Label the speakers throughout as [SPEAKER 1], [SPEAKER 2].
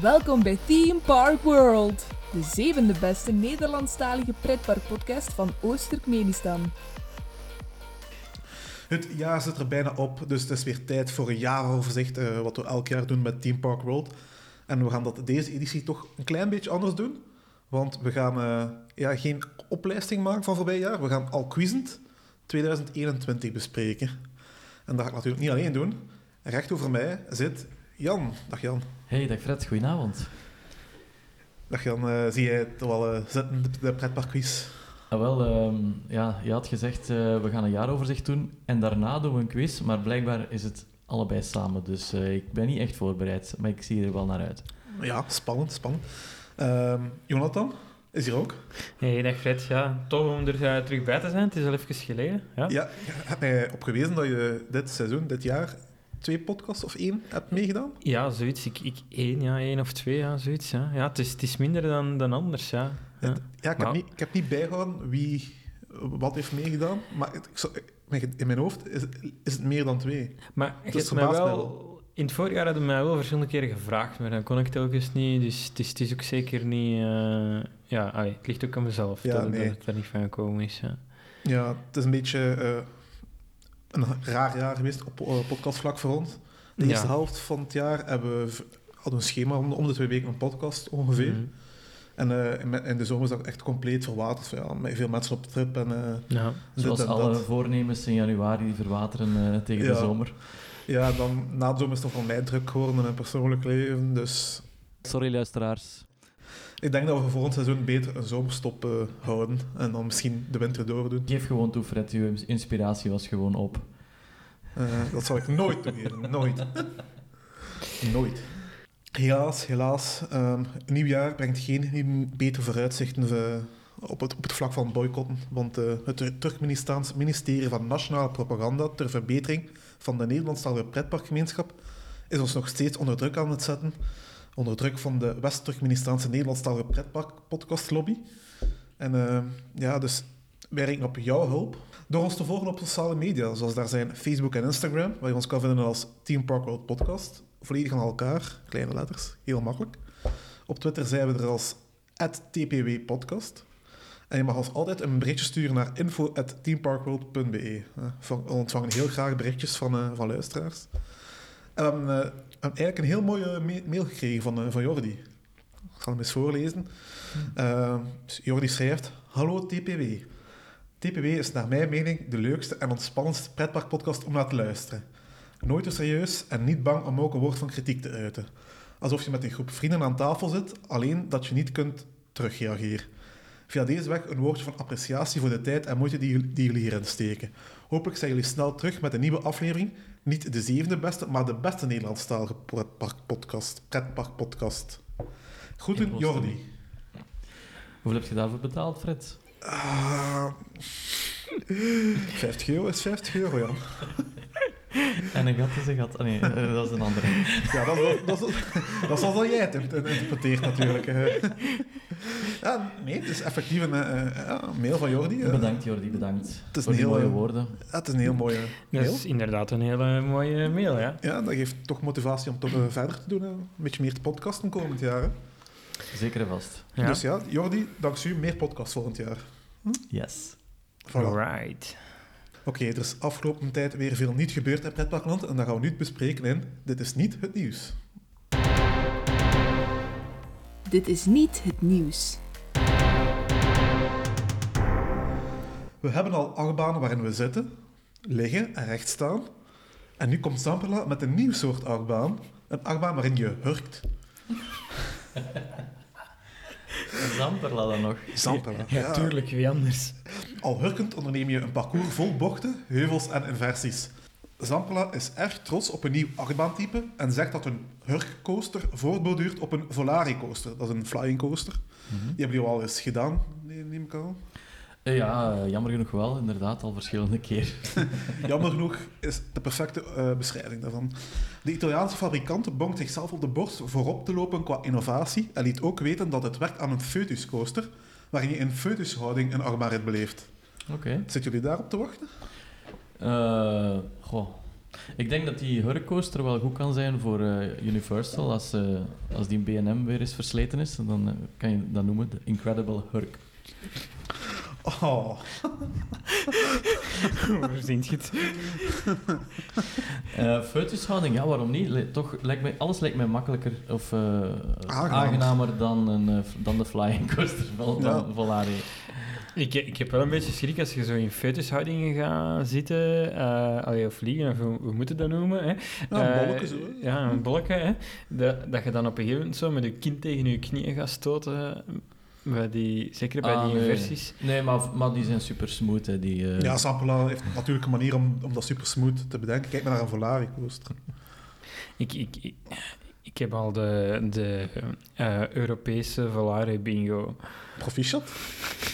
[SPEAKER 1] Welkom bij Theme Park World, de zevende beste Nederlandstalige pretparkpodcast van Oost-Turkmenistan.
[SPEAKER 2] Het jaar zit er bijna op, dus het is weer tijd voor een jaaroverzicht, eh, wat we elk jaar doen met Team Park World. En we gaan dat deze editie toch een klein beetje anders doen, want we gaan eh, ja, geen oplijsting maken van voorbij jaar. We gaan Alquizend 2021 bespreken. En dat ga ik natuurlijk niet alleen doen. Recht over mij zit Jan. Dag Jan.
[SPEAKER 3] Hey, dag Fred, goedenavond.
[SPEAKER 2] Dag Jan, eh, zie jij het wel eh, zitten, de, de pretparkquiz?
[SPEAKER 3] Ah, wel, ehm, ja, je had gezegd, eh, we gaan een jaaroverzicht doen en daarna doen we een quiz, maar blijkbaar is het allebei samen, dus eh, ik ben niet echt voorbereid, maar ik zie er wel naar uit.
[SPEAKER 2] Ja, spannend, spannend. Ehm, Jonathan is hier ook.
[SPEAKER 4] Nee, dag Fred. Ja, tof om er eh, terug bij te zijn. Het is al even geleden. Ja.
[SPEAKER 2] Ja, je hebt mij opgewezen dat je dit seizoen, dit jaar, twee podcasts of één hebt meegedaan.
[SPEAKER 4] Ja, zoiets. Ik, ik één, ja, één of twee, ja, zoiets. Ja, ja het, is, het is minder dan, dan anders, ja. ja.
[SPEAKER 2] Ja, ik,
[SPEAKER 4] Nou.
[SPEAKER 2] heb, niet, ik heb niet bijgehouden wie wat heeft meegedaan, maar het- ik zou- ik- in mijn hoofd is, is het meer dan twee.
[SPEAKER 4] Maar je
[SPEAKER 2] is
[SPEAKER 4] hebt mij
[SPEAKER 2] verbaasd mij
[SPEAKER 4] wel... In het vorig jaar hadden we mij wel verschillende keren gevraagd, maar dan kon ik telkens niet. Dus het is, het is ook zeker niet... eh, ja, allee, het ligt ook aan mezelf
[SPEAKER 2] Ja,
[SPEAKER 4] dat,
[SPEAKER 2] nee.
[SPEAKER 4] dat het er niet van gekomen is. Ja.
[SPEAKER 2] Ja, het is een beetje eh, een raar jaar geweest op eh, podcastvlak voor ons. De eerste
[SPEAKER 4] Ja.
[SPEAKER 2] helft van het jaar hebben we, v- hadden we een schema om, om de twee weken een podcast ongeveer.
[SPEAKER 4] Mhm.
[SPEAKER 2] En eh, in, mijn- in de zomer is dat echt compleet verwaterd. Ja, met veel mensen op trip en eh,
[SPEAKER 4] Ja.
[SPEAKER 2] dit
[SPEAKER 3] Zoals
[SPEAKER 2] en
[SPEAKER 3] alle
[SPEAKER 2] dat.
[SPEAKER 3] voornemens in januari die verwateren eh, tegen
[SPEAKER 2] Ja.
[SPEAKER 3] de zomer.
[SPEAKER 2] Ja, dan na de zomer is het nog wel mij druk geworden in mijn persoonlijk leven. Dus
[SPEAKER 3] Sorry luisteraars.
[SPEAKER 2] ik denk dat we voor ons seizoen beter een zomerstop eh, houden. En dan misschien de winter doordoen.
[SPEAKER 3] Geef gewoon toe Fred, uw inspiratie was gewoon op.
[SPEAKER 2] Eh, dat zal ik nooit toegeven. Nooit. nooit. Helaas, helaas. ehm, een nieuw jaar brengt geen nieuw- betere vooruitzichten eh, op het, op het vlak van boycotten. Want eh, het Tur- Turkmenistaans ministerie van Nationale Propaganda ter verbetering van de Nederlandstalige pretparkgemeenschap is ons nog steeds onder druk aan het zetten. Onder druk van de West-Turkmenistaanse Nederlandstalige pretparkpodcastlobby. En ehm, ja, dus wij rekenen op jouw hulp door ons te volgen op sociale media, zoals daar zijn Facebook en Instagram, waar je ons kan vinden als Team Park World Podcast. Volledig aan elkaar, kleine letters, heel makkelijk. Op Twitter zijn we er als @tpwpodcast. Podcast. En je mag ons altijd een berichtje sturen naar info.teamparkworld.be. Eh, van- We ontvangen heel graag berichtjes van, eh, van luisteraars. En we hebben, eh, we hebben eigenlijk een heel mooie ma- mail gekregen van, eh, van Jordi. Ik zal hem eens voorlezen. Eh, Jordi schrijft... Hallo TPW. TPW is naar mijn mening de leukste en ontspannendste pretparkpodcast om naar te luisteren. Nooit te serieus en niet bang om ook een woord van kritiek te uiten. Alsof je met een groep vrienden aan tafel zit, alleen dat je niet kunt terugreageren. Via deze weg een woordje van appreciatie voor de tijd en moeite die, jullie- die jullie hierin steken. Hopelijk zijn jullie snel terug met een nieuwe aflevering. Niet de zevende beste, maar de beste Nederlandstalige pretparkpodcast. pretparkpodcast. Groeten,
[SPEAKER 3] Ik
[SPEAKER 2] Jordi.
[SPEAKER 3] Hoeveel heb je daarvoor betaald, Fred?
[SPEAKER 2] Ah, 50 euro is 50 euro, Jan.
[SPEAKER 3] En een gat is een gat. Ah, nee, eh, dat is een andere.
[SPEAKER 2] Ja, dat is, dat is, dat is zoals dat jij het int- interpreteert natuurlijk. eh. Ja, nee, het is effectief een eh, eh, ja, een mail van Jordi. eh.
[SPEAKER 3] Bedankt Jordi, bedankt.
[SPEAKER 2] is
[SPEAKER 3] voor
[SPEAKER 2] een
[SPEAKER 3] die
[SPEAKER 2] heel,
[SPEAKER 3] mooie
[SPEAKER 2] eh,
[SPEAKER 3] woorden.
[SPEAKER 2] Ja, het is een heel mooie
[SPEAKER 4] Dat
[SPEAKER 2] mail.
[SPEAKER 4] is inderdaad een hele mooie mail, ja.
[SPEAKER 2] Ja, dat geeft toch motivatie om toch eh, verder te doen. hè. Een beetje meer te podcasten komend jaar. hè.
[SPEAKER 3] Zeker en vast.
[SPEAKER 4] ja.
[SPEAKER 2] Dus ja, Jordi, dankzij u meer podcasts volgend jaar.
[SPEAKER 3] Yes.
[SPEAKER 2] Voilà.
[SPEAKER 4] Alright.
[SPEAKER 2] Oké, er is afgelopen tijd weer veel niet gebeurd in pretparkland en dat gaan we nu bespreken in Dit is niet het nieuws.
[SPEAKER 1] Dit is niet het nieuws.
[SPEAKER 2] We hebben al achtbanen waarin we zitten, liggen en recht staan. En nu komt Sampela met een nieuw soort achtbaan. Een achtbaan waarin je hurkt.
[SPEAKER 3] Zamperla dan nog.
[SPEAKER 2] Sampela. Ja.
[SPEAKER 4] tuurlijk, wie anders?
[SPEAKER 2] Al hurkend onderneem je een parcours vol bochten, heuvels en inversies. Zampela is erg trots op een nieuw achtbaantype en zegt dat een hurkcoaster voortborduurt op een volaricoaster. Dat is een flying coaster. Die hebben jullie al eens gedaan, neem ik aan.
[SPEAKER 3] Eh, Ja, eh, jammer genoeg wel, inderdaad, al verschillende keer.
[SPEAKER 2] Jammer genoeg is de perfecte eh, beschrijving daarvan. De Italiaanse fabrikant bonkt zichzelf op de borst voorop te lopen qua innovatie en liet ook weten dat het werkt aan een foetuscoaster, waarin je in foetushouding een armarit beleeft.
[SPEAKER 3] Oké.
[SPEAKER 2] Zitten jullie daarop te wachten?
[SPEAKER 3] Eh, goh, Ik denk dat die Hurcoaster wel goed kan zijn voor eh, Universal. Als, eh, als die BNM weer eens versleten is, dan eh, kan je dat noemen de Incredible Hurk.
[SPEAKER 2] Oh,
[SPEAKER 4] Verzint je het?
[SPEAKER 3] Eh feutushouding, ja, waarom niet? Le- toch, lijkt mij, alles lijkt mij makkelijker of eh,
[SPEAKER 2] Aangenaam.
[SPEAKER 3] aangenamer dan, een, eh, f- dan de flying coaster van,
[SPEAKER 2] Ja.
[SPEAKER 3] van Volare.
[SPEAKER 4] Ik, ik heb wel een beetje schrik als je zo in feutushoudingen gaat zitten, eh allee, of vliegen, of hoe, hoe moet je dat noemen? Hè?
[SPEAKER 2] ja,
[SPEAKER 4] Eh,
[SPEAKER 2] bolken zo. hè.
[SPEAKER 4] Ja, een bolken, hè. Dat, dat je dan op een gegeven moment zo met je kind tegen je knieën gaat stoten. Bij die, zeker bij
[SPEAKER 3] Ah,
[SPEAKER 4] die
[SPEAKER 3] nee.
[SPEAKER 4] versies.
[SPEAKER 3] Nee, maar, maar die zijn super smooth. Hè, die, eh.
[SPEAKER 2] Ja, Sampela heeft natuurlijk een manier om, om dat super smooth te bedenken. Kijk maar naar een Volari coaster.
[SPEAKER 4] Ik, ik, ik, ik heb al de, de eh, Europese Volare bingo.
[SPEAKER 2] Proficiat?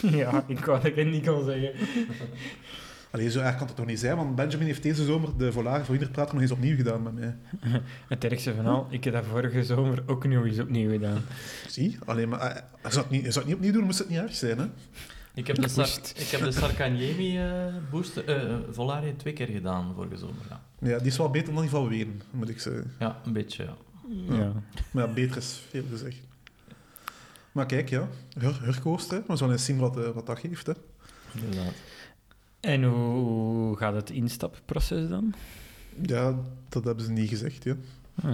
[SPEAKER 4] ja, ik wou dat ik het niet kon zeggen.
[SPEAKER 2] Allee, zo erg kan het toch niet zijn, want Benjamin heeft deze zomer de Volari voor ieder praat nog eens opnieuw gedaan met mij.
[SPEAKER 4] Het ergste van al, ik heb dat vorige zomer ook nog eens opnieuw gedaan.
[SPEAKER 2] Zie, alleen maar eh, hij zou, het niet, hij zou het niet opnieuw doen, moest het niet erg zijn. Hè?
[SPEAKER 3] Ik heb de, Sar
[SPEAKER 4] Boost.
[SPEAKER 3] ik heb de Sarkanyemi eh, booster, eh, Volare twee keer gedaan vorige zomer. Ja,
[SPEAKER 2] Ja, die is wel beter dan die van Wenen, moet ik zeggen.
[SPEAKER 3] ja een beetje. Ja.
[SPEAKER 4] Ja.
[SPEAKER 2] Maar ja, beter is veel gezegd. Maar kijk, ja, Hur- Hurcoaster, hè. we zullen eens zien wat, eh, wat dat geeft. Hè.
[SPEAKER 3] Inderdaad.
[SPEAKER 4] En hoe, hoe gaat het instapproces dan?
[SPEAKER 2] Ja, dat hebben ze niet gezegd. Ja.
[SPEAKER 4] Ah.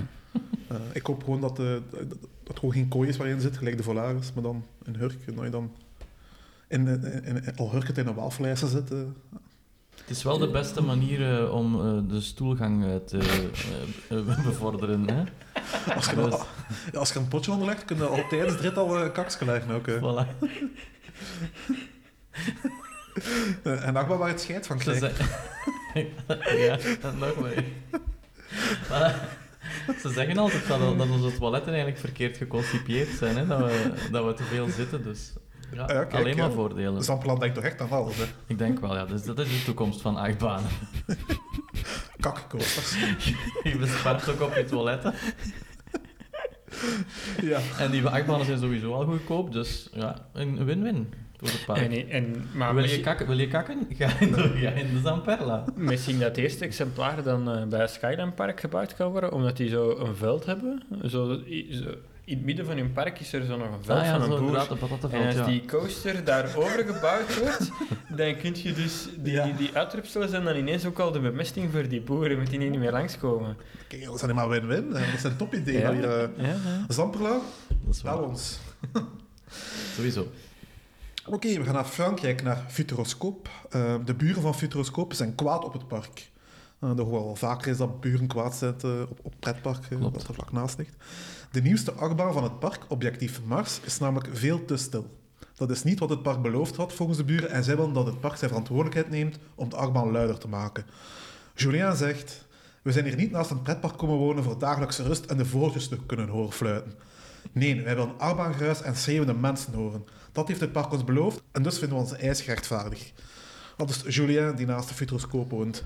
[SPEAKER 2] Eh, ik hoop gewoon dat, eh, dat, dat het gewoon geen kooi is waarin zit, gelijk de Volaris, maar dan een hurk. En dat je dan in, in, in, in- al hurkend in een waalflijster zit. eh.
[SPEAKER 3] Het is wel de beste manier eh, om eh, de stoelgang eh, te eh, eh, bevorderen. Hè?
[SPEAKER 2] Als, je,
[SPEAKER 3] Dus-
[SPEAKER 2] ja, als je een potje onderlegt, kun je al tijdens het rit al een kaksje leggen. Ook, eh.
[SPEAKER 3] Voilà.
[SPEAKER 2] Eh, En daar waar het scheid van
[SPEAKER 3] Ze
[SPEAKER 2] krijgt.
[SPEAKER 3] ze- ja, dat nog maar. Maar, Ze zeggen altijd dat, dat onze toiletten eigenlijk verkeerd geconcipieerd zijn, hè? Dat, we, dat we te veel zitten. Dus ja,
[SPEAKER 2] Ja, kijk,
[SPEAKER 3] alleen maar
[SPEAKER 2] ja.
[SPEAKER 3] voordelen.
[SPEAKER 2] Zampeland denkt toch echt aan alles, hè?
[SPEAKER 3] Ik denk wel, ja. Dus dat is de toekomst van achtbanen.
[SPEAKER 2] Kakkoosters.
[SPEAKER 3] Je bespaart ook op je toiletten.
[SPEAKER 2] ja.
[SPEAKER 3] En die achtbanen zijn sowieso al goedkoop, dus ja, een win-win voor het park.
[SPEAKER 4] En, en, maar
[SPEAKER 3] wil, Ah, je
[SPEAKER 4] misschien-
[SPEAKER 3] kakken, wil je kakken? Ga in de, ga in de Zamperla.
[SPEAKER 4] Misschien dat het eerste exemplaar dan eh, bij Skyline Park gebouwd kan worden, omdat die zo een veld hebben. Zo, i- zo- in het midden van hun park is er zo nog een veld
[SPEAKER 3] Ah ja, zo
[SPEAKER 4] van een boer.
[SPEAKER 3] inderdaad, een patattenveld,
[SPEAKER 4] En als
[SPEAKER 3] ja.
[SPEAKER 4] die coaster daarover gebouwd wordt, dan kun je dus die,
[SPEAKER 2] Ja.
[SPEAKER 4] die, die uitrupselen zijn dan ineens ook al de bemesting voor die boeren, moet die niet meer langskomen.
[SPEAKER 2] Kijk, dat zijn helemaal win-win. eh. Dat zijn topideeën.
[SPEAKER 4] Ja.
[SPEAKER 2] hier, eh.
[SPEAKER 4] Ja, ja.
[SPEAKER 2] Zamperla,
[SPEAKER 3] Dat is waar.
[SPEAKER 2] bel ons.
[SPEAKER 3] Sowieso.
[SPEAKER 2] Oké, we gaan naar Frankrijk, naar Futuroscoop. Eh, de buren van Futuroscoop zijn kwaad op het park. Eh dat horen we al vaker is dat buren kwaad zijn eh, op, op pretpark, eh,
[SPEAKER 3] Klopt.
[SPEAKER 2] dat er vlak naast ligt. De nieuwste achtbaan van het park, Objectief Mars, is namelijk veel te stil. Dat is niet wat het park beloofd had volgens de buren en zij willen dat het park zijn verantwoordelijkheid neemt om de achtbaan luider te maken. Julien zegt, we zijn hier niet naast een pretpark komen wonen voor dagelijkse rust en de vogeltjes te kunnen horen fluiten. Nee, wij willen achtbaangeruis en schreeuwende mensen horen. Dat heeft het park ons beloofd en dus vinden we onze eis gerechtvaardig. Dat is Julien die naast de futuroscoop woont.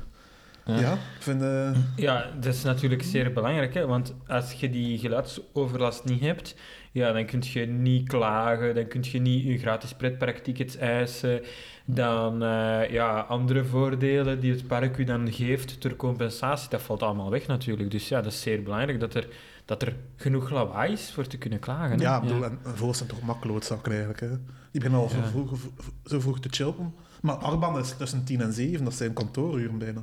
[SPEAKER 2] Ja, eh, vinden...
[SPEAKER 4] ja, dat is natuurlijk zeer belangrijk, hè, want als je die geluidsoverlast niet hebt, ja, dan kun je niet klagen, dan kun je niet je gratis pretparktickets eisen. Dan eh, ja, andere voordelen die het park u dan geeft ter compensatie, dat valt allemaal weg natuurlijk. Dus ja, dat is zeer belangrijk dat er, dat er genoeg lawaai is voor te kunnen klagen. hè.
[SPEAKER 2] Ja, ik bedoel, en en vogels zijn toch makkeloodzakken eigenlijk. Hè? Die beginnen al zo,
[SPEAKER 4] Ja.
[SPEAKER 2] vroeg, zo vroeg te chillen. Maar Arban is tussen 10 en 7, dat zijn kantooruren bijna.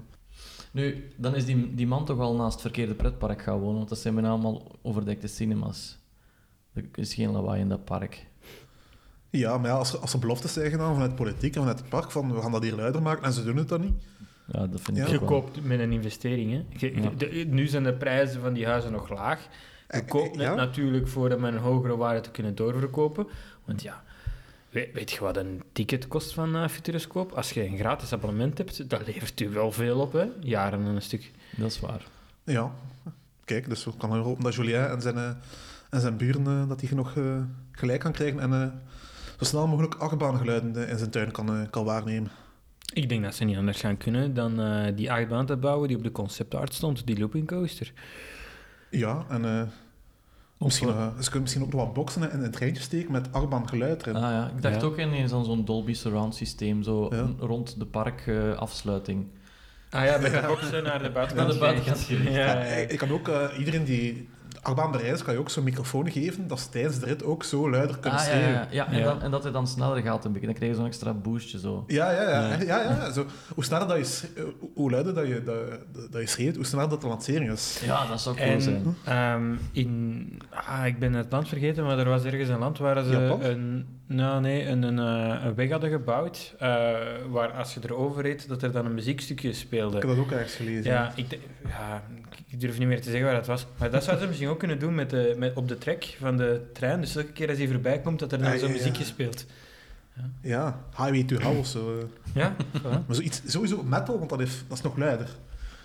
[SPEAKER 3] Nu, dan is die, die man toch al naast het verkeerde pretpark gaan wonen, want dat zijn bijna allemaal overdekte cinemas. Er is geen lawaai in dat park.
[SPEAKER 2] Ja, maar ja, als, er- als er beloftes zijn gedaan vanuit politiek en vanuit het park van we gaan dat hier luider maken en ze doen het dan niet.
[SPEAKER 3] Ja, dat vind ik
[SPEAKER 2] Ja.
[SPEAKER 4] Je
[SPEAKER 3] ook wel.
[SPEAKER 4] koopt met een investering. Hè. Je-
[SPEAKER 3] Ja.
[SPEAKER 4] de- nu zijn de prijzen van die huizen nog laag. Je
[SPEAKER 2] Eh,
[SPEAKER 4] koopt
[SPEAKER 2] eh,
[SPEAKER 4] het
[SPEAKER 2] ja.
[SPEAKER 4] natuurlijk voor om een hogere waarde te kunnen doorverkopen. Want ja, weet, weet je wat een ticket kost van eh Futuroscoop? Als je een gratis abonnement hebt, dat levert u wel veel op, hè? Jaren en een stuk.
[SPEAKER 3] Dat is waar.
[SPEAKER 2] Ja, kijk, dus we kunnen hopen dat Julien en zijn, eh, en zijn buren eh, dat hij genoeg eh, gelijk kan krijgen en eh, zo snel mogelijk achtbaangeluiden eh, in zijn tuin kan, eh, kan waarnemen.
[SPEAKER 4] Ik denk dat ze niet anders gaan kunnen dan eh, die achtbaan te bouwen die op de conceptart stond, die looping coaster.
[SPEAKER 2] Ja, en eh, misschien,
[SPEAKER 3] Of-
[SPEAKER 2] nog, eh, ze kunnen misschien ook nog wat boksen en een treintje steken met achtbaangeluid erin.
[SPEAKER 3] Ah ja, ik dacht
[SPEAKER 4] Ja.
[SPEAKER 3] ook ineens aan zo'n Dolby Surround systeem, zo
[SPEAKER 2] Ja.
[SPEAKER 3] rond de park eh, afsluiting.
[SPEAKER 4] Ah ja, met de boksen naar de buitenkant.
[SPEAKER 3] Naar de buitenkant
[SPEAKER 4] gericht.
[SPEAKER 3] gericht.
[SPEAKER 4] Ja,
[SPEAKER 2] Ja,
[SPEAKER 4] ja, ja.
[SPEAKER 2] ik- ik kan ook eh, iedereen die de achtbaan bereist, kan je ook zo'n microfoon geven dat ze tijdens de rit ook zo luider kunnen
[SPEAKER 3] Ah, ja,
[SPEAKER 2] schreeuwen.
[SPEAKER 3] ja, ja. En,
[SPEAKER 4] Ja.
[SPEAKER 3] Dan, en dat hij dan sneller gaat een beetje. Dan krijg je zo'n extra boostje zo.
[SPEAKER 2] Ja, ja, ja.
[SPEAKER 3] Ja.
[SPEAKER 2] ja. ja, ja. Zo, hoe sneller dat je, schre- eh, hoe- hoe luider dat je, dat, dat je schreeuwt, hoe sneller dat de lancering is.
[SPEAKER 3] Ja, dat zou cool zijn.
[SPEAKER 4] En ehm, in, ah, ik ben het land vergeten, maar er was ergens een land waar ze
[SPEAKER 2] Japan?
[SPEAKER 4] een, nou, nee, een, een, eh, een weg hadden gebouwd, eh, waar als je erover reed, dat er dan een muziekstukje speelde.
[SPEAKER 2] Ik heb dat ook ergens gelezen.
[SPEAKER 4] Ja, ik, de- ja, ik durf niet meer te zeggen waar dat was. Maar dat zouden ze misschien ook kunnen doen met de, met, op de trek van de trein. Dus elke keer als hij voorbij komt, dat er dan
[SPEAKER 2] Ah,
[SPEAKER 4] zo'n
[SPEAKER 2] ja, ja.
[SPEAKER 4] muziekje speelt.
[SPEAKER 2] Ja, Highway to Hell of zo. eh.
[SPEAKER 4] Ja? voilà.
[SPEAKER 2] Maar zoiets, sowieso metal, want dat, heeft, dat is nog luider.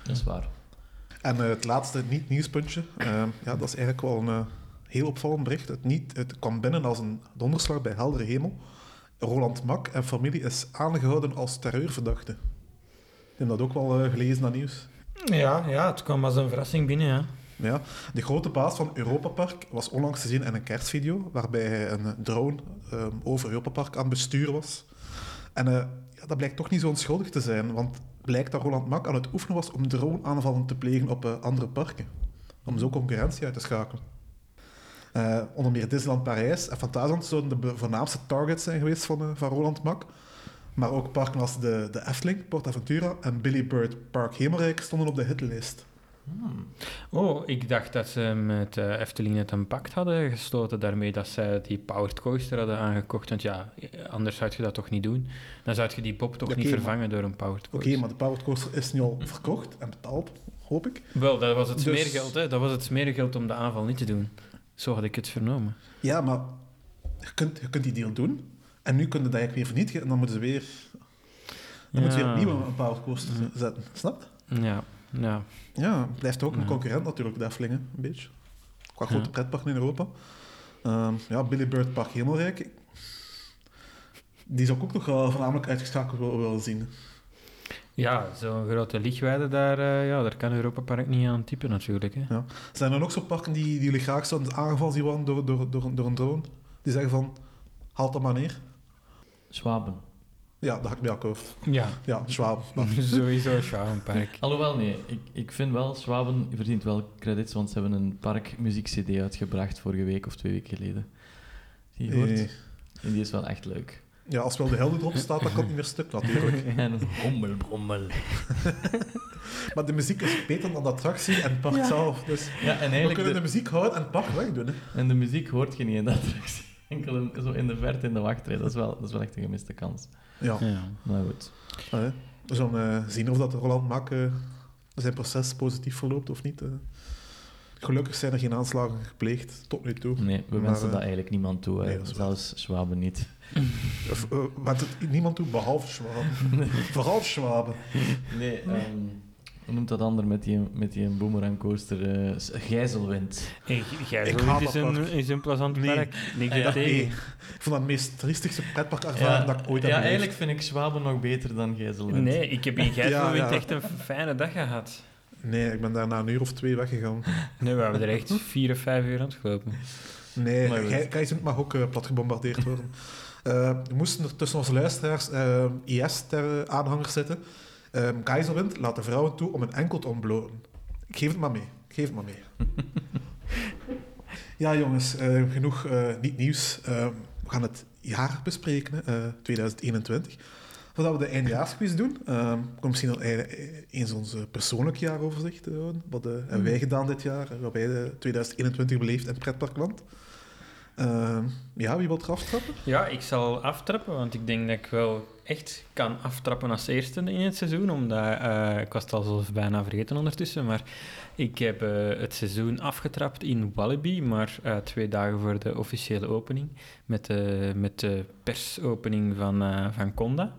[SPEAKER 3] Dat is waar.
[SPEAKER 2] En eh, het laatste niet-nieuwspuntje, eh, ja, dat is eigenlijk wel een eh, heel opvallend bericht. Het, niet, het kwam binnen als een donderslag bij heldere hemel. Roland Mak en familie is aangehouden als terreurverdachte. Ik heb dat ook wel eh, gelezen, dat nieuws.
[SPEAKER 4] Ja, ja, het kwam als een verrassing binnen, ja.
[SPEAKER 2] Ja, de grote baas van Europa Park was onlangs te zien in een kerstvideo waarbij hij een drone ehm, over Europa Park aan het besturen was. En eh, ja, dat blijkt toch niet zo onschuldig te zijn, want blijkt dat Roland Mak aan het oefenen was om droneaanvallen te plegen op eh, andere parken. Om zo concurrentie uit te schakelen. Eh, onder meer Disneyland Parijs en Fantasyland zouden de be- voornaamste targets zijn geweest van, eh, van Roland Mak. Maar ook parken als de, de Efteling, PortAventura en Billy Bird Park Hemelrijk stonden op de hitlijst.
[SPEAKER 3] Hmm.
[SPEAKER 4] Oh, ik dacht dat ze met eh, Efteling het een pact hadden gesloten daarmee dat zij die powered coaster hadden aangekocht. Want ja, anders zou je dat toch niet doen. Dan zou je die pop toch
[SPEAKER 2] Oké,
[SPEAKER 4] niet
[SPEAKER 2] maar-
[SPEAKER 4] vervangen door een powered
[SPEAKER 2] Oké,
[SPEAKER 4] coaster.
[SPEAKER 2] maar de Powered Coaster is nu al verkocht en betaald, hoop ik.
[SPEAKER 4] Wel, dat was het
[SPEAKER 2] Dus-
[SPEAKER 4] smeergeld, hè. Dat was het smeergeld om de aanval niet te doen. Zo had ik het vernomen.
[SPEAKER 2] Ja, maar je kunt, je kunt die deal doen. En nu kunnen dat eigenlijk weer vernietigen. En dan moeten ze weer, dan moeten ze weer
[SPEAKER 4] Ja.
[SPEAKER 2] opnieuw een Powered Coaster zetten. Snap je?
[SPEAKER 4] Ja, ja.
[SPEAKER 2] Ja, blijft ook een
[SPEAKER 4] Ja.
[SPEAKER 2] concurrent natuurlijk, de Efteling, hè, een beetje. Qua
[SPEAKER 4] Ja.
[SPEAKER 2] grote pretparken in Europa. Ehm, ja, Billy Bird Park Hemelrijk. Die zou ik ook nog wel voornamelijk uitgeschakeld wil- willen zien.
[SPEAKER 4] Ja, zo'n grote lichtweide daar, eh, ja, daar kan Europa Park niet aan typen natuurlijk. Hè.
[SPEAKER 2] Zijn er ook zo'n parken die, die jullie graag zouden aangevallen zien worden door, door, door, door een drone? Die zeggen van, haal dat maar neer.
[SPEAKER 3] Zwaben.
[SPEAKER 2] Ja, dat had ik bij akkoord.
[SPEAKER 4] Ja,
[SPEAKER 2] Ja, Schwab.
[SPEAKER 4] sowieso Schouwenpark.
[SPEAKER 3] Alhoewel, nee. Ik, ik vind wel, Zwaben verdient wel credits, want ze hebben een parkmuziek-cd uitgebracht vorige week of twee weken geleden. Die hoort.
[SPEAKER 2] Eh,
[SPEAKER 3] En die is wel echt leuk.
[SPEAKER 2] Ja, als wel de helden erop staat, dan kan het niet meer stuk natuurlijk.
[SPEAKER 3] En hommel, brommel.
[SPEAKER 2] Maar de muziek is beter dan de attractie en het park
[SPEAKER 3] Ja.
[SPEAKER 2] zelf. Dus
[SPEAKER 3] Ja, en
[SPEAKER 2] we
[SPEAKER 3] eigenlijk
[SPEAKER 2] kunnen de...
[SPEAKER 3] de,
[SPEAKER 2] muziek houden en het park wegdoen. hè.
[SPEAKER 3] en de muziek hoort je niet in dat attractie. Enkel in- zo in de verte in de wachtrij. Dat is wel, dat is wel echt een gemiste kans.
[SPEAKER 2] Ja,
[SPEAKER 4] Ja.
[SPEAKER 3] Maar goed.
[SPEAKER 2] Allee, we zullen eh, zien of dat Roland Mak eh, zijn proces positief verloopt of niet. eh. Gelukkig zijn er geen aanslagen gepleegd tot nu toe.
[SPEAKER 3] Nee, we
[SPEAKER 2] Maar,
[SPEAKER 3] wensen
[SPEAKER 2] eh,
[SPEAKER 3] dat eigenlijk niemand toe. hè.
[SPEAKER 2] nee, dat is waar.
[SPEAKER 3] Zelfs Schwaben niet.
[SPEAKER 2] Of, eh, want het niemand toe, behalve Schwaben. Vooral Schwaben.
[SPEAKER 3] Nee, ehm, hoe noemt dat ander met die, met die boomerang coaster? eh, s- gijzelwind.
[SPEAKER 4] Hey, jij
[SPEAKER 2] Ik
[SPEAKER 4] zo,
[SPEAKER 2] haat
[SPEAKER 4] het is
[SPEAKER 2] dat
[SPEAKER 4] een,
[SPEAKER 2] park.
[SPEAKER 4] is een plezant
[SPEAKER 2] Nee.
[SPEAKER 4] park. Niks
[SPEAKER 3] Ja,
[SPEAKER 4] ja,
[SPEAKER 2] Nee, ik vond dat het meest triestigste pretparkervaring
[SPEAKER 3] Ja,
[SPEAKER 2] dat ik ooit heb
[SPEAKER 3] ja
[SPEAKER 2] beleefd.
[SPEAKER 3] eigenlijk vind ik Zwaben nog beter dan gijzelwind.
[SPEAKER 4] Nee, ik heb in Gijzelwind
[SPEAKER 2] Ja, ja.
[SPEAKER 4] echt een fijne dag gehad.
[SPEAKER 2] Nee, ik ben daarna een uur of twee weggegaan.
[SPEAKER 4] Nu we hebben er echt vier of vijf uur rondgelopen.
[SPEAKER 2] Nee,
[SPEAKER 3] Maar goed.
[SPEAKER 2] Gij- Keizer mag ook eh, plat gebombardeerd worden. Eh, er moesten er tussen onze luisteraars eh, IS-aanhangers zitten. Um, Keizerwind laat de vrouwen toe om een enkel te ontbloten. Ik geef het maar mee. Ik geef het maar mee. ja, jongens, eh, genoeg eh, niet nieuws. Eh, we gaan het jaar bespreken, hè, eh, 2021. Voordat we de eindjaarsquiz doen, eh, kunnen we misschien al e- e- eens ons eh, persoonlijk jaaroverzicht eh, houden. Wat eh, hebben wij gedaan dit jaar? eh, Wat wij eh, 2021 beleefd in het pretparkland? Eh, ja, wie wil er aftrappen?
[SPEAKER 4] Ja, ik zal aftrappen, want ik denk dat ik wel echt kan aftrappen als eerste in het seizoen. Omdat, eh, ik was het al zelf bijna vergeten ondertussen, maar ik heb eh, het seizoen afgetrapt in Wallaby, maar eh, twee dagen voor de officiële opening. Met de, met de persopening van, eh, van Conda.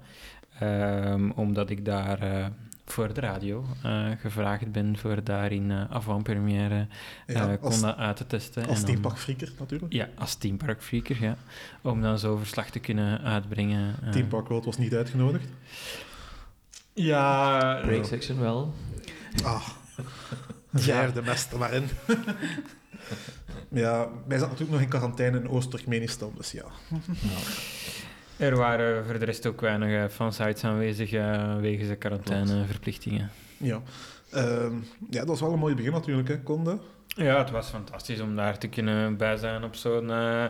[SPEAKER 4] Ehm, omdat ik daar eh, voor de radio eh, gevraagd ben voor daar in eh avant-première eh,
[SPEAKER 2] Ja, als
[SPEAKER 4] Conda uit te testen.
[SPEAKER 2] als
[SPEAKER 4] En dan-
[SPEAKER 2] teamparkfreaker natuurlijk.
[SPEAKER 4] ja, als teamparkfreaker, ja. Om dan zo verslag te kunnen uitbrengen. eh.
[SPEAKER 2] Teampark World was niet uitgenodigd.
[SPEAKER 4] Ja,
[SPEAKER 3] Break section wel.
[SPEAKER 2] Ah, ja. de mester maar in. ja, wij zaten natuurlijk nog in quarantaine in Oost-Turkmenistan, dus ja.
[SPEAKER 3] Nou,
[SPEAKER 4] Er waren voor de rest ook weinig eh, fansites aanwezig eh, wegens de quarantaineverplichtingen.
[SPEAKER 2] Ja. Ehm, ja, dat was wel een mooi begin natuurlijk, hè, Conde.
[SPEAKER 4] Ja, het was fantastisch om daar te kunnen bij zijn op zo'n eh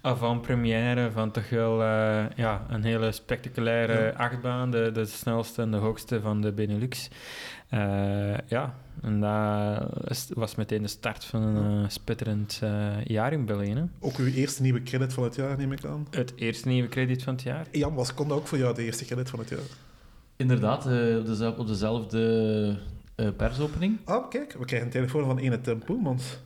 [SPEAKER 4] avant-première van toch wel eh, ja, een hele spectaculaire
[SPEAKER 2] Ja.
[SPEAKER 4] achtbaan. De, de snelste en de hoogste van de Benelux. Eh, ja, en dat is- was meteen de start van een eh, spetterend eh, jaar in België. hè.
[SPEAKER 2] Ook uw eerste nieuwe credit van het jaar, neem ik aan.
[SPEAKER 4] Het eerste nieuwe krediet van het jaar.
[SPEAKER 2] Jan, was Conde ook voor jou de eerste credit van het jaar?
[SPEAKER 3] Inderdaad, eh, op, deze- op dezelfde eh, persopening.
[SPEAKER 2] Ah, kijk, we krijgen een telefoon van ene Tim Poelmans.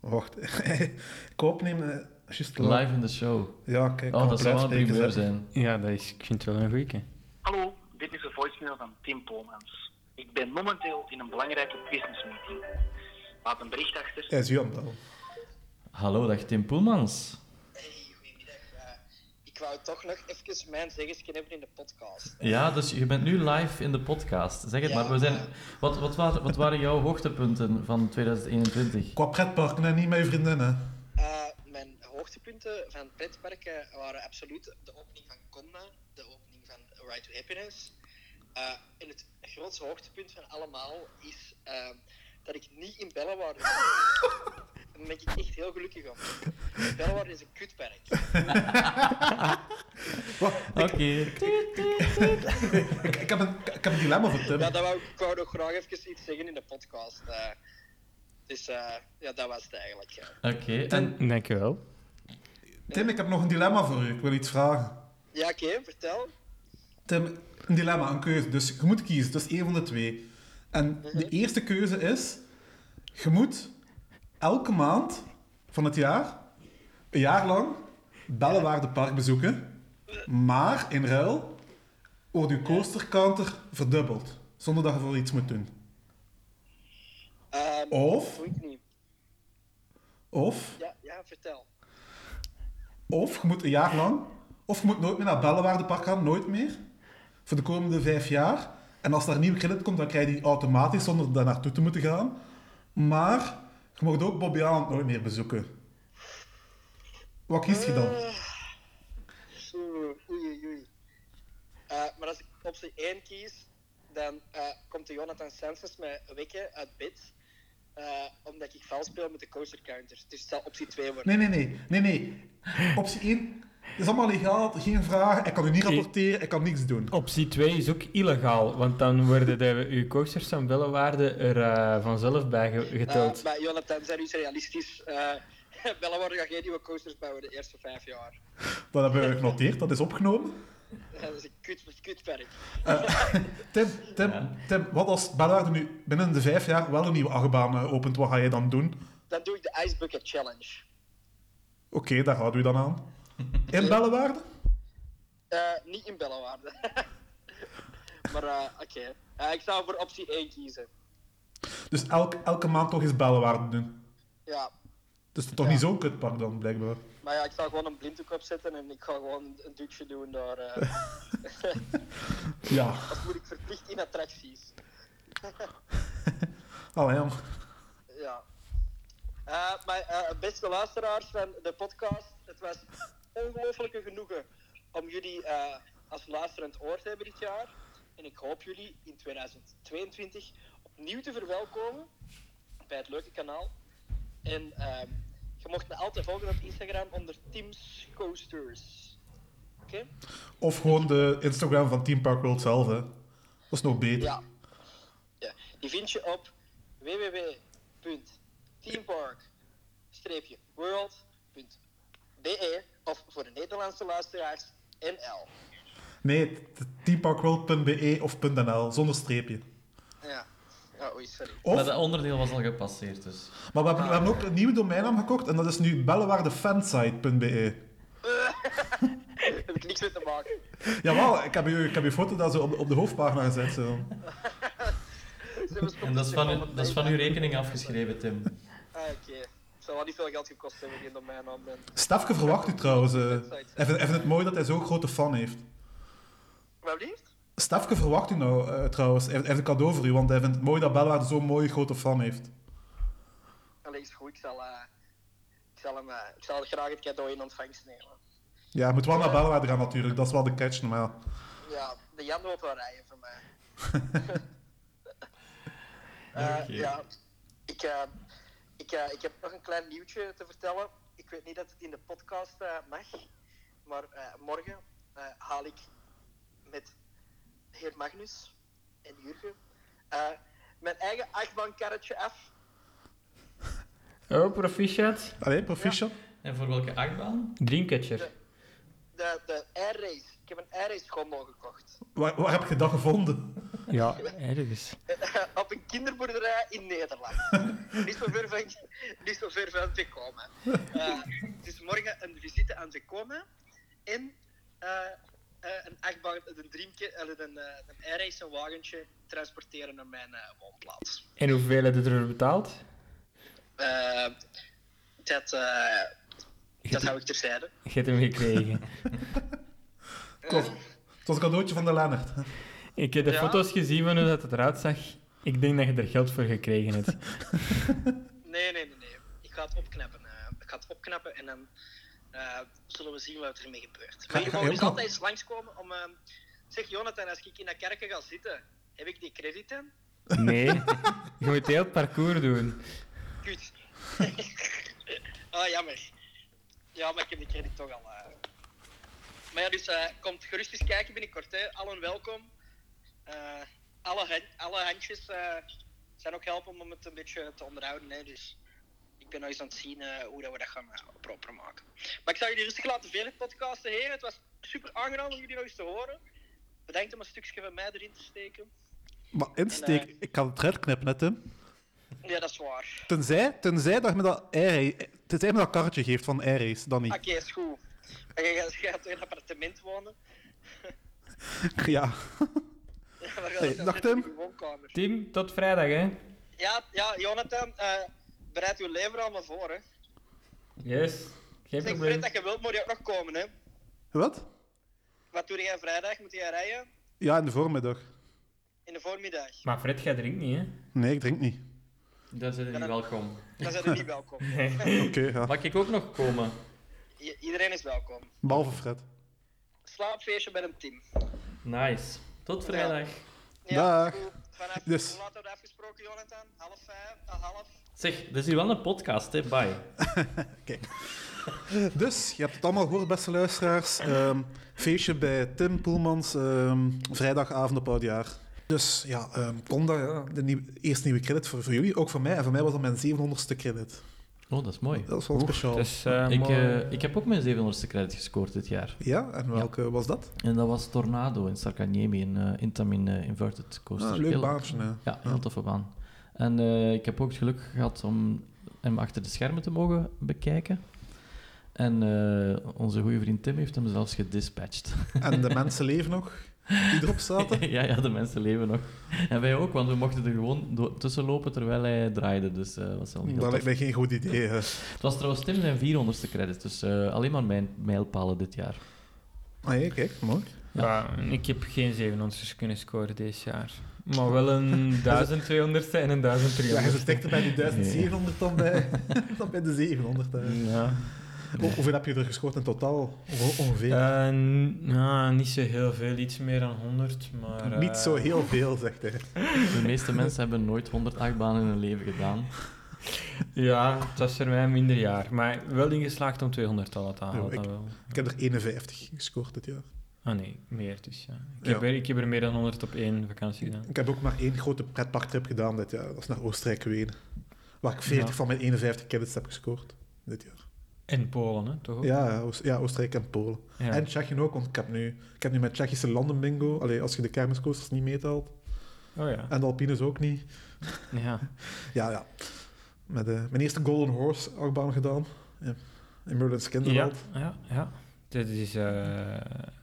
[SPEAKER 2] Wacht, ik opnemen, eh, juist live.
[SPEAKER 3] Live in the show.
[SPEAKER 2] Ja, kijk,
[SPEAKER 3] Oh,
[SPEAKER 2] kan
[SPEAKER 3] dat
[SPEAKER 2] het
[SPEAKER 3] zou wel een
[SPEAKER 2] uitspreken,
[SPEAKER 3] primeur
[SPEAKER 2] zeg.
[SPEAKER 3] zijn.
[SPEAKER 4] Ja, dat is, ik vind het wel een goeie.
[SPEAKER 5] Hallo, dit is de voicemail van Tim Polmans. Ik ben momenteel in een belangrijke business meeting. Laat een bericht achter.
[SPEAKER 2] Hij is u aan het bellen.
[SPEAKER 3] Hallo, dag Tim Poelmans.
[SPEAKER 6] Hey, goedemiddag. Eh, ik wou toch nog even mijn zeggenschap hebben in de podcast.
[SPEAKER 3] Ja, dus je bent nu live in de podcast. Zeg het
[SPEAKER 6] Ja.
[SPEAKER 3] maar. We zijn, wat, wat, waren, wat waren jouw hoogtepunten van 2021?
[SPEAKER 2] Qua pretparken en niet mijn vriendinnen.
[SPEAKER 6] Eh, mijn hoogtepunten van pretparken waren absoluut de opening van Conda, de opening van Right to Happiness. Eh, en het grootste hoogtepunt van allemaal is eh, dat ik niet in Bellewaarde Daar ben ik echt heel gelukkig om. Bellewaarde is een kutpark.
[SPEAKER 3] Oké.
[SPEAKER 2] Ik, ik, heb een, ik heb een dilemma voor Tim.
[SPEAKER 6] Ja, dat wou ik, ik wou nog graag even iets zeggen in de podcast. eh. dus eh, ja, dat was het eigenlijk. eh.
[SPEAKER 3] Oké. En
[SPEAKER 4] Dankjewel.
[SPEAKER 2] Tim, ik heb nog een dilemma voor u. Ik wil iets vragen.
[SPEAKER 6] Ja, oké, vertel.
[SPEAKER 2] Tim, een dilemma, een keuze. Dus je moet kiezen. Dus één van de twee. En de eerste keuze is... Je moet elke maand van het jaar, een jaar lang, Bellewaarde Park bezoeken. Maar in ruil wordt uw coastercounter verdubbeld. Zonder dat je voor iets moet doen.
[SPEAKER 6] Ehm,
[SPEAKER 2] Of,
[SPEAKER 6] Doe ik niet.
[SPEAKER 2] of,
[SPEAKER 6] Ja, ja, vertel.
[SPEAKER 2] of je moet een jaar lang... Of je moet nooit meer naar Bellewaarde Park gaan, nooit meer. Voor de komende vijf jaar. En als daar nieuw credit komt, dan krijg je die automatisch zonder daar naartoe te moeten gaan. Maar je mag ook Bobby Aland nooit meer bezoeken. Wat kies je dan?
[SPEAKER 6] Zo, Oei, oei, oei. Eh, maar als ik optie 1 kies, dan eh, komt de Jonathan Sanchez mij wekken uit bed. eh, omdat ik vals speel met de coaster counters. Dus het zal optie 2 worden.
[SPEAKER 2] Nee, nee, nee. nee, nee. Optie 1. Het is allemaal legaal, geen vragen. Ik kan u niet rapporteren, ik kan niks doen.
[SPEAKER 4] Optie 2 is ook illegaal, want dan worden de, uw coasters van bellenwaarde er eh, vanzelf bij ge-
[SPEAKER 6] Eh,
[SPEAKER 4] geteld.
[SPEAKER 6] maar Jonathan, zijn u eens realistisch? Eh Bellenwaarde gaat geen nieuwe coasters bouwen de eerste vijf jaar.
[SPEAKER 2] Dat hebben we genoteerd, dat is opgenomen.
[SPEAKER 6] dat is een kut, kutwerk.
[SPEAKER 2] Tim, Tim, Tim, wat als Bellaarde nu binnen de vijf jaar wel een nieuwe achtbaan eh, opent, wat ga jij dan doen?
[SPEAKER 6] Dan doe ik de Ice Bucket Challenge.
[SPEAKER 2] Oké, daar houden we dan aan. In Bellewaarde?
[SPEAKER 6] Eh, niet in Bellenwaarde. maar eh, oké. Eh, ik zou voor optie 1 kiezen.
[SPEAKER 2] Dus elk, elke maand toch eens Bellewaarde doen.
[SPEAKER 6] Ja,
[SPEAKER 2] Dus toch niet zo'n kutpark dan, blijkbaar.
[SPEAKER 6] Maar ja, ik zou gewoon een blinddoek opzetten en ik ga gewoon een- een dutje doen daar. eh.
[SPEAKER 2] Ja,
[SPEAKER 6] dat moet ik verplicht in attracties.
[SPEAKER 2] allee jong.
[SPEAKER 6] Ja. Eh, maar eh, beste luisteraars van de podcast, het was ongelooflijk een genoegen om jullie eh, als luisterend oor te hebben dit jaar. En ik hoop jullie in 2022 opnieuw te verwelkomen bij het leuke kanaal. En ehm, je mocht me altijd volgen op Instagram onder Teams Coasters. Oké?
[SPEAKER 2] Of gewoon de Instagram van Team Park World zelf, hè. Dat is nog beter.
[SPEAKER 6] Ja. ja. Die vind je op www.teampark-world.be of voor de Nederlandse luisteraars NL.
[SPEAKER 2] Nee, t- teamparkworld.be of .nl, zonder streepje.
[SPEAKER 6] Ja. Oh, oei, sorry.
[SPEAKER 3] Maar
[SPEAKER 2] Of,
[SPEAKER 3] dat onderdeel was al gepasseerd, dus.
[SPEAKER 2] maar we hebben, we hebben ook een nieuwe domeinnaam gekocht en dat is nu bellewaardefansite.be.
[SPEAKER 6] Daar heb ik niks mee te maken.
[SPEAKER 2] Jawel, ik heb je, ik heb je foto daar zo op, op de hoofdpagina gezet. Zo.
[SPEAKER 3] En dat is van, u- dat is van uw rekening afgeschreven, Tim.
[SPEAKER 6] Ah, oké. Het zal wel niet veel geld gekost hebben die in mijn naam bent.
[SPEAKER 2] Stefke verwacht u trouwens. eh. Hij vindt hij vindt het mooi dat hij zo'n grote fan heeft.
[SPEAKER 6] Wat blieft?
[SPEAKER 2] Stefke verwacht u nou eh, trouwens. Hij hij heeft een cadeau voor u, want hij vindt het mooi dat Belwaarde zo'n mooie grote fan heeft.
[SPEAKER 6] Allee, is goed. Ik zal, eh, ik, zal hem, eh, ik zal graag het cadeau in ontvangst nemen.
[SPEAKER 2] Ja, je moet wel naar Belwaarde gaan natuurlijk, dat is wel de catch, maar ja.
[SPEAKER 6] Ja, de Jan wil wel rijden voor mij. Eh, Ja, ik, eh, ik, eh, ik heb nog een klein nieuwtje te vertellen. Ik weet niet dat het in de podcast eh, mag, maar eh, morgen eh, haal ik met de heer Magnus en Jurgen eh, mijn eigen achtbaankarretje af.
[SPEAKER 4] Oh, proficiat.
[SPEAKER 2] Allee, proficiat.
[SPEAKER 3] En voor welke achtbaan?
[SPEAKER 4] Dreamcatcher.
[SPEAKER 6] De, de air race. Ik heb een air race gondel gekocht.
[SPEAKER 2] Waar, waar heb je dat gevonden?
[SPEAKER 4] Ja, ergens.
[SPEAKER 6] op een kinderboerderij in Nederland. niet, zo ver van, niet zo ver van te komen. Eh, dus morgen een visite aan te komen. En eh, eh, een achtbaan, een dreamke, eh, een, eh, een airrace, een wagentje transporteren naar mijn eh, woonplaats.
[SPEAKER 4] En hoeveel heb je er betaald?
[SPEAKER 6] Eh, dat, eh, dat hou ik terzijde.
[SPEAKER 4] Je hebt hem gekregen.
[SPEAKER 2] Klopt. Het was een cadeautje van de Lennart. hè.
[SPEAKER 4] Ik heb de
[SPEAKER 6] Ja.
[SPEAKER 4] foto's gezien van hoe dat het eruit zag. Ik denk dat je er geld voor gekregen hebt.
[SPEAKER 6] Nee, nee, nee, nee. Ik ga het opknappen. eh. ik ga het opknappen en dan eh, zullen we zien wat er mee gebeurt.
[SPEAKER 2] Ga-
[SPEAKER 6] Maar je
[SPEAKER 2] ga
[SPEAKER 6] mag
[SPEAKER 2] je
[SPEAKER 6] dus
[SPEAKER 2] ook
[SPEAKER 6] altijd eens langskomen om... eh, zeg, Jonathan, als ik in de kerken ga zitten, heb ik die crediten?
[SPEAKER 4] Nee, je moet heel het parcours doen.
[SPEAKER 6] Kut. ah, jammer. Ja, maar ik heb die credit toch al. eh. Maar ja, dus eh, komt gerust eens kijken binnenkort. Hè. Allen welkom. Eh, alle, hand- alle handjes eh, zijn ook helpen om het een beetje te onderhouden. Hè. Dus ik ben nog eens aan het zien eh, hoe dat we dat gaan eh, proper maken. Maar ik zou jullie rustig laten velen podcasten, heren. Het was super aangenaam om jullie nog eens te horen. Bedankt om een stukje van mij erin te steken.
[SPEAKER 2] Maar insteek,
[SPEAKER 6] En,
[SPEAKER 2] ik kan het eruit knippen, hè, Tim.
[SPEAKER 6] Ja, dat is waar.
[SPEAKER 2] Tenzij, tenzij dat je me dat, air, tenzij je me dat karretje geeft van Air Race, dan
[SPEAKER 6] Oké,
[SPEAKER 2] niet.
[SPEAKER 6] is goed. Maar je gaat- je gaat in een appartement wonen.
[SPEAKER 2] Ja.
[SPEAKER 6] Ja, maar ja,
[SPEAKER 2] Hey,
[SPEAKER 6] dat is
[SPEAKER 2] dag,
[SPEAKER 6] net
[SPEAKER 2] Tim.
[SPEAKER 6] in uw woonkamer.
[SPEAKER 4] Tim, tot vrijdag, hè?
[SPEAKER 6] Ja, ja, Jonathan, eh, bereid uw lever allemaal voor, hè.
[SPEAKER 4] Yes, geen
[SPEAKER 6] Zeg, Fred,
[SPEAKER 4] probleem.
[SPEAKER 6] dat je wilt, moet je ook nog komen, hè.
[SPEAKER 2] Wat?
[SPEAKER 6] Wat doe jij vrijdag? Moet jij rijden?
[SPEAKER 2] Ja, in de voormiddag.
[SPEAKER 6] In de voormiddag.
[SPEAKER 4] Maar Fred, jij drinkt niet, hè?
[SPEAKER 2] Nee, ik drink niet.
[SPEAKER 3] Daar zijn jullie welkom.
[SPEAKER 6] Dan zijn we niet welkom.
[SPEAKER 2] Oké, ja.
[SPEAKER 3] Mag ik ook nog komen?
[SPEAKER 6] I- iedereen is welkom.
[SPEAKER 2] Behalve Fred.
[SPEAKER 6] Slaapfeestje bij een team.
[SPEAKER 3] Nice. Tot vrijdag.
[SPEAKER 6] Ja,
[SPEAKER 2] Dag.
[SPEAKER 6] goed. Vanaf,
[SPEAKER 2] Dus.
[SPEAKER 6] Hoe laat hebben we afgesproken, Jonathan? Half vijf? eh, half?
[SPEAKER 3] Zeg, dit is hier wel een podcast, hè? Bye.
[SPEAKER 2] Dus, je hebt het allemaal gehoord, beste luisteraars. Ehm, feestje bij Tim Poelmans, ehm, vrijdagavond op Oudjaar. Dus ja, ehm kom daar. Ja. De nieuw- eerste nieuwe credit voor, voor jullie, ook voor mij. En voor mij was dat mijn 700ste credit.
[SPEAKER 3] Oh, dat is mooi.
[SPEAKER 2] Dat is wel speciaal.
[SPEAKER 4] Dus, eh,
[SPEAKER 3] Ik,
[SPEAKER 4] mooi.
[SPEAKER 3] eh, ik heb ook mijn 700ste credit gescoord dit jaar.
[SPEAKER 2] Ja, en welke was dat?
[SPEAKER 3] En dat was Tornado in Sarkanyemi, in eh Intamin eh, Inverted Coaster.
[SPEAKER 2] Ah, leuk
[SPEAKER 3] Heel-
[SPEAKER 2] baantje, hè.
[SPEAKER 3] Ja, heel toffe baan. En eh, ik heb ook het geluk gehad om hem achter de schermen te mogen bekijken. En eh, onze goede vriend Tim heeft hem zelfs gedispatched.
[SPEAKER 2] En de mensen leven nog, die erop zaten.
[SPEAKER 3] ja, ja, de mensen leven nog. En wij ook, want we mochten er gewoon do- tussen lopen terwijl hij draaide. Dus eh was wel heel
[SPEAKER 2] Dat
[SPEAKER 3] tof.
[SPEAKER 2] lijkt mij geen goed idee. hè.
[SPEAKER 3] Het was trouwens Tim zijn 400ste credit, dus eh, alleen maar mijn mijlpalen dit jaar.
[SPEAKER 2] Ah, ja, kijk, mooi.
[SPEAKER 4] Ja, ik heb geen 700 kunnen scoren deze jaar. Maar wel een
[SPEAKER 2] Dus-
[SPEAKER 4] 1200ste en een
[SPEAKER 2] Ja, ze
[SPEAKER 4] 1300ste.
[SPEAKER 2] stekte bij die 1700 dan bij, dan bij de 700. hè.
[SPEAKER 4] Ja.
[SPEAKER 2] Hoe- hoeveel heb je er gescoord in totaal? Onge- Ongeveer.
[SPEAKER 4] Eh, n- nou, niet zo heel veel, iets meer dan 100, maar... eh,
[SPEAKER 2] Niet zo heel veel, zegt hij.
[SPEAKER 3] De meeste mensen hebben nooit 108 banen in hun leven gedaan.
[SPEAKER 4] Ja, het was voor mij een minder jaar. Maar wel ingeslaagd om 200 al te halen,
[SPEAKER 2] Ja, ik-
[SPEAKER 4] dat wel.
[SPEAKER 2] Ik heb er 51 gescoord dit jaar.
[SPEAKER 4] Ah nee, meer dus, ja. Ik,
[SPEAKER 2] Ja.
[SPEAKER 4] Heb er, ik heb er meer dan 100 op één vakantie gedaan.
[SPEAKER 2] Ik heb ook maar één grote pretparktrip gedaan dit jaar. Dat is naar Oostenrijk-Wenen. Waar ik 40
[SPEAKER 4] Ja.
[SPEAKER 2] van mijn 51 credits heb gescoord dit jaar.
[SPEAKER 4] En Polen, hè, toch? ook?
[SPEAKER 2] Ja, ja, Oost- ja, Oostenrijk en Polen.
[SPEAKER 4] Ja.
[SPEAKER 2] En Tsjechië ook, want ik heb nu, ik heb nu mijn Tsjechische landen bingo. Allee, als je de kermiscoasters niet meetelt.
[SPEAKER 4] Oh ja.
[SPEAKER 2] En de Alpines ook niet.
[SPEAKER 4] ja.
[SPEAKER 2] Ja, ja. Met, eh, mijn eerste Golden Horse achtbaan gedaan. Ja. In Merlin's
[SPEAKER 4] Ja,
[SPEAKER 2] Kinderland.
[SPEAKER 4] ja, ja. Dit is, eh, er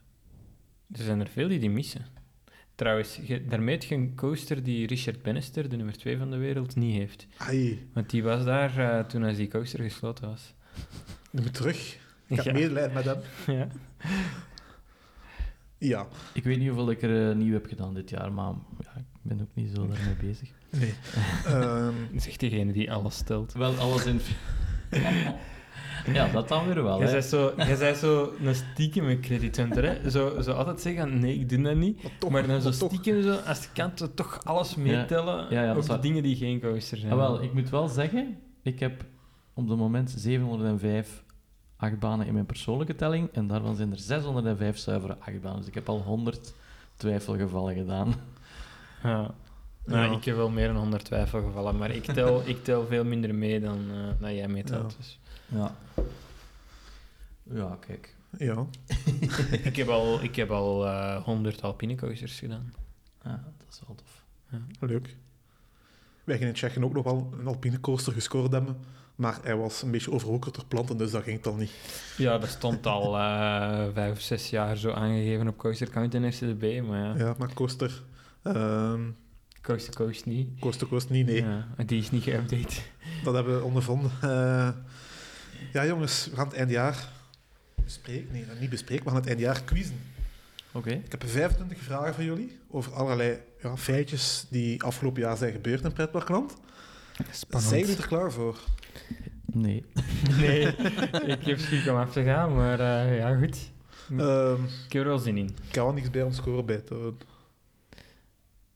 [SPEAKER 4] zijn er veel die die missen. Trouwens, ge- daarmee heb je een coaster die Richard Bannister, de nummer 2 van de wereld, niet heeft.
[SPEAKER 2] Ai,
[SPEAKER 4] Want die was daar eh, toen als die coaster gesloten was.
[SPEAKER 2] nu moet terug. Ik heb
[SPEAKER 4] Ja.
[SPEAKER 2] medelijden met hem.
[SPEAKER 4] ja.
[SPEAKER 2] Ja.
[SPEAKER 3] Ik weet niet hoeveel ik er eh, nieuw heb gedaan dit jaar, maar ja, ik ben ook niet zo daarmee bezig.
[SPEAKER 2] Nee. Ehm,
[SPEAKER 4] Dat is echt degene die alles stelt.
[SPEAKER 3] Wel, alles in... Ja, dat dan weer wel.
[SPEAKER 4] Jij
[SPEAKER 3] hè.
[SPEAKER 4] bent zo, jij bent zo een stiekeme credit hunter, hè? Zo, zo altijd zeggen, nee, ik doe dat niet.
[SPEAKER 2] Maar toch,
[SPEAKER 4] maar dan zo
[SPEAKER 2] maar toch.
[SPEAKER 4] stiekem, zo, als je kan, zo toch alles meetellen
[SPEAKER 3] ja, ja, dat
[SPEAKER 4] op
[SPEAKER 3] is
[SPEAKER 4] de
[SPEAKER 3] waar.
[SPEAKER 4] dingen die geen coaster zijn.
[SPEAKER 3] Ah, wel, ik moet wel zeggen, ik heb op het moment 705 achtbanen in mijn persoonlijke telling en daarvan zijn er 605 zuivere achtbanen. Dus ik heb al 100 twijfelgevallen gedaan.
[SPEAKER 4] Ja. Nou,
[SPEAKER 2] Ja.
[SPEAKER 4] Ik heb wel meer dan 100 twijfelgevallen, maar ik tel, ik tel veel minder mee dan eh, dat jij meetelt.
[SPEAKER 2] Ja.
[SPEAKER 4] Dus.
[SPEAKER 3] Ja. Ja, kijk.
[SPEAKER 2] Ja.
[SPEAKER 4] ik heb al, ik heb al eh 100 alpine coasters gedaan.
[SPEAKER 3] Ja, dat is wel tof.
[SPEAKER 2] Leuk. Wij gingen in Tsjechië ook nog wel een alpine coaster gescoord hebben, maar hij was een beetje overwoekerd door planten, dus dat ging dan niet.
[SPEAKER 4] Ja, dat stond al eh vijf of zes jaar zo aangegeven op Coaster Count en RCDB, maar ja,
[SPEAKER 2] Ja, maar coaster... ehm,
[SPEAKER 4] Coast to Coast niet.
[SPEAKER 2] coaster coast niet, nee.
[SPEAKER 4] Ja, die is niet geüpdate.
[SPEAKER 2] Dat hebben we ondervonden. Eh, ja, jongens, we gaan het eindjaar bespreken. Nee, niet bespreken, we gaan het eindjaar quizzen.
[SPEAKER 3] Oké.
[SPEAKER 2] Ik heb 25 vragen voor jullie over allerlei ja, feitjes die afgelopen jaar zijn gebeurd in pretparkland. Zijn jullie er klaar voor?
[SPEAKER 3] Nee.
[SPEAKER 4] Nee, ik heb schrik om af te gaan, maar eh, ja, goed. Hm.
[SPEAKER 2] Ehm,
[SPEAKER 4] Ik heb er wel zin in.
[SPEAKER 2] ik kan wel niks bij ons scoren bij Toon.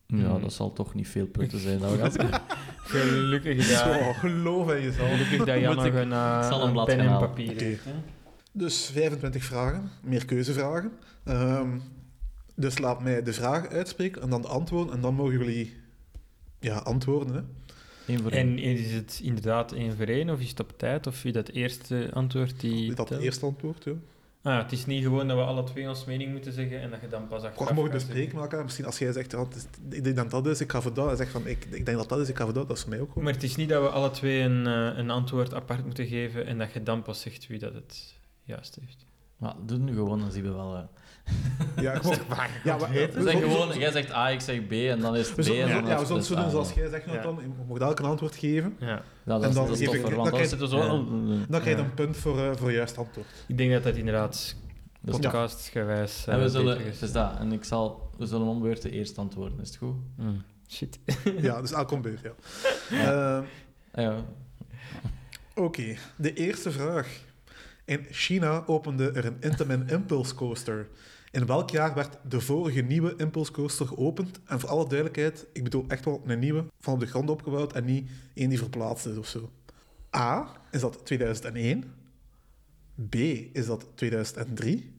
[SPEAKER 3] Ja,
[SPEAKER 4] Hmm.
[SPEAKER 3] dat zal toch niet veel punten zijn. Dat we gaan zien.
[SPEAKER 4] Gelukkig dat,
[SPEAKER 2] Zo, geloof in jezelf.
[SPEAKER 4] gelukkig dat Jan nog een, eh,
[SPEAKER 3] ik zal een
[SPEAKER 4] een
[SPEAKER 3] blad
[SPEAKER 4] pen
[SPEAKER 3] gaan
[SPEAKER 4] en
[SPEAKER 3] halen.
[SPEAKER 4] papier
[SPEAKER 2] Oké.
[SPEAKER 4] heeft. hè.
[SPEAKER 2] Dus 25 vragen, meer keuzevragen. Ehm, dus laat mij de vragen uitspreken en dan de antwoorden. En dan mogen jullie ja, antwoorden. Hè.
[SPEAKER 3] Eén voor één.
[SPEAKER 4] En is het inderdaad één voor één, of is het op tijd, of is dat eerste antwoord die...
[SPEAKER 2] Is dat het
[SPEAKER 4] telt?
[SPEAKER 2] eerste antwoord? Ja.
[SPEAKER 4] Ah, het is niet gewoon dat we alle twee ons mening moeten zeggen en dat je dan pas achteraf
[SPEAKER 2] We mogen
[SPEAKER 4] gaat
[SPEAKER 2] bespreken
[SPEAKER 4] zeggen.
[SPEAKER 2] met elkaar. Misschien als jij zegt, ja, het is- ik denk dat dat is, ik ga voor dat. En zegt van, ik, ik denk dat dat is, ik ga voor dat. Dat is voor mij ook goed.
[SPEAKER 4] Maar het is niet dat we alle twee een, eh, een antwoord apart moeten geven en dat je dan pas zegt wie dat het juist heeft.
[SPEAKER 3] Maar doe het nu gewoon, dan zien we wel. eh.
[SPEAKER 2] Ja, gewoon. Ja, maar-
[SPEAKER 3] We zijn gewoon, jij zegt A, ik zeg B en dan is het B.
[SPEAKER 2] We zullen,
[SPEAKER 3] en
[SPEAKER 2] ja,
[SPEAKER 3] dan is
[SPEAKER 2] we zullen
[SPEAKER 3] het dus
[SPEAKER 2] zo doen
[SPEAKER 3] A.
[SPEAKER 2] zoals jij zegt,
[SPEAKER 4] Ja.
[SPEAKER 2] Jonathan. Je mag elk een antwoord geven.
[SPEAKER 4] Ja.
[SPEAKER 3] Ja, dat
[SPEAKER 2] En
[SPEAKER 3] is,
[SPEAKER 2] dan
[SPEAKER 3] dat is
[SPEAKER 2] geef ik-
[SPEAKER 3] toffer,
[SPEAKER 2] dan
[SPEAKER 3] want dan
[SPEAKER 2] krijg-
[SPEAKER 3] zitten we zo...
[SPEAKER 2] Dan krijg je
[SPEAKER 4] Ja.
[SPEAKER 2] een punt voor, eh, voor juist antwoord.
[SPEAKER 4] Ik denk dat dat inderdaad
[SPEAKER 3] Dat is
[SPEAKER 2] Ja.
[SPEAKER 4] podcastgewijs eh,
[SPEAKER 3] En we zullen,
[SPEAKER 4] beter is.
[SPEAKER 3] het is dat, en ik zal, we zullen om beurt de eerste antwoorden, is het goed?
[SPEAKER 4] Hmm, Shit.
[SPEAKER 2] Ja, dus elk een beurt, ja. Ehm,
[SPEAKER 3] Ah, ja.
[SPEAKER 2] Oké, de eerste vraag. In China opende er een Intamin Impulse Coaster. In welk jaar werd de vorige nieuwe Impulse Coaster geopend? En voor alle duidelijkheid, ik bedoel echt wel een nieuwe, van op de grond opgebouwd en niet één die verplaatst is of zo. A, is dat 2001? B, is dat 2003?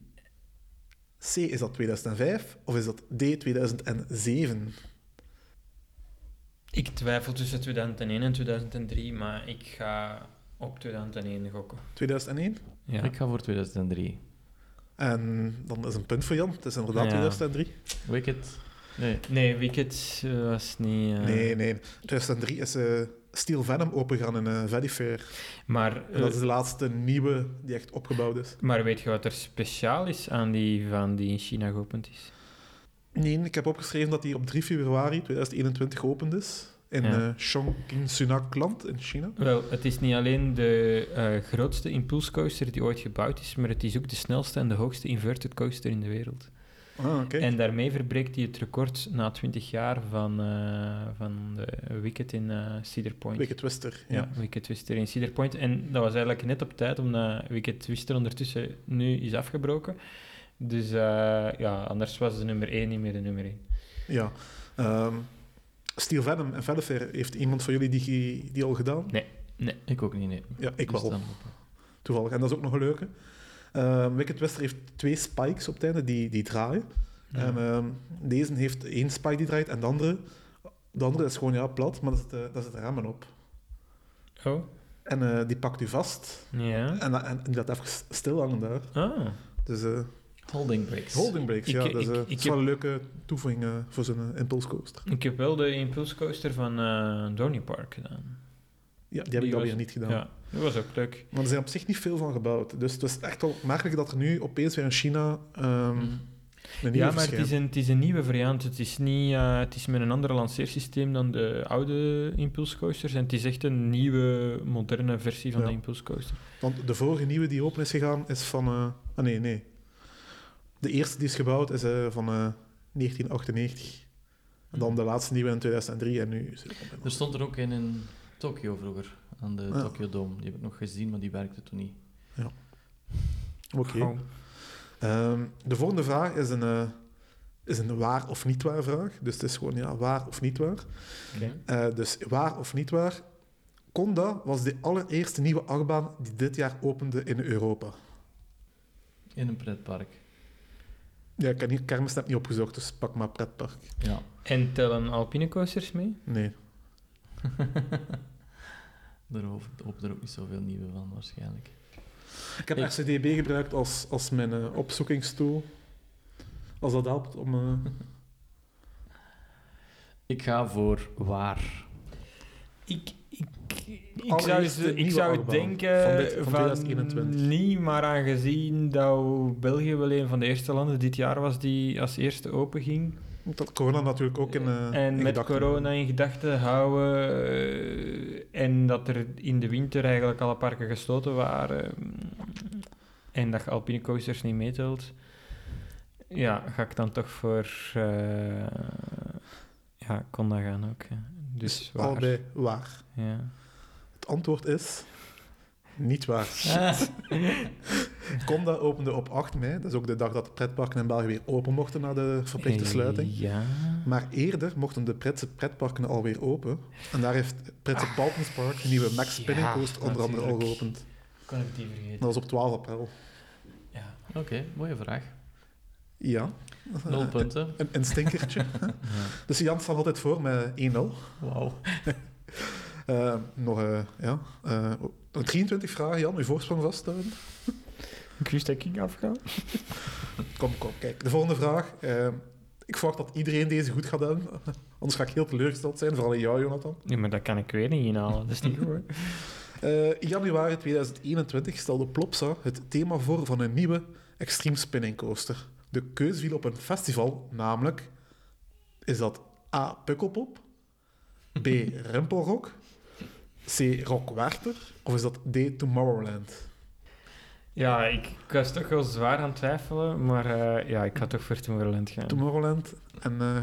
[SPEAKER 2] C, is dat 2005? Of is dat D, 2007?
[SPEAKER 4] Ik twijfel tussen 2001 en 2003, maar ik ga op 2001 gokken.
[SPEAKER 2] 2001?
[SPEAKER 4] Ja.
[SPEAKER 3] Ik ga voor 2003.
[SPEAKER 2] En dan is een punt voor Jan. Het is inderdaad
[SPEAKER 4] Ja.
[SPEAKER 2] 2003.
[SPEAKER 3] Wicked? Nee.
[SPEAKER 4] Nee, Wicked eh, was niet... eh,
[SPEAKER 2] Nee, nee. 2003 is eh, Steel Venom opengegaan in eh Valley Fair.
[SPEAKER 4] Maar,
[SPEAKER 2] En dat
[SPEAKER 4] eh,
[SPEAKER 2] is de laatste nieuwe die echt opgebouwd is.
[SPEAKER 4] maar weet je wat er speciaal is aan die van die in China geopend is?
[SPEAKER 2] Nee, ik heb opgeschreven dat die op 3 februari 2021 geopend is. In
[SPEAKER 4] Ja.
[SPEAKER 2] eh, Chongqing Sunak-land in China.
[SPEAKER 4] Wel, het is niet alleen de eh, grootste impulscoaster die ooit gebouwd is, maar het is ook de snelste en de hoogste inverted coaster in de wereld.
[SPEAKER 2] Ah, oké.
[SPEAKER 4] En daarmee verbreekt hij het record na 20 jaar van, eh, van de Wicked in eh, Cedar Point.
[SPEAKER 2] Wicked Twister. Ja.
[SPEAKER 4] Ja, Wicked Twister in Cedar Point. En dat was eigenlijk net op tijd, omdat Wicked Twister ondertussen nu is afgebroken. Dus eh, ja, anders was de nummer 1 niet meer de nummer 1.
[SPEAKER 2] ja. Ehm, Steel Venom en Valley Fair, heeft iemand van jullie die, die al gedaan?
[SPEAKER 3] Ik ook niet, nee.
[SPEAKER 2] Ja, ik
[SPEAKER 3] Dus
[SPEAKER 2] wel.
[SPEAKER 3] dan-
[SPEAKER 2] toevallig. En dat is ook nog een leuke. Ehm Wicked Wester heeft twee spikes op het einde die, die draaien. En ehm, deze heeft één spike die draait en de andere, de andere is gewoon ja, plat, maar daar zitten daar zitten remmen op.
[SPEAKER 4] Oh,
[SPEAKER 2] En eh, die pakt u vast.
[SPEAKER 4] ja.
[SPEAKER 2] En, eh, en die laat even stil hangen daar.
[SPEAKER 4] Ah,
[SPEAKER 2] Dus eh,
[SPEAKER 3] Holding breaks.
[SPEAKER 2] holding breaks,
[SPEAKER 4] Ik-
[SPEAKER 2] ja.
[SPEAKER 4] ik-
[SPEAKER 2] Dat is, eh,
[SPEAKER 4] ik-
[SPEAKER 2] het
[SPEAKER 4] ik
[SPEAKER 2] is wel een leuke toevoeging eh, voor zo'n eh, impulse coaster.
[SPEAKER 4] ik heb wel de impulscoaster van eh Dorney Park gedaan.
[SPEAKER 2] Ja, die
[SPEAKER 4] Die
[SPEAKER 2] heb ik
[SPEAKER 4] was-
[SPEAKER 2] alweer niet
[SPEAKER 4] Ja.
[SPEAKER 2] gedaan.
[SPEAKER 4] dat was ook leuk.
[SPEAKER 2] Maar er zijn op zich niet veel van gebouwd. Dus het is echt wel merkelijk dat er nu opeens weer in China ehm, een nieuwe
[SPEAKER 4] Mm. Ja, maar het
[SPEAKER 2] verschijnt.
[SPEAKER 4] is, een, het is een nieuwe variant. Het is, niet, eh, het is met een ander lanceersysteem dan de oude impulscoasters. En het is echt een nieuwe, moderne versie van
[SPEAKER 2] Ja.
[SPEAKER 4] de impulscoaster.
[SPEAKER 2] Want de vorige nieuwe die open is gegaan is van. eh, ah nee, nee. De eerste die is gebouwd is eh, van eh, 1998. En dan de laatste nieuwe in 2003 en nu. is het op-
[SPEAKER 3] Er stond er ook een in Tokio vroeger, aan de
[SPEAKER 2] Ja. Ah.
[SPEAKER 3] Tokyo Dome. Die heb ik nog gezien, maar die werkte toen niet.
[SPEAKER 2] Oké.
[SPEAKER 4] Gewoon.
[SPEAKER 2] Ehm, de volgende vraag is een, eh, is een waar of niet waar vraag. Dus het is gewoon ja, waar of niet waar.
[SPEAKER 4] Oké.
[SPEAKER 2] Eh, dus waar of niet waar. Conda was de allereerste nieuwe achtbaan die dit jaar opende in Europa.
[SPEAKER 3] In een pretpark.
[SPEAKER 2] Ja, ik heb hier kermis net niet opgezocht, dus pak maar pretpark.
[SPEAKER 3] Ja.
[SPEAKER 4] En tellen alpine coasters mee?
[SPEAKER 2] Nee.
[SPEAKER 3] Daar hoop- hoop er ook niet zoveel nieuwe van, waarschijnlijk.
[SPEAKER 2] Ik heb
[SPEAKER 3] Ik-
[SPEAKER 2] RCDB gebruikt als, als mijn eh, opzoekingstool. Als dat helpt om... eh,
[SPEAKER 3] Ik ga voor waar.
[SPEAKER 4] Ik, ik, ik
[SPEAKER 2] Allereerst
[SPEAKER 4] zou,
[SPEAKER 2] de
[SPEAKER 4] ze- ik
[SPEAKER 2] nieuwe
[SPEAKER 4] zou
[SPEAKER 2] achtbaan
[SPEAKER 4] denken
[SPEAKER 2] van dit- van 2021.
[SPEAKER 4] niet, maar aangezien dat België wel een van de eerste landen dit jaar was die als eerste open ging.
[SPEAKER 2] dat corona natuurlijk ook in eh,
[SPEAKER 4] en
[SPEAKER 2] in
[SPEAKER 4] met
[SPEAKER 2] gedachten.
[SPEAKER 4] corona in gedachten houden eh, en dat er in de winter eigenlijk alle parken gesloten waren eh, en dat je alpine coasters niet meetelt, ja, ga ik dan toch voor... eh ja, Conda gaan ook. hè. Dus waar.
[SPEAKER 2] Allebei waar.
[SPEAKER 4] Ja.
[SPEAKER 2] Het antwoord is... Niet waar.
[SPEAKER 4] Ah.
[SPEAKER 2] Conda opende op 8 mei, dat is ook de dag dat de pretparken in België weer open mochten na de verplichte sluiting.
[SPEAKER 4] Eh, Ja.
[SPEAKER 2] Maar eerder mochten de Britse pretparken alweer open. En daar heeft het Britse Balkenspark de nieuwe Max
[SPEAKER 4] Ah. ja,
[SPEAKER 2] Spinning Coaster onder andere al
[SPEAKER 4] natuurlijk.
[SPEAKER 2] geopend.
[SPEAKER 4] Kon ik die vergeten.
[SPEAKER 2] Dat was op 12 april.
[SPEAKER 4] Ja.
[SPEAKER 3] Oké, mooie vraag.
[SPEAKER 2] Ja.
[SPEAKER 3] Nul punten.
[SPEAKER 2] Een, een stinkertje. Dus Jan staat altijd voor met 1-0.
[SPEAKER 3] Wauw.
[SPEAKER 2] Eh, nog eh, ja, eh, nog 23 vragen, Jan. Uw voorsprong vasthouden.
[SPEAKER 4] Ik wist dat ik afgaan.
[SPEAKER 2] Kom, kom, kijk. De volgende vraag. Eh, ik verwacht dat iedereen deze goed gaat doen. Anders ga ik heel teleurgesteld zijn, vooral in jou, Jonathan.
[SPEAKER 4] Nee, maar dat kan ik weer niet inhalen. Dat is niet goed.
[SPEAKER 2] Eh, in januari 2021 stelde Plopsa het thema voor van een nieuwe extreme spinning coaster. De keus viel op een festival, namelijk... Is dat A. Pukkelpop? B. Rimpelrock? C. Rock Werther? Of is dat D. Tomorrowland?
[SPEAKER 4] Ja, ik, ik was toch wel zwaar aan het twijfelen, maar eh, ja, ik ga toch voor Tomorrowland gaan.
[SPEAKER 2] Tomorrowland en... eh,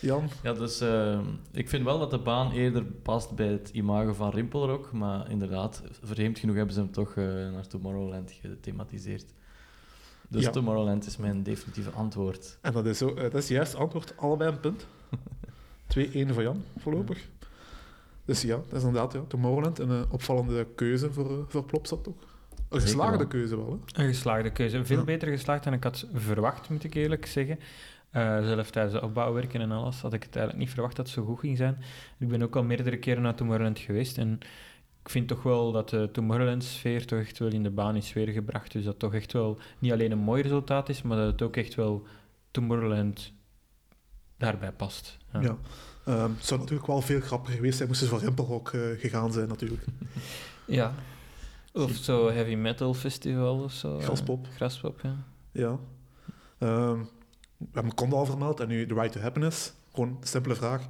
[SPEAKER 2] Jan?
[SPEAKER 3] Ja, dus eh, ik vind wel dat de baan eerder past bij het imago van Rimpelrock, maar inderdaad, vreemd genoeg hebben ze hem toch eh, naar Tomorrowland gethematiseerd. Dus
[SPEAKER 2] Ja.
[SPEAKER 3] Tomorrowland is mijn definitieve antwoord.
[SPEAKER 2] En dat is, zo, eh, dat is het juiste antwoord. Allebei een punt. 2-1 voor Jan, voorlopig. Dus ja, dat is inderdaad ja, Tomorrowland een eh, opvallende keuze voor, eh, voor Plopsa, toch? Een geslaagde
[SPEAKER 3] wel.
[SPEAKER 2] keuze wel, hè?
[SPEAKER 4] Een geslaagde keuze. Veel
[SPEAKER 2] Ja.
[SPEAKER 4] beter geslaagd dan ik had verwacht, moet ik eerlijk zeggen. Eh zelf tijdens de opbouwwerken en alles had ik het eigenlijk niet verwacht dat het zo goed ging zijn. Ik ben ook al meerdere keren naar Tomorrowland geweest en ik vind toch wel dat de Tomorrowland-sfeer toch echt wel in de baan is weergebracht. Dus dat toch echt wel niet alleen een mooi resultaat is, maar dat het ook echt wel Tomorrowland daarbij past. Ja.
[SPEAKER 2] Ja. Ehm, het zou natuurlijk wel veel grappiger geweest zijn moesten ze voor Rimpelrock eh, gegaan zijn, natuurlijk.
[SPEAKER 4] Ja. Of zo heavy metal festival of zo.
[SPEAKER 2] Graspop.
[SPEAKER 4] Graspop, ja.
[SPEAKER 2] Ja. Ehm, we hebben Conda al vermeld en nu The Right to Happiness. Gewoon een simpele vraag.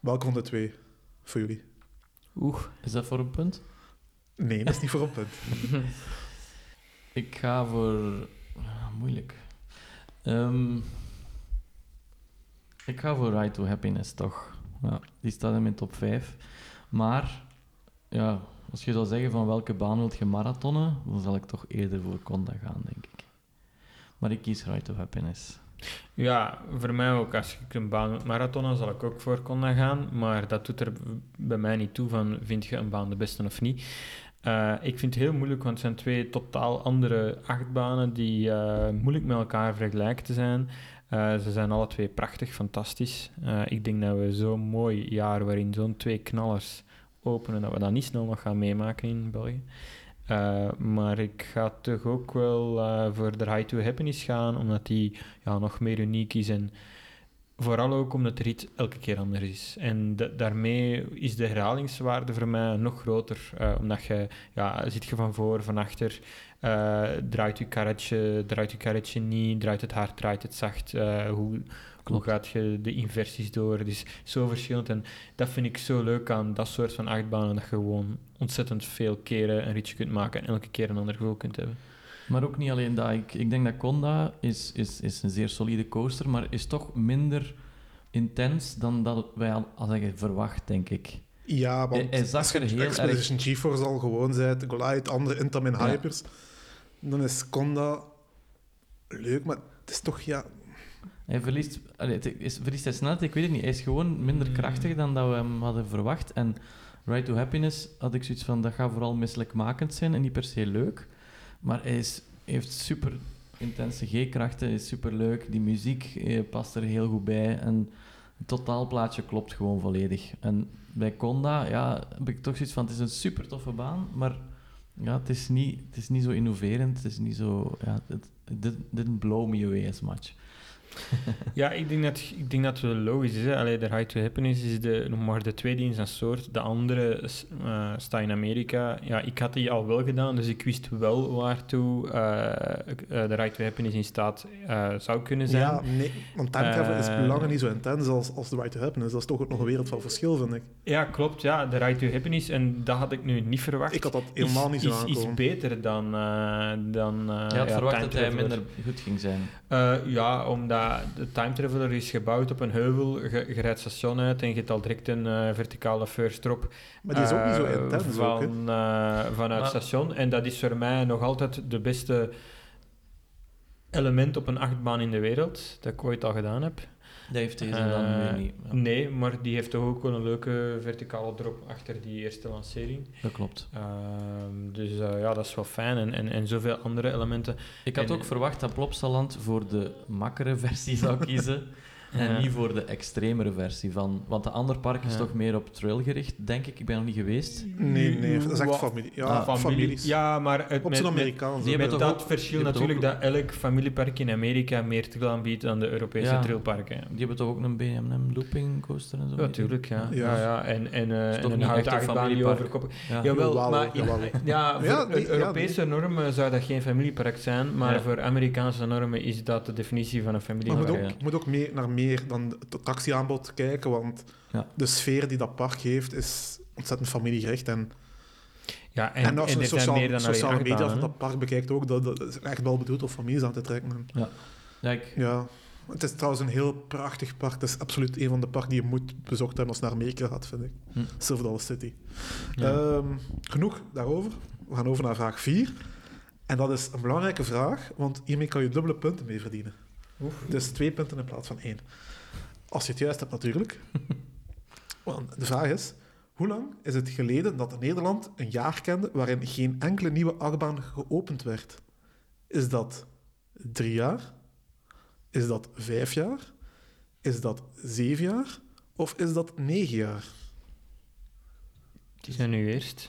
[SPEAKER 2] Welke van de twee voor jullie?
[SPEAKER 4] Oeh.
[SPEAKER 3] Is dat voor een punt?
[SPEAKER 2] Nee, dat is niet voor een punt.
[SPEAKER 3] Ik ga voor... ah, moeilijk. Ehm, ik ga voor Right to Happiness, toch. Ja, die staat in mijn top 5. Maar, ja, als je zou zeggen van welke baan wilt je marathonnen, dan zal ik toch eerder voor Conda gaan, denk ik. Maar ik kies Right to Happiness.
[SPEAKER 4] Ja, voor mij ook. Als ik een baan moet marathonnen, zal ik ook voor Conda gaan. Maar dat doet er bij mij niet toe van, vind je een baan de beste of niet? Eh, ik vind het heel moeilijk, want het zijn twee totaal andere achtbanen die eh, moeilijk met elkaar vergelijken te zijn. Eh, ze zijn alle twee prachtig, fantastisch. Eh, ik denk dat we zo'n mooi jaar waarin zo'n twee knallers openen, dat we dat niet snel nog gaan meemaken in België. Eh, maar ik ga toch ook wel eh, voor de High to Happiness gaan, omdat die ja, nog meer uniek is. En vooral ook omdat de rit elke keer anders is. En da- daarmee is de herhalingswaarde voor mij nog groter. eh, omdat je, ja, zit je van voor, van achter, eh, draait je karretje, draait je karretje niet, draait het hard, draait het zacht. eh, hoe, hoe
[SPEAKER 3] Klopt.
[SPEAKER 4] gaat je de inversies door? Het is zo verschillend. En dat vind ik zo leuk aan dat soort van achtbanen, dat je gewoon ontzettend veel keren een ritje kunt maken en elke keer een ander gevoel kunt hebben.
[SPEAKER 3] Maar ook niet alleen dat. Ik, ik denk dat Conda is, is, is een zeer solide coaster, maar is toch minder intens dan dat wij hadden verwacht, denk ik.
[SPEAKER 2] Ja, want
[SPEAKER 3] Hij- hij zag
[SPEAKER 2] als je
[SPEAKER 3] er heel
[SPEAKER 2] Expedition GeForce al gewoon zijt, Goliath, andere Intam en Hypers, dan is Conda leuk, maar het is toch, ja...
[SPEAKER 3] Hij verliest, allee, het is, verliest hij snelheid, ik weet het niet. Hij is gewoon minder krachtig dan dat we hem hadden verwacht. En Right to Happiness had ik zoiets van, dat gaat vooral misselijkmakend zijn en niet per se leuk. Maar hij is, heeft super intense G-krachten, is super leuk. Die muziek eh, past er heel goed bij. En het totaalplaatje klopt gewoon volledig. En bij Conda ja, heb ik toch zoiets van, het is een super toffe baan, maar ja, het, is niet, het is niet zo innoverend. Het is niet zo... Ja, het, it didn't- didn't blow me away as much.
[SPEAKER 4] Ja, ik denk dat, ik denk dat het wel logisch is. Hè. Allee, de High to Happiness is de, nog maar de tweede in zijn soort. De andere is, eh, staat in Amerika. Ja, ik had die al wel gedaan, dus ik wist wel waartoe eh, ik- eh, de High to Happiness in staat eh, zou kunnen zijn.
[SPEAKER 2] Ja, nee, want time travel is
[SPEAKER 4] Eh,
[SPEAKER 2] lang niet zo intens als, als The Right to Happiness. Dat is toch ook nog een wereld van verschil, vind ik.
[SPEAKER 4] Ja, klopt. Ja, de Right to Happiness, en dat had ik nu niet verwacht.
[SPEAKER 2] Ik had dat helemaal
[SPEAKER 4] is,
[SPEAKER 2] niet zo
[SPEAKER 4] is, is
[SPEAKER 2] aankomen.
[SPEAKER 4] beter dan... eh dan eh,
[SPEAKER 3] Je had
[SPEAKER 4] ja,
[SPEAKER 3] verwacht
[SPEAKER 4] Time
[SPEAKER 3] dat hij
[SPEAKER 4] Traveler.
[SPEAKER 3] minder goed ging zijn.
[SPEAKER 4] Eh, ja, omdat de Time Traveler is gebouwd op een heuvel. Je, je rijdt station uit en je hebt al direct een eh, verticale first drop.
[SPEAKER 2] Maar die is ook niet zo
[SPEAKER 4] Eh,
[SPEAKER 2] intens,
[SPEAKER 4] van,
[SPEAKER 2] ook, hè.
[SPEAKER 4] eh, vanuit
[SPEAKER 3] Maar-
[SPEAKER 4] het station. En dat is voor mij nog altijd de beste element op een achtbaan in de wereld. Dat ik ooit al gedaan heb.
[SPEAKER 3] Dat heeft deze
[SPEAKER 4] Eh,
[SPEAKER 3] dan weer niet. Ja,
[SPEAKER 4] Nee, maar die heeft toch ook wel een leuke verticale drop achter die eerste lancering.
[SPEAKER 3] Dat klopt.
[SPEAKER 4] Ehm, dus eh, ja, dat is wel fijn. En, en, en zoveel andere elementen.
[SPEAKER 3] Ik had
[SPEAKER 4] En-
[SPEAKER 3] ook verwacht dat Plopsaland voor de makkere versie zou kiezen. En
[SPEAKER 4] Ja.
[SPEAKER 3] niet voor de extremere versie van. Want de ander park is
[SPEAKER 4] Ja.
[SPEAKER 3] toch meer op trail gericht, denk ik. Ik ben nog niet geweest.
[SPEAKER 2] Nee, nee, dat is echt
[SPEAKER 4] Wa-
[SPEAKER 2] familie. Ja,
[SPEAKER 4] Ah, familie.
[SPEAKER 2] families.
[SPEAKER 4] Ja, maar het,
[SPEAKER 2] Op
[SPEAKER 4] met,
[SPEAKER 2] zijn
[SPEAKER 4] met,
[SPEAKER 2] Amerikaans.
[SPEAKER 3] die
[SPEAKER 2] hè.
[SPEAKER 3] hebben
[SPEAKER 4] met
[SPEAKER 3] toch
[SPEAKER 4] dat
[SPEAKER 3] ook-
[SPEAKER 4] verschil
[SPEAKER 3] die hebben
[SPEAKER 4] natuurlijk
[SPEAKER 3] toch
[SPEAKER 4] dat elk familiepark in Amerika meer te aanbiedt dan de Europese
[SPEAKER 3] Ja.
[SPEAKER 4] trailparken.
[SPEAKER 3] Die hebben toch ook een BMM looping coaster en zo?
[SPEAKER 4] Ja, tuurlijk, ja.
[SPEAKER 2] Ja.
[SPEAKER 4] ja. ja. En, en, eh,
[SPEAKER 3] is
[SPEAKER 4] en
[SPEAKER 3] toch
[SPEAKER 4] een
[SPEAKER 3] niet
[SPEAKER 4] houten
[SPEAKER 3] echt een
[SPEAKER 4] achtbaan die
[SPEAKER 3] familiepark?
[SPEAKER 4] overkoppelt.
[SPEAKER 3] Ja.
[SPEAKER 4] Jawel,
[SPEAKER 2] Jawel,
[SPEAKER 4] maar
[SPEAKER 2] jawel.
[SPEAKER 4] ja, ja,
[SPEAKER 2] Ja,
[SPEAKER 4] voor
[SPEAKER 2] die- ja,
[SPEAKER 4] Europese normen zou dat geen familiepark zijn, maar
[SPEAKER 3] Ja.
[SPEAKER 4] voor Amerikaanse normen is dat de definitie van een
[SPEAKER 2] Maar je moet
[SPEAKER 4] familiepark.
[SPEAKER 2] ook, je moet ook meer, naar meer dan het attractieaanbod kijken, want
[SPEAKER 3] Ja.
[SPEAKER 2] de sfeer die dat park heeft is ontzettend familiegericht. En,
[SPEAKER 4] Ja, en,
[SPEAKER 2] en,
[SPEAKER 4] en,
[SPEAKER 2] als je
[SPEAKER 4] er zijn
[SPEAKER 2] sociaal-
[SPEAKER 4] meer dan alleen
[SPEAKER 2] sociale media van
[SPEAKER 4] achtbanen. hè.
[SPEAKER 2] dat park bekijkt, ook dat, dat is echt wel bedoeld om families aan te trekken. En
[SPEAKER 3] Ja, ik,
[SPEAKER 2] ja. Het is trouwens een heel prachtig park. Het is absoluut een van de parken die je moet bezocht hebben als je naar Amerika gaat, vind ik.
[SPEAKER 3] Hm.
[SPEAKER 2] Silver Dollar City.
[SPEAKER 3] Ja.
[SPEAKER 2] Ehm, genoeg daarover. We gaan over naar vraag 4. En dat is een belangrijke vraag, want hiermee kan je dubbele punten mee verdienen. Dus twee punten in plaats van één. Als je het juist hebt, natuurlijk. Want de vraag is: hoe lang is het geleden dat Nederland een jaar kende waarin geen enkele nieuwe achtbaan geopend werd? Is dat drie jaar? Is dat vijf jaar? Is dat zeven jaar? Of is dat negen jaar?
[SPEAKER 4] Het is aan nu eerst.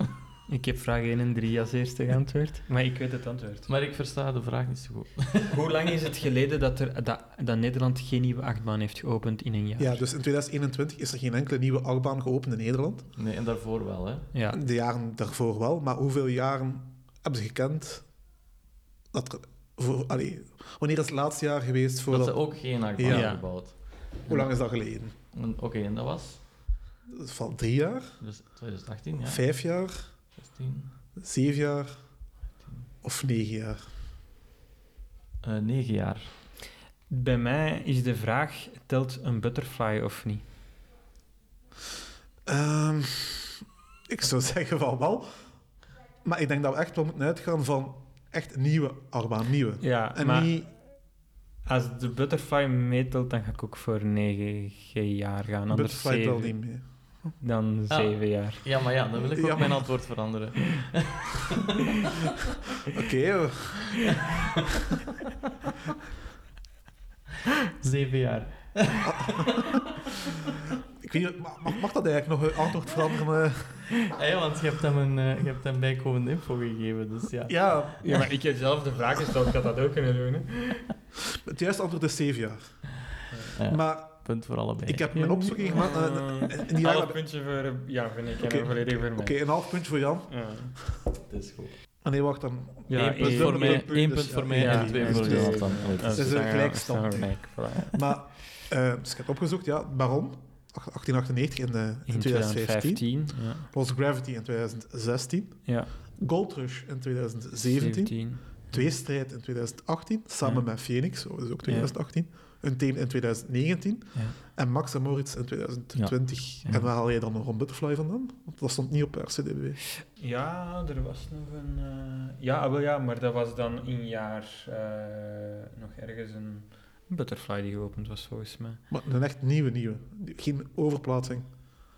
[SPEAKER 4] Ik heb vraag 1 en 3 als eerste geantwoord, maar ik weet het antwoord.
[SPEAKER 3] maar ik versta de vraag niet zo goed.
[SPEAKER 4] Hoe lang is het geleden dat, er, dat, dat Nederland geen nieuwe achtbaan heeft geopend in een jaar?
[SPEAKER 2] Ja, dus in 2021 is er geen enkele nieuwe achtbaan geopend in Nederland.
[SPEAKER 3] Nee, en daarvoor wel, hè.
[SPEAKER 4] Ja.
[SPEAKER 2] De jaren daarvoor wel, maar hoeveel jaren hebben ze gekend? Dat er voor, allee, wanneer is het laatste jaar geweest
[SPEAKER 3] Dat
[SPEAKER 2] voordat...
[SPEAKER 3] ze ook geen achtbaan
[SPEAKER 2] Ja.
[SPEAKER 3] hebben gebouwd.
[SPEAKER 2] Hoe lang is dat geleden?
[SPEAKER 3] En- Oké, en dat was?
[SPEAKER 2] Dat is Van drie jaar,
[SPEAKER 3] Dus 2018, ja.
[SPEAKER 2] vijf jaar,
[SPEAKER 3] 16,
[SPEAKER 2] zeven jaar of negen jaar?
[SPEAKER 3] eh, negen jaar.
[SPEAKER 4] Bij mij is de vraag, telt een butterfly of niet?
[SPEAKER 2] Ehm, ik zou zeggen van wel. Maar ik denk dat we echt wel moeten uitgaan van echt nieuwe achtbaan, nieuwe.
[SPEAKER 4] Ja,
[SPEAKER 2] En
[SPEAKER 4] maar
[SPEAKER 2] niet...
[SPEAKER 4] als de butterfly meetelt, dan ga ik ook voor 9 jaar gaan. Anders
[SPEAKER 2] Butterfly wel
[SPEAKER 4] zeven-
[SPEAKER 2] niet meer.
[SPEAKER 4] Dan
[SPEAKER 3] Ah.
[SPEAKER 4] 7 jaar.
[SPEAKER 3] Ja, maar ja, dan wil ik
[SPEAKER 2] Ja,
[SPEAKER 3] ook
[SPEAKER 2] maar-
[SPEAKER 3] mijn antwoord veranderen.
[SPEAKER 2] Oké, eh, we-
[SPEAKER 3] Zeven jaar.
[SPEAKER 2] Ik weet, niet, ma- mag, mag dat eigenlijk nog een antwoord veranderen? eh?
[SPEAKER 3] Hé, want je hebt hem, een, eh, je hebt hem bijkomende info gegeven, dus ja.
[SPEAKER 2] Ja,
[SPEAKER 4] Ja, maar ik heb zelf de vraag gesteld, ik had dat ook kunnen doen.
[SPEAKER 2] het juiste antwoord is zeven jaar.
[SPEAKER 3] Ja,
[SPEAKER 2] Maar
[SPEAKER 3] Punt voor allebei.
[SPEAKER 2] ik heb mijn opzoeking gemaakt. en- en- en eh, die jaren-
[SPEAKER 4] Eh, half
[SPEAKER 2] Oké,
[SPEAKER 4] puntje voor... eh, Ja, vind ik.
[SPEAKER 2] Oké.
[SPEAKER 4] en volledig voor mij.
[SPEAKER 2] een half puntje voor Jan.
[SPEAKER 4] Ja.
[SPEAKER 3] Het is goed.
[SPEAKER 2] Ah, nee, wacht dan.
[SPEAKER 4] Ja,
[SPEAKER 3] Eén punt
[SPEAKER 4] één-
[SPEAKER 3] voor mij,
[SPEAKER 2] punt,
[SPEAKER 3] één
[SPEAKER 2] dus
[SPEAKER 3] punt
[SPEAKER 2] ja,
[SPEAKER 3] voor mij
[SPEAKER 2] ja,
[SPEAKER 3] en twee
[SPEAKER 2] ja,
[SPEAKER 3] voor
[SPEAKER 2] ja.
[SPEAKER 3] Jonathan. Allee, dus
[SPEAKER 4] Ja,
[SPEAKER 3] het
[SPEAKER 2] dus is
[SPEAKER 3] is-
[SPEAKER 2] een
[SPEAKER 4] dan gaan we-
[SPEAKER 2] gelijkstand.
[SPEAKER 4] dan gaan we gelijk, voilà.
[SPEAKER 2] Maar, eh, dus ik heb opgezocht, ja, Baron, 1898 in, eh, in 2015.
[SPEAKER 4] Ja.
[SPEAKER 2] Lost Gravity in 2016.
[SPEAKER 4] ja.
[SPEAKER 2] Gold Rush in 2017. tweestrijd in 2018, samen
[SPEAKER 4] Ja.
[SPEAKER 2] met Phoenix, oh, dat is ook 2018. Een team in 2019
[SPEAKER 4] Ja.
[SPEAKER 2] en Max en Moritz in 2020.
[SPEAKER 4] Ja.
[SPEAKER 2] En waar haal je dan nog een butterfly vandaan? Want dat stond niet op RCDB.
[SPEAKER 4] Ja, er was nog een. eh, Ja, wel ja, maar dat was dan in jaar eh, nog ergens een butterfly die geopend was volgens mij.
[SPEAKER 2] Maar een echt nieuwe, nieuwe. Geen overplaatsing.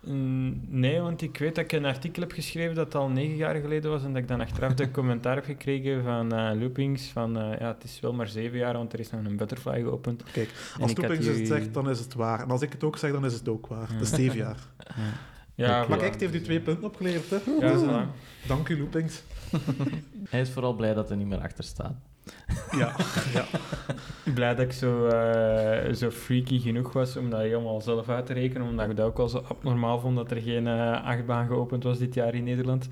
[SPEAKER 4] Mm, Nee, want ik weet dat ik een artikel heb geschreven dat al negen jaar geleden was en dat ik dan achteraf de commentaar heb gekregen van eh, Loopings van eh, ja, het is wel maar zeven jaar, want er is nog een butterfly geopend.
[SPEAKER 2] Kijk,
[SPEAKER 4] En
[SPEAKER 2] als
[SPEAKER 4] ik had
[SPEAKER 2] Toepings het
[SPEAKER 4] jullie-
[SPEAKER 2] zegt, dan is het waar. En als ik het ook zeg, dan is het ook waar.
[SPEAKER 4] Ja.
[SPEAKER 2] Dat is zeven jaar.
[SPEAKER 4] Ja,
[SPEAKER 3] Oké.
[SPEAKER 2] Maar
[SPEAKER 4] voilà.
[SPEAKER 2] kijk, het heeft u twee punten opgeleverd. Hè?
[SPEAKER 4] Ja, voilà.
[SPEAKER 2] Dank u, Loopings.
[SPEAKER 3] Hij is vooral blij dat er niet meer achter staat.
[SPEAKER 2] Ja, ja.
[SPEAKER 4] Blij dat ik zo, eh, zo freaky genoeg was om dat helemaal zelf uit te rekenen, omdat ik dat ook al zo abnormaal vond dat er geen eh, achtbaan geopend was dit jaar in Nederland.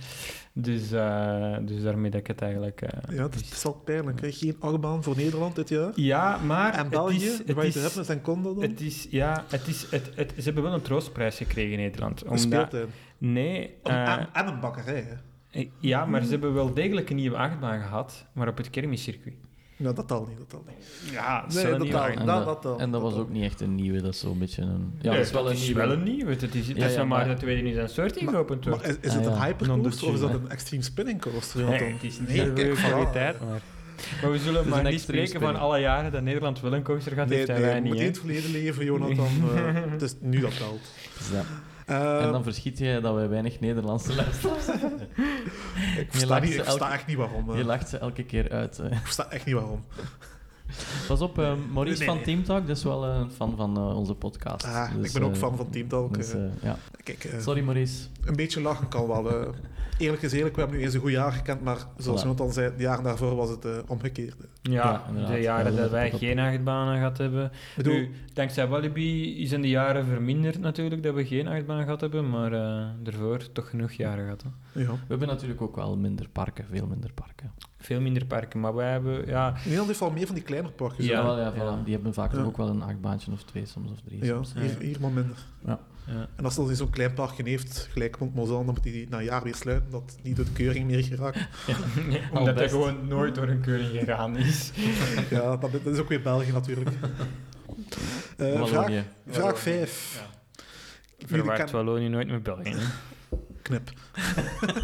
[SPEAKER 4] Dus, eh, dus daarmee dat ik het eigenlijk... eh,
[SPEAKER 2] ja het, is, het is wel pijnlijk. Hè? Geen achtbaan voor Nederland dit jaar.
[SPEAKER 4] ja, maar
[SPEAKER 2] En België,
[SPEAKER 4] het is...
[SPEAKER 2] waar
[SPEAKER 4] Het
[SPEAKER 2] je te
[SPEAKER 4] is,
[SPEAKER 2] hebben, zijn Condor dan?
[SPEAKER 4] het is, ja, het is, het, het, ze hebben wel een troostprijs gekregen in Nederland.
[SPEAKER 2] Een
[SPEAKER 4] Omdat,
[SPEAKER 2] speeltuin.
[SPEAKER 4] nee,
[SPEAKER 2] Een-
[SPEAKER 4] eh,
[SPEAKER 2] en, en een bakkerij. Hè?
[SPEAKER 4] ja,
[SPEAKER 2] Mhm.
[SPEAKER 4] maar ze hebben wel degelijk een nieuwe achtbaan gehad, maar op het kermiscircuit.
[SPEAKER 2] Nou, dat al niet, dat al niet.
[SPEAKER 4] Ja,
[SPEAKER 2] Nee,
[SPEAKER 4] wel een
[SPEAKER 2] dat
[SPEAKER 4] nieuwe
[SPEAKER 2] wel.
[SPEAKER 4] achtbaan.
[SPEAKER 3] en
[SPEAKER 2] dat-
[SPEAKER 3] dat,
[SPEAKER 2] dat wel,
[SPEAKER 3] en dat,
[SPEAKER 2] dat
[SPEAKER 3] was
[SPEAKER 2] wel.
[SPEAKER 3] ook niet echt een nieuwe, dat is zo'n beetje een... Ja,
[SPEAKER 4] Nee,
[SPEAKER 3] dat is wel een nieuwe.
[SPEAKER 4] wel een nieuwe. Het is, dat
[SPEAKER 3] Ja,
[SPEAKER 4] is
[SPEAKER 3] ja,
[SPEAKER 4] maar,
[SPEAKER 3] maar-
[SPEAKER 4] dat tweede niet zijn soort die geopend wordt.
[SPEAKER 2] Maar is, is
[SPEAKER 3] Ah,
[SPEAKER 2] het een
[SPEAKER 3] ja.
[SPEAKER 2] hypercoaster of is dat
[SPEAKER 3] Non-de-tune,
[SPEAKER 2] een extreme spinning coaster?
[SPEAKER 4] Nee,
[SPEAKER 2] Want dan-
[SPEAKER 4] het is niet
[SPEAKER 2] Nee,
[SPEAKER 4] de
[SPEAKER 2] kijk, voilà.
[SPEAKER 4] kwaliteit. Maar. we zullen
[SPEAKER 3] is
[SPEAKER 4] maar
[SPEAKER 3] een
[SPEAKER 4] niet
[SPEAKER 3] extreem
[SPEAKER 4] spreken van
[SPEAKER 3] spinning.
[SPEAKER 4] alle jaren dat Nederland wel een coaster gaat
[SPEAKER 2] Nee,
[SPEAKER 4] heeft en
[SPEAKER 2] nee,
[SPEAKER 4] wij
[SPEAKER 2] je
[SPEAKER 4] niet.
[SPEAKER 2] moet in
[SPEAKER 4] hè.
[SPEAKER 2] het verleden leven, Jonathan. eh, het is nu dat telt.
[SPEAKER 3] Ja.
[SPEAKER 2] Eh,
[SPEAKER 3] En dan verschiet je dat wij weinig Nederlandse luisteraars hebben.
[SPEAKER 2] Eh, ik
[SPEAKER 3] je
[SPEAKER 2] versta,
[SPEAKER 3] lacht
[SPEAKER 2] niet,
[SPEAKER 3] ze
[SPEAKER 2] ik versta
[SPEAKER 3] elke-
[SPEAKER 2] echt niet waarom. eh.
[SPEAKER 3] Je lacht ze elke keer uit. hè.
[SPEAKER 2] Ik versta echt niet waarom.
[SPEAKER 3] Pas op, eh, Maurice
[SPEAKER 2] Nee,
[SPEAKER 3] van
[SPEAKER 2] nee.
[SPEAKER 3] Team Talk, dat is wel een fan van eh, onze podcast.
[SPEAKER 2] Ah,
[SPEAKER 3] Dus,
[SPEAKER 2] ik ben ook
[SPEAKER 3] eh,
[SPEAKER 2] fan van Team Talk.
[SPEAKER 3] dus,
[SPEAKER 2] eh.
[SPEAKER 3] eh, ja.
[SPEAKER 2] Kijk, eh,
[SPEAKER 3] Sorry Maurice.
[SPEAKER 2] een beetje lachen kan wel. eh. Eerlijk is eerlijk, we hebben nu eens een goed jaar gekend, maar zoals
[SPEAKER 3] Voilà.
[SPEAKER 2] Jonathan zei, de jaren daarvoor was het eh, omgekeerd. hè.
[SPEAKER 3] Ja,
[SPEAKER 4] Ja,
[SPEAKER 3] inderdaad.
[SPEAKER 4] de
[SPEAKER 3] Ja,
[SPEAKER 4] jaren
[SPEAKER 3] dat
[SPEAKER 4] dat
[SPEAKER 3] is
[SPEAKER 4] wij
[SPEAKER 3] top.
[SPEAKER 4] geen achtbanen gehad hebben.
[SPEAKER 2] Ik bedoel,
[SPEAKER 4] Nu, dankzij Walibi zijn de jaren verminderd natuurlijk dat we geen achtbaan gehad hebben, maar eh ervoor toch genoeg jaren gehad. hè.
[SPEAKER 2] ja.
[SPEAKER 3] We hebben natuurlijk ook wel minder parken, veel minder parken.
[SPEAKER 4] Veel minder parken, maar wij hebben... Ja,
[SPEAKER 2] Nederland heeft wel meer van die kleinere parken.
[SPEAKER 4] Ja,
[SPEAKER 3] Ja, Dus wel, ja, voilà.
[SPEAKER 4] ja.
[SPEAKER 3] die hebben vaak
[SPEAKER 2] Ja.
[SPEAKER 3] ook wel een achtbaantje of twee soms of drie.
[SPEAKER 2] Ja,
[SPEAKER 3] soms.
[SPEAKER 2] hier, hier maar minder.
[SPEAKER 4] ja.
[SPEAKER 2] En als dat in zo'n klein parkje heeft, gelijk Montmozan, dan moet hij na een jaar weer sluiten, dat die door de keuring meer geraakt.
[SPEAKER 3] Al
[SPEAKER 4] Omdat dat
[SPEAKER 3] best.
[SPEAKER 4] gewoon nooit door een keuring gegaan is.
[SPEAKER 2] ja, dat, dat is ook weer België natuurlijk. Eh, vraag,
[SPEAKER 3] Wallonië.
[SPEAKER 2] vraag 5.
[SPEAKER 4] Ja.
[SPEAKER 2] Jullie
[SPEAKER 4] Verwaart
[SPEAKER 2] kennen-
[SPEAKER 4] Wallonië nooit met België. hè.
[SPEAKER 2] Knip.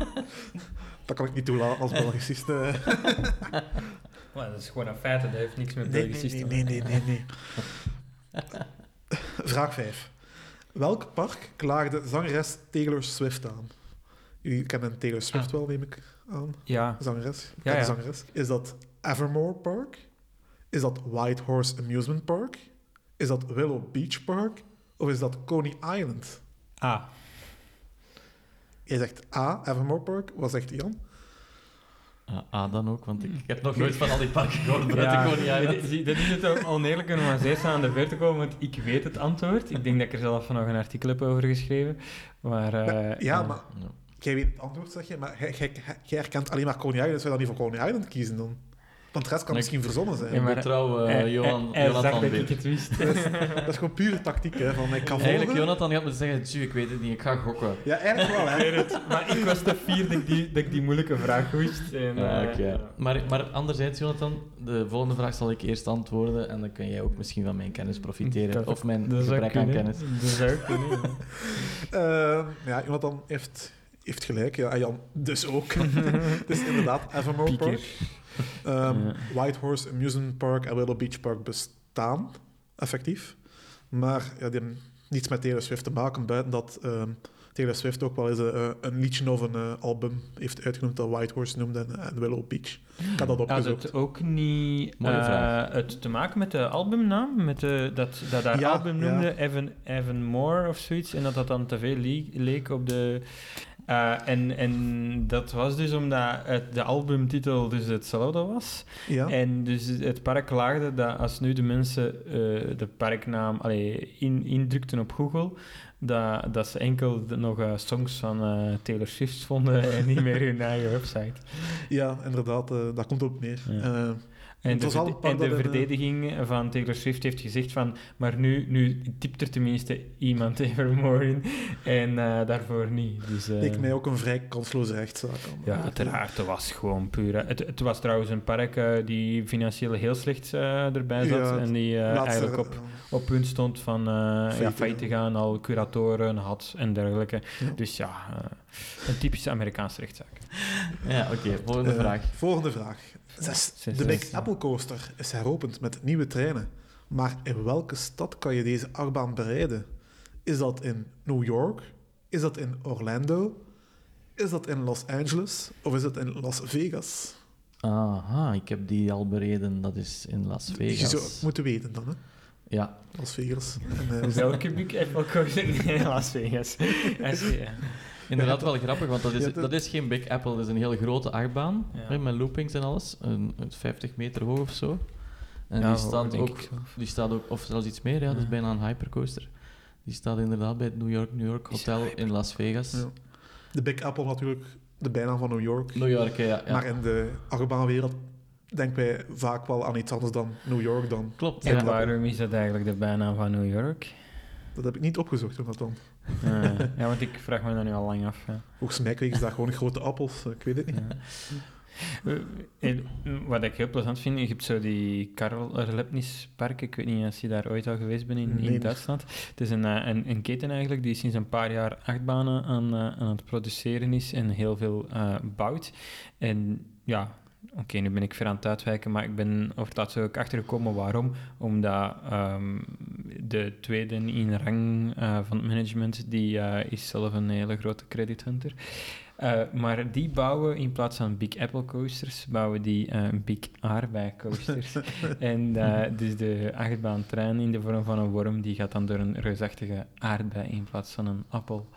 [SPEAKER 2] dat kan ik niet toelaten als Belgicist. eh.
[SPEAKER 4] Maar dat is gewoon een feit, dat heeft niks met
[SPEAKER 2] Nee,
[SPEAKER 4] Belgisch
[SPEAKER 2] nee, nee, nee, nee, nee, nee. Vraag 5. Welk park klaagde zangeres Taylor Swift aan? Jullie kennen Taylor Swift
[SPEAKER 4] Ah.
[SPEAKER 2] wel, neem ik aan.
[SPEAKER 4] Ja,
[SPEAKER 2] Zangeres. bekende
[SPEAKER 4] ja.
[SPEAKER 2] zangeres. Is dat Evermore Park? Is dat White Horse Amusement Park? Is dat Willow Beach Park? Of is dat Coney Island?
[SPEAKER 4] ah,
[SPEAKER 2] Jij zegt A, Evermore Park. Wat zegt Jan?
[SPEAKER 3] Ah, ah, dan ook, want ik, ik heb nog nooit van al die parken gehoord. maar
[SPEAKER 4] Ja,
[SPEAKER 3] dat ik gewoon niet uit.
[SPEAKER 4] dit- zie, dat is het ook oneerlijke om als eerste aan de beurt te komen, want ik weet het antwoord. Ik denk dat ik er zelf nog een artikel heb over geschreven. Maar, eh,
[SPEAKER 2] Maar- ja, maar
[SPEAKER 3] Ja.
[SPEAKER 2] jij weet het antwoord, zeg je. Maar jij- jij jij herkent alleen maar Coney Island. Dus wij dan niet voor Coney Island kiezen dan? Want de rest kan
[SPEAKER 3] Nee,
[SPEAKER 2] misschien verzonnen zijn.
[SPEAKER 4] Ja, maar-
[SPEAKER 3] Ik trouw
[SPEAKER 4] eh, eh,
[SPEAKER 3] Johan,
[SPEAKER 4] hij zag
[SPEAKER 3] Jonathan
[SPEAKER 4] dat ik
[SPEAKER 3] Beer.
[SPEAKER 4] het wist.
[SPEAKER 2] Dat is gewoon pure tactiek, hè. Van, ik kan volgen.
[SPEAKER 3] Eigenlijk, Jonathan gaat moeten zeggen, "Tjoe, ik weet het niet, ik ga gokken.
[SPEAKER 2] Ja, eigenlijk wel, hè.
[SPEAKER 4] maar ik was te fier dat ik die, dat ik die moeilijke vraag wist. En,
[SPEAKER 3] Ah,
[SPEAKER 4] eh,
[SPEAKER 3] oké. maar, maar anderzijds, Jonathan, de volgende vraag zal ik eerst antwoorden en dan kun jij ook misschien van mijn kennis profiteren.
[SPEAKER 4] Dat-
[SPEAKER 3] of mijn
[SPEAKER 4] dat zou
[SPEAKER 3] gebrek aan
[SPEAKER 4] kunnen.
[SPEAKER 3] kennis.
[SPEAKER 4] Dat zou kunnen. ja.
[SPEAKER 2] Eh, ja, Jonathan heeft, heeft gelijk. Ja, en Jan dus ook. dus inderdaad, Evermore
[SPEAKER 4] Pieker.
[SPEAKER 2] Park. Ehm
[SPEAKER 4] Ja.
[SPEAKER 2] White Horse Amusement Park en Willow Beach Park bestaan, effectief. Maar ja, die hebben niets met Taylor Swift te maken, buiten dat ehm, Taylor Swift ook wel eens eh, een liedje of een eh, album heeft uitgenoemd dat White Horse noemde en, en Willow Beach. Ik had dat
[SPEAKER 4] Had
[SPEAKER 2] opgezocht.
[SPEAKER 4] het ook niet
[SPEAKER 3] Mooie
[SPEAKER 4] eh,
[SPEAKER 3] vraag.
[SPEAKER 4] het te maken met de albumnaam? Met de, dat, dat haar
[SPEAKER 2] Ja,
[SPEAKER 4] album
[SPEAKER 2] ja.
[SPEAKER 4] noemde Evan, Evan Moore of zoiets. En dat dat dan te veel lie- leek op de... eh, en, en dat was dus omdat het, de albumtitel dus hetzelfde was.
[SPEAKER 2] ja.
[SPEAKER 4] En dus het park klaagde dat als nu de mensen eh, de parknaam allee, in, indrukten op Google, dat, dat ze enkel de- nog eh, songs van eh, Taylor Swift vonden en niet meer hun eigen website.
[SPEAKER 2] ja, inderdaad, eh, daar komt het op neer.
[SPEAKER 4] Ja.
[SPEAKER 2] Eh,
[SPEAKER 4] En
[SPEAKER 2] Het
[SPEAKER 4] de,
[SPEAKER 2] was al
[SPEAKER 4] verde-
[SPEAKER 2] een paar
[SPEAKER 4] en de
[SPEAKER 2] dat er, eh,
[SPEAKER 4] verdediging van Taylor Swift heeft gezegd van... Maar nu, nu typt er tenminste iemand Evermore in. En eh, daarvoor niet. Dus, eh,
[SPEAKER 2] Leek mij ook een vrij kansloze rechtszaak. aan.
[SPEAKER 4] Ja, uiteraard. Het was gewoon puur... eh, Het, het was trouwens een park eh, die financieel heel slecht eh, erbij zat.
[SPEAKER 2] Ja,
[SPEAKER 4] en die eh,
[SPEAKER 2] Laatste-
[SPEAKER 4] eigenlijk op, op punt stond van eh ja,
[SPEAKER 2] Failliet te
[SPEAKER 4] failliet te gaan. Al curatoren had en dergelijke. Dus ja, eh, een typische Amerikaanse rechtszaak.
[SPEAKER 3] Ja, oké. volgende
[SPEAKER 2] Eh,
[SPEAKER 3] vraag.
[SPEAKER 2] Volgende vraag. Zes.
[SPEAKER 4] Zes,
[SPEAKER 2] de
[SPEAKER 4] zes,
[SPEAKER 2] Big
[SPEAKER 4] ja.
[SPEAKER 2] Apple Coaster is heropend met nieuwe treinen. Maar in welke stad kan je deze achtbaan bereiden? Is dat in New York? Is dat in Orlando? Is dat in Los Angeles? Of is dat in Las Vegas?
[SPEAKER 3] Aha, ik heb die al bereden. Dat is in Las
[SPEAKER 2] Je zou
[SPEAKER 3] Vegas.
[SPEAKER 2] het moeten weten dan, hè?
[SPEAKER 3] Ja,
[SPEAKER 2] Las Vegas. En, eh,
[SPEAKER 4] Welke Big Apple Coaster in Las Vegas? Ja.
[SPEAKER 3] inderdaad wel grappig, want dat
[SPEAKER 2] Ja,
[SPEAKER 3] is,
[SPEAKER 2] dat-
[SPEAKER 3] dat is geen Big Apple. Dat is een heel grote achtbaan
[SPEAKER 4] Ja.
[SPEAKER 3] hè, met loopings en alles. Een, een 50 meter hoog of zo. En
[SPEAKER 4] Ja,
[SPEAKER 3] die,
[SPEAKER 4] hoog,
[SPEAKER 3] staat
[SPEAKER 4] denk
[SPEAKER 3] ook,
[SPEAKER 4] ik zo.
[SPEAKER 3] die staat ook, of zelfs iets meer, ja, dat is
[SPEAKER 4] Ja.
[SPEAKER 3] bijna een hypercoaster. Die staat inderdaad bij het New York, New York
[SPEAKER 4] Is het
[SPEAKER 3] Hotel in Las Vegas.
[SPEAKER 2] Ja. de Big Apple natuurlijk, de bijnaam van New York.
[SPEAKER 3] New York, hè, ja. ja.
[SPEAKER 2] Maar in de achtbaanwereld denken wij vaak wel aan iets anders dan New York dan.
[SPEAKER 3] Klopt,
[SPEAKER 4] En
[SPEAKER 3] ja.
[SPEAKER 4] waarom is dat eigenlijk de bijnaam van New York?
[SPEAKER 2] Dat heb ik niet opgezocht, omdat dan.
[SPEAKER 4] Eh, ja, want ik vraag me dat nu al lang af. ja.
[SPEAKER 2] Volgens mij kregen ze daar gewoon grote appels. eh, Ik weet het niet.
[SPEAKER 4] Eh, en Wat ik heel plezant vind, je hebt zo die Karel Erlebnis Park, ik weet niet of je daar ooit al geweest bent in,
[SPEAKER 2] Nee.
[SPEAKER 4] in Duitsland. Het is een, eh, een, een keten eigenlijk die sinds een paar jaar achtbanen aan, eh, aan het produceren is en heel veel eh, bouwt. En ja, oké, nu ben ik ver aan het uitwijken, maar ik ben over het laatst ook achtergekomen waarom. Omdat ehm, de tweede in rang eh, van het management, die eh, is zelf een hele grote credit hunter. Eh, maar die bouwen in plaats van Big Apple coasters, bouwen die eh, Big Aardbei coasters. en eh, dus de achtbaantrein in de vorm van een worm, die gaat dan door een reusachtige aardbei in plaats van een appel.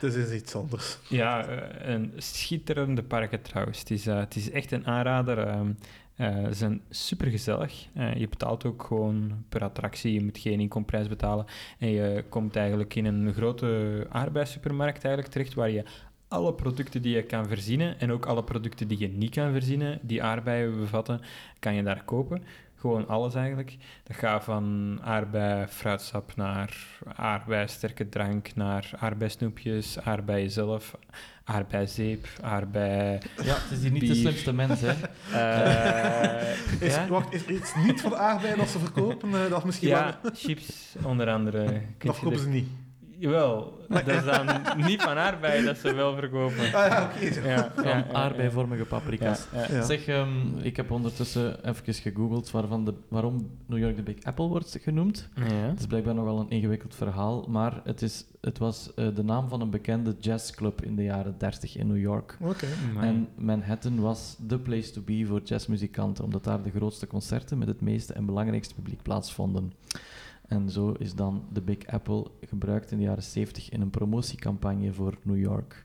[SPEAKER 2] Het Dus is iets anders.
[SPEAKER 4] Ja, eh, een schitterende parken trouwens. Het is, eh, het is echt een aanrader. ehm, eh, ze zijn supergezellig. Eh, je betaalt ook gewoon per attractie. Je moet geen inkomprijs betalen. En je komt eigenlijk in een grote arbeidssupermarkt eigenlijk terecht waar je alle producten die je kan verzinnen en ook alle producten die je niet kan verzinnen, die aardbeien bevatten, kan je daar kopen. Gewoon alles eigenlijk. Dat gaat van aardbei fruitsap naar aardbei sterke drank, naar aardbei snoepjes, aardbei zelf, aardbei zeep, aardbei...
[SPEAKER 3] Ja, het is hier niet de
[SPEAKER 4] Bier.
[SPEAKER 3] slimste mens, hè.
[SPEAKER 4] eh,
[SPEAKER 2] Is,
[SPEAKER 4] ja?
[SPEAKER 2] Wacht, is er iets niet van aardbeien dat ze verkopen? eh, dat misschien wel.
[SPEAKER 4] ja, chips onder andere. Kun je
[SPEAKER 2] Dat verkopen ze
[SPEAKER 4] er-
[SPEAKER 2] niet.
[SPEAKER 4] Jawel, dat is dan niet van aardbei dat ze wel verkopen.
[SPEAKER 2] Ah ja, oké. zo.
[SPEAKER 4] Ja, ja, ja,
[SPEAKER 3] Van
[SPEAKER 4] ja.
[SPEAKER 3] aardbeivormige
[SPEAKER 4] Ja,
[SPEAKER 3] paprika's.
[SPEAKER 4] ja.
[SPEAKER 2] Ja.
[SPEAKER 3] Zeg, ehm, ik heb ondertussen even gegoogeld waarvan de, waarom New York de Big Apple wordt genoemd.
[SPEAKER 4] Ja.
[SPEAKER 3] Het is blijkbaar nogal een ingewikkeld verhaal, maar het, is, het was eh, de naam van een bekende jazzclub in de jaren 30 in New York.
[SPEAKER 2] Oké.
[SPEAKER 3] En Manhattan was de place to be voor jazzmuzikanten, omdat daar de grootste concerten met het meeste en belangrijkste publiek plaatsvonden. En zo is dan de Big Apple gebruikt in de jaren 70 in een promotiecampagne voor New York.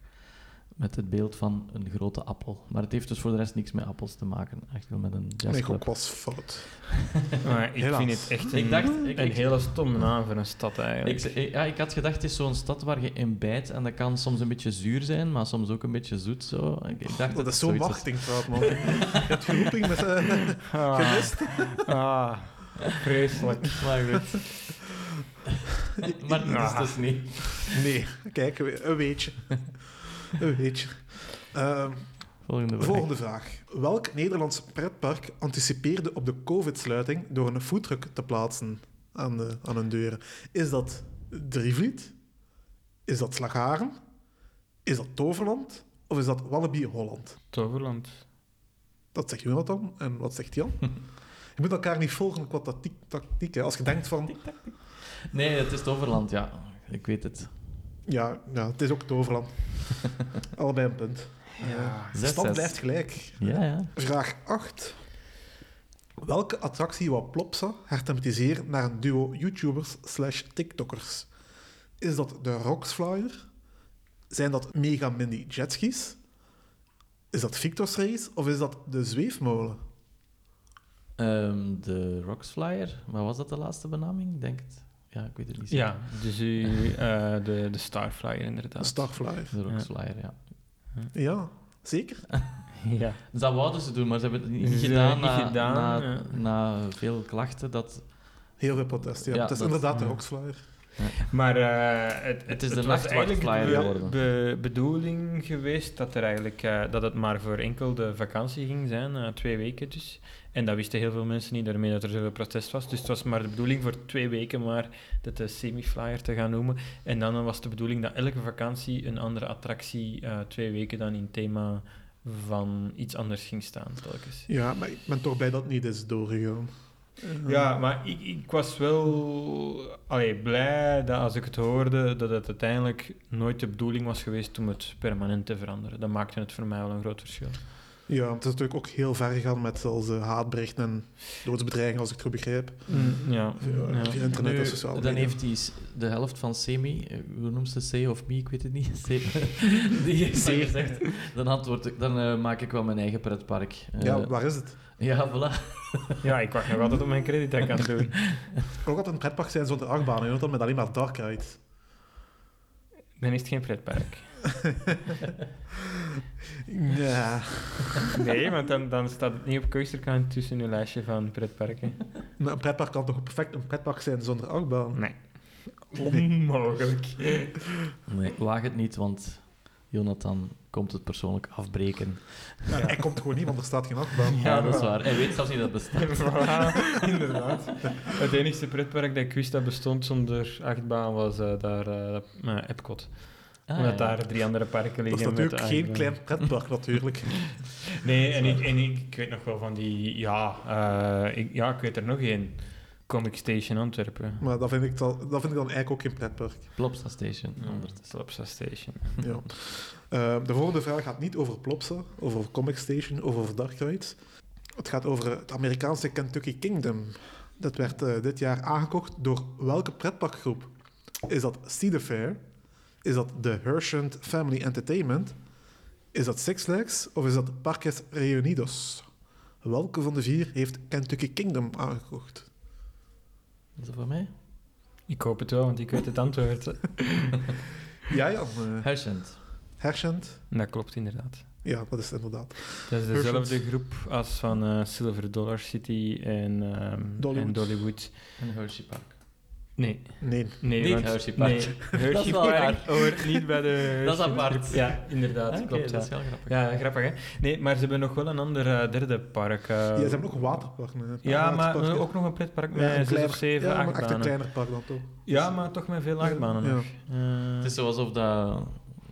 [SPEAKER 3] Met het beeld van een grote appel. Maar het heeft dus voor de rest niks met appels te maken. Echt wel met een
[SPEAKER 2] Mijn
[SPEAKER 3] jazzclub.
[SPEAKER 2] gok was fout.
[SPEAKER 4] Maar ik
[SPEAKER 2] Helaas.
[SPEAKER 4] vind het echt een,
[SPEAKER 3] Ik dacht- ik-
[SPEAKER 4] een
[SPEAKER 3] ik-
[SPEAKER 4] hele stomme naam voor een stad
[SPEAKER 3] Ik,
[SPEAKER 4] eigenlijk.
[SPEAKER 3] ze- ik- ja, ik had gedacht, het is zo'n stad waar je in bijt. En dat kan soms een beetje zuur zijn, maar soms ook een beetje zoet. Zo. Ik, ik
[SPEAKER 4] Oh,
[SPEAKER 3] dacht
[SPEAKER 2] Dat
[SPEAKER 3] het
[SPEAKER 2] is zo'n
[SPEAKER 3] zoiets was.
[SPEAKER 2] marketingpraat, man. Je hebt geroeping met... eh,
[SPEAKER 4] Ah, ah, vreselijk.
[SPEAKER 3] Maar goed. maar dat
[SPEAKER 4] Ah.
[SPEAKER 3] is dus niet.
[SPEAKER 2] nee, kijk, een weetje. Een weetje. Ehm,
[SPEAKER 3] Volgende vraag.
[SPEAKER 2] volgende vraag. Welk Nederlands pretpark anticipeerde op de covid-sluiting door een foodtruck te plaatsen aan, de, aan hun deuren? Is dat Drievliet? Is dat Slagharen? Is dat Toverland? Of is dat Walibi Holland?
[SPEAKER 4] Toverland.
[SPEAKER 2] Dat zegt Jonathan en wat zegt Jan? Je moet elkaar niet volgen qua tactiek. tactiek hè. Als je denkt van,
[SPEAKER 3] Nee, het is het Overland, ja. Ik weet het.
[SPEAKER 2] ja, ja het is ook het overland. Allebei een punt. Eh, de
[SPEAKER 3] Zes,
[SPEAKER 2] stand
[SPEAKER 3] zes.
[SPEAKER 2] blijft gelijk.
[SPEAKER 3] Ja, ja.
[SPEAKER 2] Vraag 8. Welke attractie wou Plopsa herthematiseren naar een duo YouTubers slash TikTokkers? Is dat de Rocksflyer? Zijn dat Mega Mini Jetskis? Is dat Victor's Race? Of is dat de Zweefmolen?
[SPEAKER 3] Ehm, de Rocksflyer, maar was dat de laatste benaming? Ik denk het. Ja, ik weet het niet.
[SPEAKER 4] Ja, dus u, eh, de, de Starflyer
[SPEAKER 2] Een
[SPEAKER 4] inderdaad.
[SPEAKER 2] Starflyer.
[SPEAKER 3] De Rocksflyer, ja.
[SPEAKER 2] Ja, zeker.
[SPEAKER 4] Ja.
[SPEAKER 3] Dus dat wouden ze doen, maar ze hebben het niet
[SPEAKER 4] Ze
[SPEAKER 3] gedaan,
[SPEAKER 4] hebben het niet
[SPEAKER 3] na,
[SPEAKER 4] gedaan,
[SPEAKER 3] na,
[SPEAKER 4] ja.
[SPEAKER 3] na veel klachten. Dat,
[SPEAKER 2] Heel veel protest, ja.
[SPEAKER 3] Ja,
[SPEAKER 2] het is
[SPEAKER 3] dat-
[SPEAKER 2] inderdaad
[SPEAKER 3] ja.
[SPEAKER 2] de Oxflyer.
[SPEAKER 4] Maar eh, het,
[SPEAKER 3] Het is de
[SPEAKER 4] was
[SPEAKER 3] nachtwachtflyer geworden.
[SPEAKER 4] eigenlijk de be- be- bedoeling geweest dat, er eigenlijk, eh, dat het maar voor enkel de vakantie ging zijn, eh, twee weken dus. En dat wisten heel veel mensen niet, daarmee dat er zoveel protest was. Dus het was maar de bedoeling voor twee weken maar dat de semi-flyer te gaan noemen. En dan was de bedoeling dat elke vakantie een andere attractie eh, twee weken dan in het thema van iets anders ging staan telkens.
[SPEAKER 2] Ja, maar ik ben toch blij dat het niet is doorgegaan. Eh,
[SPEAKER 4] Ja, maar ik, ik was wel allee, blij dat als ik het hoorde, dat het uiteindelijk nooit de bedoeling was geweest om het permanent te veranderen. Dat maakte het voor mij wel een groot verschil.
[SPEAKER 2] Ja, het is natuurlijk ook heel ver gegaan met zelfs eh, haatberichten en doodsbedreigingen, als ik het goed begrijp.
[SPEAKER 4] Ja.
[SPEAKER 2] Via,
[SPEAKER 4] ja.
[SPEAKER 2] via internet
[SPEAKER 3] Nu,
[SPEAKER 2] en sociale media.
[SPEAKER 3] dan heeft hij s- de helft van Semi, eh, hoe noemt ze C of me, ik weet het niet. C, die heeft dan gezegd, dan, antwoord ik, dan eh, maak ik wel mijn eigen pretpark. Eh,
[SPEAKER 2] Ja, waar is het?
[SPEAKER 3] ja, voilà.
[SPEAKER 4] ja, ik wacht nog altijd op mijn krediet dat ik aan het doen.
[SPEAKER 2] Ook altijd een pretpark zijn zonder achtbanen, je hoort dat met alleen maar dark ride.
[SPEAKER 4] Dan is het geen pretpark.
[SPEAKER 2] Ja.
[SPEAKER 4] Nee, want dan, dan staat het niet op Coastercount tussen uw lijstje van pretparken.
[SPEAKER 2] Maar een pretpark kan toch perfect een pretpark zijn zonder achtbaan?
[SPEAKER 4] Nee. Onmogelijk.
[SPEAKER 3] Nee, waag het niet, want Jonathan komt het persoonlijk afbreken.
[SPEAKER 2] Ja, Hij komt gewoon niet, want er staat geen achtbaan.
[SPEAKER 3] Ja, dat is waar. Hij weet zelfs niet dat het bestaat.
[SPEAKER 4] Voilà, inderdaad. Het enige pretpark dat ik wist dat bestond zonder achtbaan was eh, daar eh, eh, Epcot.
[SPEAKER 3] Ah,
[SPEAKER 4] Omdat
[SPEAKER 3] ja.
[SPEAKER 4] daar drie andere
[SPEAKER 2] Dat
[SPEAKER 4] parken liggen.
[SPEAKER 2] is
[SPEAKER 4] met
[SPEAKER 2] natuurlijk geen
[SPEAKER 4] achtbaan.
[SPEAKER 2] klein pretpark, natuurlijk.
[SPEAKER 4] Nee, en, ik, en ik, ik weet nog wel van die. Ja, eh, ik, ja, ik weet er nog één. Comic Station Antwerpen.
[SPEAKER 2] Maar dat vind ik, dan- dat vind ik dan eigenlijk ook geen pretpark.
[SPEAKER 3] Plopsa Station.
[SPEAKER 4] Ja,
[SPEAKER 3] ondertussen.
[SPEAKER 4] Slapsa Station.
[SPEAKER 2] Ja. Eh, de volgende vraag gaat niet over Plopsa, of over Comic Station, of over Dark Rides. Het gaat over het Amerikaanse Kentucky Kingdom. Dat werd eh, dit jaar aangekocht door welke pretparkgroep? Is dat Sea the Fair? Is dat de Hershend Family Entertainment? Is dat Six Flags? Of is dat Parques Reunidos? Welke van de vier heeft Kentucky Kingdom aangekocht?
[SPEAKER 3] Is dat voor mij?
[SPEAKER 4] Ik hoop het wel, want ik weet het antwoord.
[SPEAKER 2] Ja, ja. eh,
[SPEAKER 3] Huisend.
[SPEAKER 2] Hershend?
[SPEAKER 4] dat klopt inderdaad.
[SPEAKER 2] Ja, dat is het inderdaad.
[SPEAKER 4] Dat is dezelfde
[SPEAKER 2] Perfect.
[SPEAKER 4] groep als van eh, Silver Dollar City en, ehm,
[SPEAKER 2] Dollywood.
[SPEAKER 4] en Dollywood.
[SPEAKER 3] En Hershey Park.
[SPEAKER 4] Nee,
[SPEAKER 2] Nee.
[SPEAKER 4] nee
[SPEAKER 3] Niet
[SPEAKER 4] want-
[SPEAKER 3] Hershey Park.
[SPEAKER 4] Nee, Hershey
[SPEAKER 3] Dat is wel
[SPEAKER 4] Park
[SPEAKER 3] raar.
[SPEAKER 4] hoort niet bij de.
[SPEAKER 3] Dat is
[SPEAKER 4] Hershey
[SPEAKER 3] apart.
[SPEAKER 4] groep. Ja, inderdaad,
[SPEAKER 3] Ah, oké,
[SPEAKER 4] klopt.
[SPEAKER 3] dat
[SPEAKER 4] Ja.
[SPEAKER 3] is heel grappig.
[SPEAKER 4] Ja, grappig hè. Nee, maar ze hebben nog wel een ander eh, derde park. eh,
[SPEAKER 2] Ja, ze hebben ook een waterpark. een
[SPEAKER 4] Ja, maar
[SPEAKER 2] waterpark,
[SPEAKER 4] eh,
[SPEAKER 2] ja.
[SPEAKER 4] ook nog een pretpark
[SPEAKER 2] Ah, Ja,
[SPEAKER 4] met
[SPEAKER 2] een
[SPEAKER 4] zes
[SPEAKER 2] kleiner-
[SPEAKER 4] of zeven
[SPEAKER 2] ja, maar echt een
[SPEAKER 4] achtbanen.
[SPEAKER 2] kleiner park dan toch.
[SPEAKER 4] Ja, maar toch met veel achtbanen
[SPEAKER 2] Ja.
[SPEAKER 4] nog. Eh,
[SPEAKER 3] Het is zo alsof dat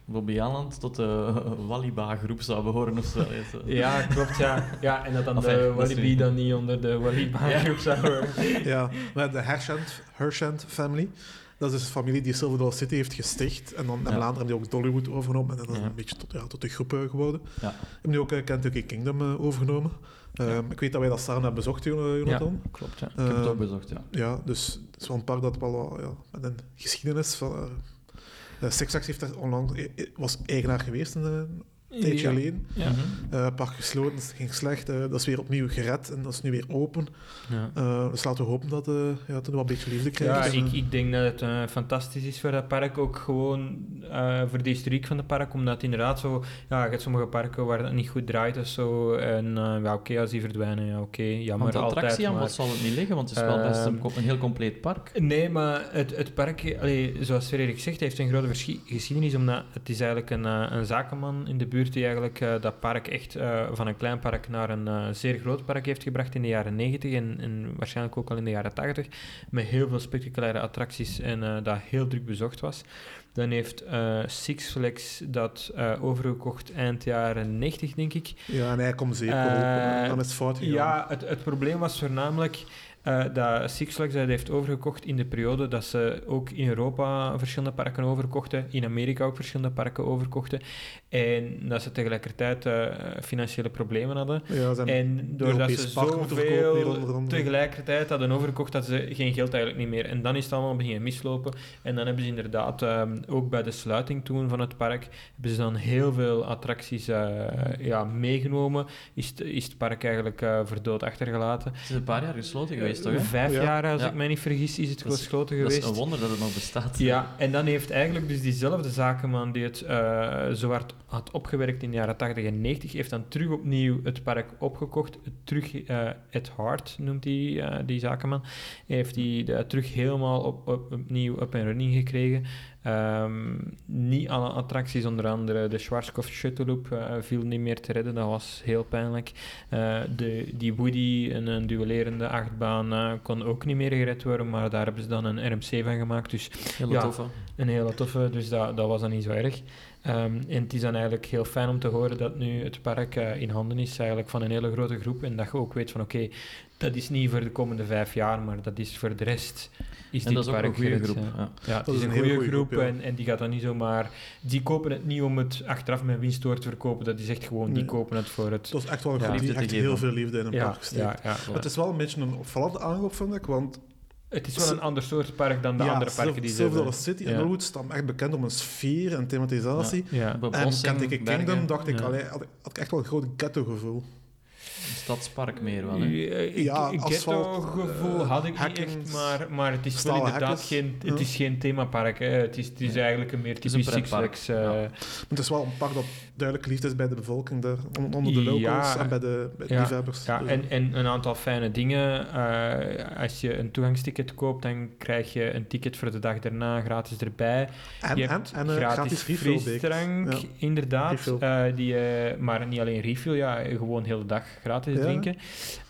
[SPEAKER 3] Bobby Aland tot de Waliba-groep zou behoren of zo. Ja, zo.
[SPEAKER 4] ja, klopt, ja. ja. En dat dan
[SPEAKER 3] Enfin,
[SPEAKER 4] de
[SPEAKER 3] dat is
[SPEAKER 4] Walibi
[SPEAKER 3] weer-
[SPEAKER 4] dan niet onder de Walibi-groep zou worden.
[SPEAKER 2] Ja, maar de Hershend, Hershend family, dat is dus de familie die Silver Dollar City heeft gesticht. En dan
[SPEAKER 3] Ja.
[SPEAKER 2] hebben later hebben die ook Dollywood overgenomen. En dat is
[SPEAKER 3] Ja.
[SPEAKER 2] een beetje tot, ja, tot de groep eh, geworden.
[SPEAKER 3] Ja.
[SPEAKER 2] Hebben nu ook eh, Kentucky Kingdom eh, overgenomen. Ehm, Ik weet dat wij dat samen hebben bezocht, Jon- Jonathan. Ehm,
[SPEAKER 4] Klopt, ja.
[SPEAKER 2] Ja,
[SPEAKER 3] Ik heb het ook bezocht, ja.
[SPEAKER 2] ja dus het is wel een park dat wel wat, ja, met een geschiedenis van... eh, eh, Six Flags heeft daar onlangs, eh, eh, was eigenaar geweest een, eh, een tijdje
[SPEAKER 4] Ja.
[SPEAKER 2] geleden.
[SPEAKER 4] Ja.
[SPEAKER 2] Eh, park gesloten, het ging slecht. eh, dat is weer opnieuw gered en dat is nu weer open.
[SPEAKER 4] Ja.
[SPEAKER 2] Eh, dus laten we hopen dat eh ja, het nog wel een beetje liefde
[SPEAKER 4] Ja,
[SPEAKER 2] krijgt.
[SPEAKER 4] ik, ik denk dat het eh, fantastisch is voor dat park, ook gewoon eh, voor de historiek van het park, omdat het inderdaad zo, ja, je hebt sommige parken waar dat niet goed draait of zo, en eh, ja, oké, als die verdwijnen, ja, oké, jammer,
[SPEAKER 3] Want de
[SPEAKER 4] altijd,
[SPEAKER 3] attractie aan
[SPEAKER 4] maar-
[SPEAKER 3] wat zal het niet liggen, want het is wel best een,
[SPEAKER 4] Ehm,
[SPEAKER 3] co- een heel compleet park.
[SPEAKER 4] Nee, maar het, het park, allee, zoals Frederik zegt, heeft een grote verschi- geschiedenis. Omdat het is eigenlijk een, eh, een zakenman in de buurt die eigenlijk eh, dat park echt eh, van een klein park naar een eh, zeer groot park heeft gebracht in de jaren 90 en, en waarschijnlijk ook al in de jaren 80. Met heel veel spectaculaire attracties en eh, dat heel druk bezocht was. Dan heeft eh, Six Flags dat eh, overgekocht eind jaren 90, denk ik.
[SPEAKER 2] Ja, en hij komt zeker
[SPEAKER 4] Eh,
[SPEAKER 2] Dan is het fout gegaan.
[SPEAKER 4] Ja, het, het probleem was voornamelijk eh, dat Six Flags dat heeft overgekocht in de periode dat ze ook in Europa verschillende parken overkochten, in Amerika ook verschillende parken overkochten, en dat ze tegelijkertijd eh, financiële problemen hadden.
[SPEAKER 2] Ja, zijn,
[SPEAKER 4] En doordat
[SPEAKER 2] Europees
[SPEAKER 4] ze
[SPEAKER 2] park moeten verkopen, hier onder
[SPEAKER 4] zoveel
[SPEAKER 2] andere.
[SPEAKER 4] tegelijkertijd hadden overkocht, dat ze geen geld eigenlijk niet meer. En dan is het allemaal beginnen mislopen. En dan hebben ze inderdaad, ehm, ook bij de sluiting toen van het park, hebben ze dan heel veel attracties eh, ja, meegenomen. Is, het- is het park eigenlijk eh, voor dood achtergelaten. eh,
[SPEAKER 3] Het is een paar jaar gesloten geweest. geweest, toch? hè?
[SPEAKER 4] Vijf
[SPEAKER 2] Ja.
[SPEAKER 4] jaar, als
[SPEAKER 3] Ja.
[SPEAKER 4] ik mij niet vergis, is het
[SPEAKER 3] Dat is-
[SPEAKER 4] gesloten
[SPEAKER 3] Dat
[SPEAKER 4] geweest.
[SPEAKER 3] is een wonder dat het nog bestaat.
[SPEAKER 4] Ja, en dan heeft eigenlijk dus diezelfde zakenman die het eh, zo hard had opgewerkt in de jaren 80 en 90, heeft dan terug opnieuw het park opgekocht. Het Terug eh at heart noemt die, eh, die zakenman. Heeft hij dat terug helemaal op, op- opnieuw up en running gekregen. Ehm, niet alle attracties, onder andere de Schwarzkopf Shutteloop, eh, viel niet meer te redden. Dat was heel pijnlijk. Eh, de, die Woody, een, een duellerende achtbaan, eh, kon ook niet meer gered worden. Maar daar hebben ze dan een RMC van gemaakt. Dus
[SPEAKER 3] Heel
[SPEAKER 4] Ja.
[SPEAKER 3] tof, hè?
[SPEAKER 4] een hele toffe, dus dat, dat was dan niet zo erg. Ehm, en het is dan eigenlijk heel fijn om te horen dat nu het park eh, in handen is eigenlijk van een hele grote groep. En dat je ook weet van oké, dat is niet voor de komende vijf jaar, maar dat is voor de rest. Is
[SPEAKER 3] En
[SPEAKER 4] dit
[SPEAKER 3] dat is ook
[SPEAKER 4] park
[SPEAKER 3] een goede
[SPEAKER 4] gered,
[SPEAKER 3] groep.
[SPEAKER 4] ja.
[SPEAKER 3] Ja.
[SPEAKER 4] Ja, het
[SPEAKER 2] Dat
[SPEAKER 4] is een, goede groep,
[SPEAKER 2] ja.
[SPEAKER 4] en, en die gaat dan niet zomaar... Die kopen het niet om het achteraf met winst door te verkopen. Dat is echt gewoon, die
[SPEAKER 2] Nee.
[SPEAKER 4] kopen het voor het...
[SPEAKER 2] Dat is echt wel een
[SPEAKER 4] Ja,
[SPEAKER 2] groep die
[SPEAKER 3] liefde te
[SPEAKER 2] echt
[SPEAKER 3] geven.
[SPEAKER 2] heel veel liefde in een
[SPEAKER 4] Ja,
[SPEAKER 2] park steekt.
[SPEAKER 4] ja, ja.
[SPEAKER 2] Maar Het is wel een beetje een opvallende aankoop, vind ik, want
[SPEAKER 4] Het is wel een ander soort park dan de
[SPEAKER 2] ja,
[SPEAKER 4] andere parken die ze
[SPEAKER 2] Silver Dollar
[SPEAKER 4] hebben.
[SPEAKER 2] City
[SPEAKER 4] Ja.
[SPEAKER 2] en Norwood staan echt bekend om een sfeer en thematisatie.
[SPEAKER 4] Ja.
[SPEAKER 2] En
[SPEAKER 3] Bebossing,
[SPEAKER 2] Kentucky Kingdom
[SPEAKER 3] bergen,
[SPEAKER 2] dacht ik,
[SPEAKER 4] ja.
[SPEAKER 2] allee, had, ik- had ik echt wel een groot ghetto-gevoel.
[SPEAKER 3] een stadspark meer wel, hè?
[SPEAKER 4] eh,
[SPEAKER 2] Ja,
[SPEAKER 4] ghetto
[SPEAKER 2] asfalt,
[SPEAKER 4] gevoel
[SPEAKER 2] eh,
[SPEAKER 4] had ik
[SPEAKER 2] hacking,
[SPEAKER 4] niet echt, maar, maar het is wel
[SPEAKER 2] stalen
[SPEAKER 4] inderdaad
[SPEAKER 2] hekjes.
[SPEAKER 4] geen, het
[SPEAKER 2] Ja.
[SPEAKER 4] is geen themapark. Hè. Het is, het is
[SPEAKER 3] Nee.
[SPEAKER 4] eigenlijk een meer
[SPEAKER 3] is
[SPEAKER 4] typisch
[SPEAKER 3] een
[SPEAKER 4] Six
[SPEAKER 3] pretpark,
[SPEAKER 4] Flags. eh,
[SPEAKER 3] ja.
[SPEAKER 2] Maar het is wel een park dat duidelijk liefde is bij de bevolking, daar, on- onder de locals
[SPEAKER 4] Ja.
[SPEAKER 2] en bij de, bij de
[SPEAKER 4] Ja,
[SPEAKER 2] liefhebbers.
[SPEAKER 4] ja,
[SPEAKER 2] Dus-
[SPEAKER 4] en, en een aantal fijne dingen. Eh, als je een toegangsticket koopt, dan krijg je een ticket voor de dag daarna gratis erbij.
[SPEAKER 2] en,
[SPEAKER 4] je
[SPEAKER 2] en,
[SPEAKER 4] hebt
[SPEAKER 2] en, eh, gratis refill beker.
[SPEAKER 4] frisdrank,
[SPEAKER 2] Ja.
[SPEAKER 4] inderdaad.
[SPEAKER 2] Refill.
[SPEAKER 4] eh, die, eh, maar niet alleen refill, ja, gewoon heel de dag gratis
[SPEAKER 2] Ja.
[SPEAKER 4] drinken.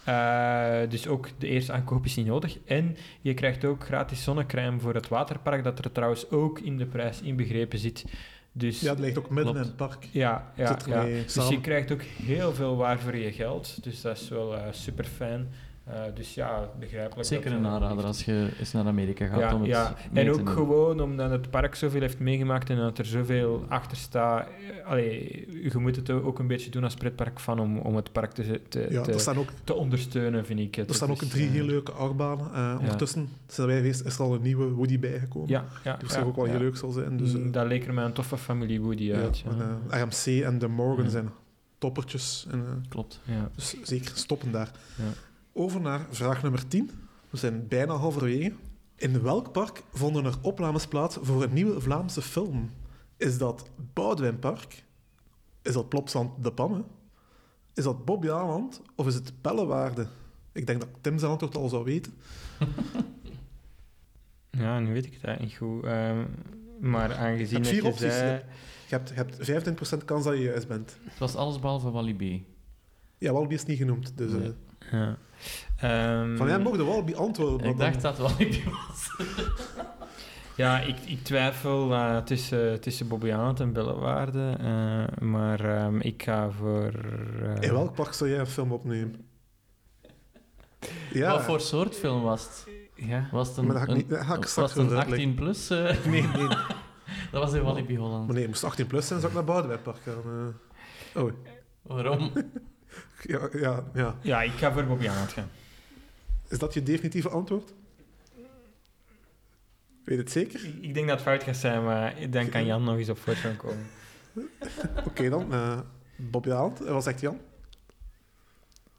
[SPEAKER 4] Eh, dus ook de eerste aankoop is niet nodig. En je krijgt ook gratis zonnecrème voor het waterpark, dat er trouwens ook in de prijs inbegrepen zit. Dus
[SPEAKER 2] Ja,
[SPEAKER 4] ja,
[SPEAKER 2] het ligt ook midden
[SPEAKER 3] Klopt.
[SPEAKER 2] in het park.
[SPEAKER 4] ja, ja,
[SPEAKER 2] Zit ermee
[SPEAKER 4] Dus je
[SPEAKER 2] samen.
[SPEAKER 4] krijgt ook heel veel waar voor je geld. Dus dat is wel super fijn. dus ja, begrijpelijk.
[SPEAKER 3] Zeker
[SPEAKER 4] dat- eh,
[SPEAKER 3] een aanrader als je eens naar Amerika gaat
[SPEAKER 4] ja,
[SPEAKER 3] om het
[SPEAKER 4] ja.
[SPEAKER 3] mee
[SPEAKER 4] En
[SPEAKER 3] te
[SPEAKER 4] ook
[SPEAKER 3] nemen.
[SPEAKER 4] gewoon omdat het park zoveel heeft meegemaakt en dat er zoveel achter staat. eh, Allee, je moet het ook een beetje doen als pretparkfan om, om het eh, park te, te,
[SPEAKER 2] Ja,
[SPEAKER 4] te,
[SPEAKER 2] er staan ook,
[SPEAKER 4] te ondersteunen, vind ik. eh,
[SPEAKER 2] er staan ook drie heel leuke achtbanen. Eh, ondertussen zijn wij geweest, is er al een nieuwe Woody bijgekomen.
[SPEAKER 4] Ja, ja, Mm,
[SPEAKER 2] die waarschijnlijk ook wel heel leuk zal zijn. Dus, eh,
[SPEAKER 4] dat leek er mij een toffe familie Woody
[SPEAKER 2] ja,
[SPEAKER 4] uit. Ja. Mm.
[SPEAKER 2] en, eh, RMC en de Morgan
[SPEAKER 4] Ja.
[SPEAKER 2] zijn toppertjes. En, eh,
[SPEAKER 3] Klopt.
[SPEAKER 4] Ja.
[SPEAKER 2] Dus zeker stoppen daar.
[SPEAKER 4] Ja.
[SPEAKER 2] Over naar vraag nummer 10. We zijn bijna halverwege. In welk park vonden er opnames plaats voor een nieuwe Vlaamse film? Is dat Boudewijnpark? Is dat Plopsand de Pamme? Is dat Bob Jaland? Of is het Pellewaarde? Ik denk dat Tim zijn antwoord al zou weten.
[SPEAKER 4] Ja, nu weet ik het eigenlijk niet goed. ehm, maar aangezien
[SPEAKER 2] Heb
[SPEAKER 4] dat
[SPEAKER 2] vier
[SPEAKER 4] je
[SPEAKER 2] opties,
[SPEAKER 4] zei...
[SPEAKER 2] Je hebt, je hebt 25% kans dat je juist bent.
[SPEAKER 3] Het was alles behalve Walibi.
[SPEAKER 2] Ja, Walby is niet genoemd. Dus, eh,
[SPEAKER 3] Nee.
[SPEAKER 4] Ja. Ehm,
[SPEAKER 2] Van mij mocht de Walby antwoorden. maar
[SPEAKER 3] Ik
[SPEAKER 2] dan-
[SPEAKER 3] dacht dat Walibi was.
[SPEAKER 4] Ja, ik, ik twijfel eh, tussen, tussen Bobbejaanland en Bellewaarde. eh, maar ehm, ik ga voor... eh,
[SPEAKER 2] In welk park zou jij een film opnemen? Ja.
[SPEAKER 3] Wat voor soort film was het?
[SPEAKER 4] Ja.
[SPEAKER 3] Was het een,
[SPEAKER 2] Maar dat ga ik
[SPEAKER 3] een-
[SPEAKER 2] niet- dat ga ik
[SPEAKER 3] was
[SPEAKER 2] straks
[SPEAKER 3] het een
[SPEAKER 2] wel
[SPEAKER 3] 18 plus? eh?
[SPEAKER 2] Nee, nee.
[SPEAKER 3] dat was in Walibi Holland.
[SPEAKER 2] Maar nee, het moest 18 plus zijn, zou ik naar Boudewijnpark gaan. eh. Oh,
[SPEAKER 3] Waarom?
[SPEAKER 2] ja, ja, ja.
[SPEAKER 4] ja, ik ga voor Bobbejaanland gaan.
[SPEAKER 2] Is dat je definitieve antwoord? Weet je het zeker?
[SPEAKER 4] Ik, ik denk dat het fout gaat zijn, maar dan kan Jan nog eens op voorsprong komen.
[SPEAKER 2] Oké dan, eh Bob Jaland. En wat zegt Jan?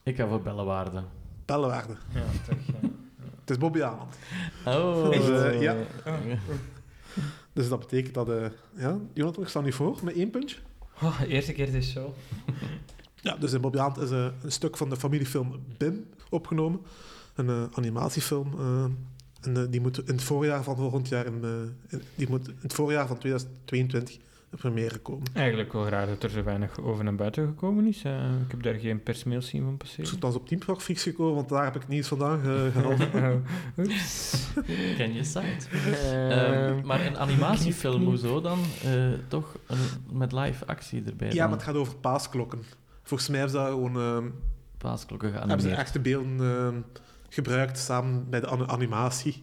[SPEAKER 3] Ik ga voor Bellewaarde.
[SPEAKER 2] Bellenwaarde.
[SPEAKER 4] Ja, toch. ja.
[SPEAKER 2] Het is Bob Jaland.
[SPEAKER 3] Oh.
[SPEAKER 2] Echt? Eh, ja.
[SPEAKER 3] Ja.
[SPEAKER 2] Dus dat betekent dat... eh ja, Jonathan, ik sta nu voor met één puntje.
[SPEAKER 4] Oh, eerste keer dus zo.
[SPEAKER 2] Ja, dus in Bob Jaland is eh, een stuk van de familiefilm Bim opgenomen. Een eh, animatiefilm. eh, en eh, die moet in het voorjaar van volgend jaar... In, eh, in- die moet in het voorjaar van 2022 de première komen.
[SPEAKER 4] Eigenlijk wel raar dat er zo weinig over naar buiten gekomen is. eh, ik heb daar geen persmail zien van
[SPEAKER 2] Ik
[SPEAKER 4] passeren.
[SPEAKER 2] ben op Teampark Freaks gekomen, want daar heb ik nieuws eh, vandaan ge- gehaald.
[SPEAKER 4] Oeps.
[SPEAKER 3] Ken je site?
[SPEAKER 4] Ehm,
[SPEAKER 3] maar een animatiefilm, hoezo dan? Eh, toch een- met live actie erbij.
[SPEAKER 2] ja,
[SPEAKER 3] dan.
[SPEAKER 2] maar het gaat over paasklokken. Volgens mij hebben ze daar gewoon, ehm,
[SPEAKER 3] Paasklokken
[SPEAKER 2] hebben ze
[SPEAKER 3] geanimeerd.
[SPEAKER 2] echte beelden ehm, gebruikt samen bij de an- animatie.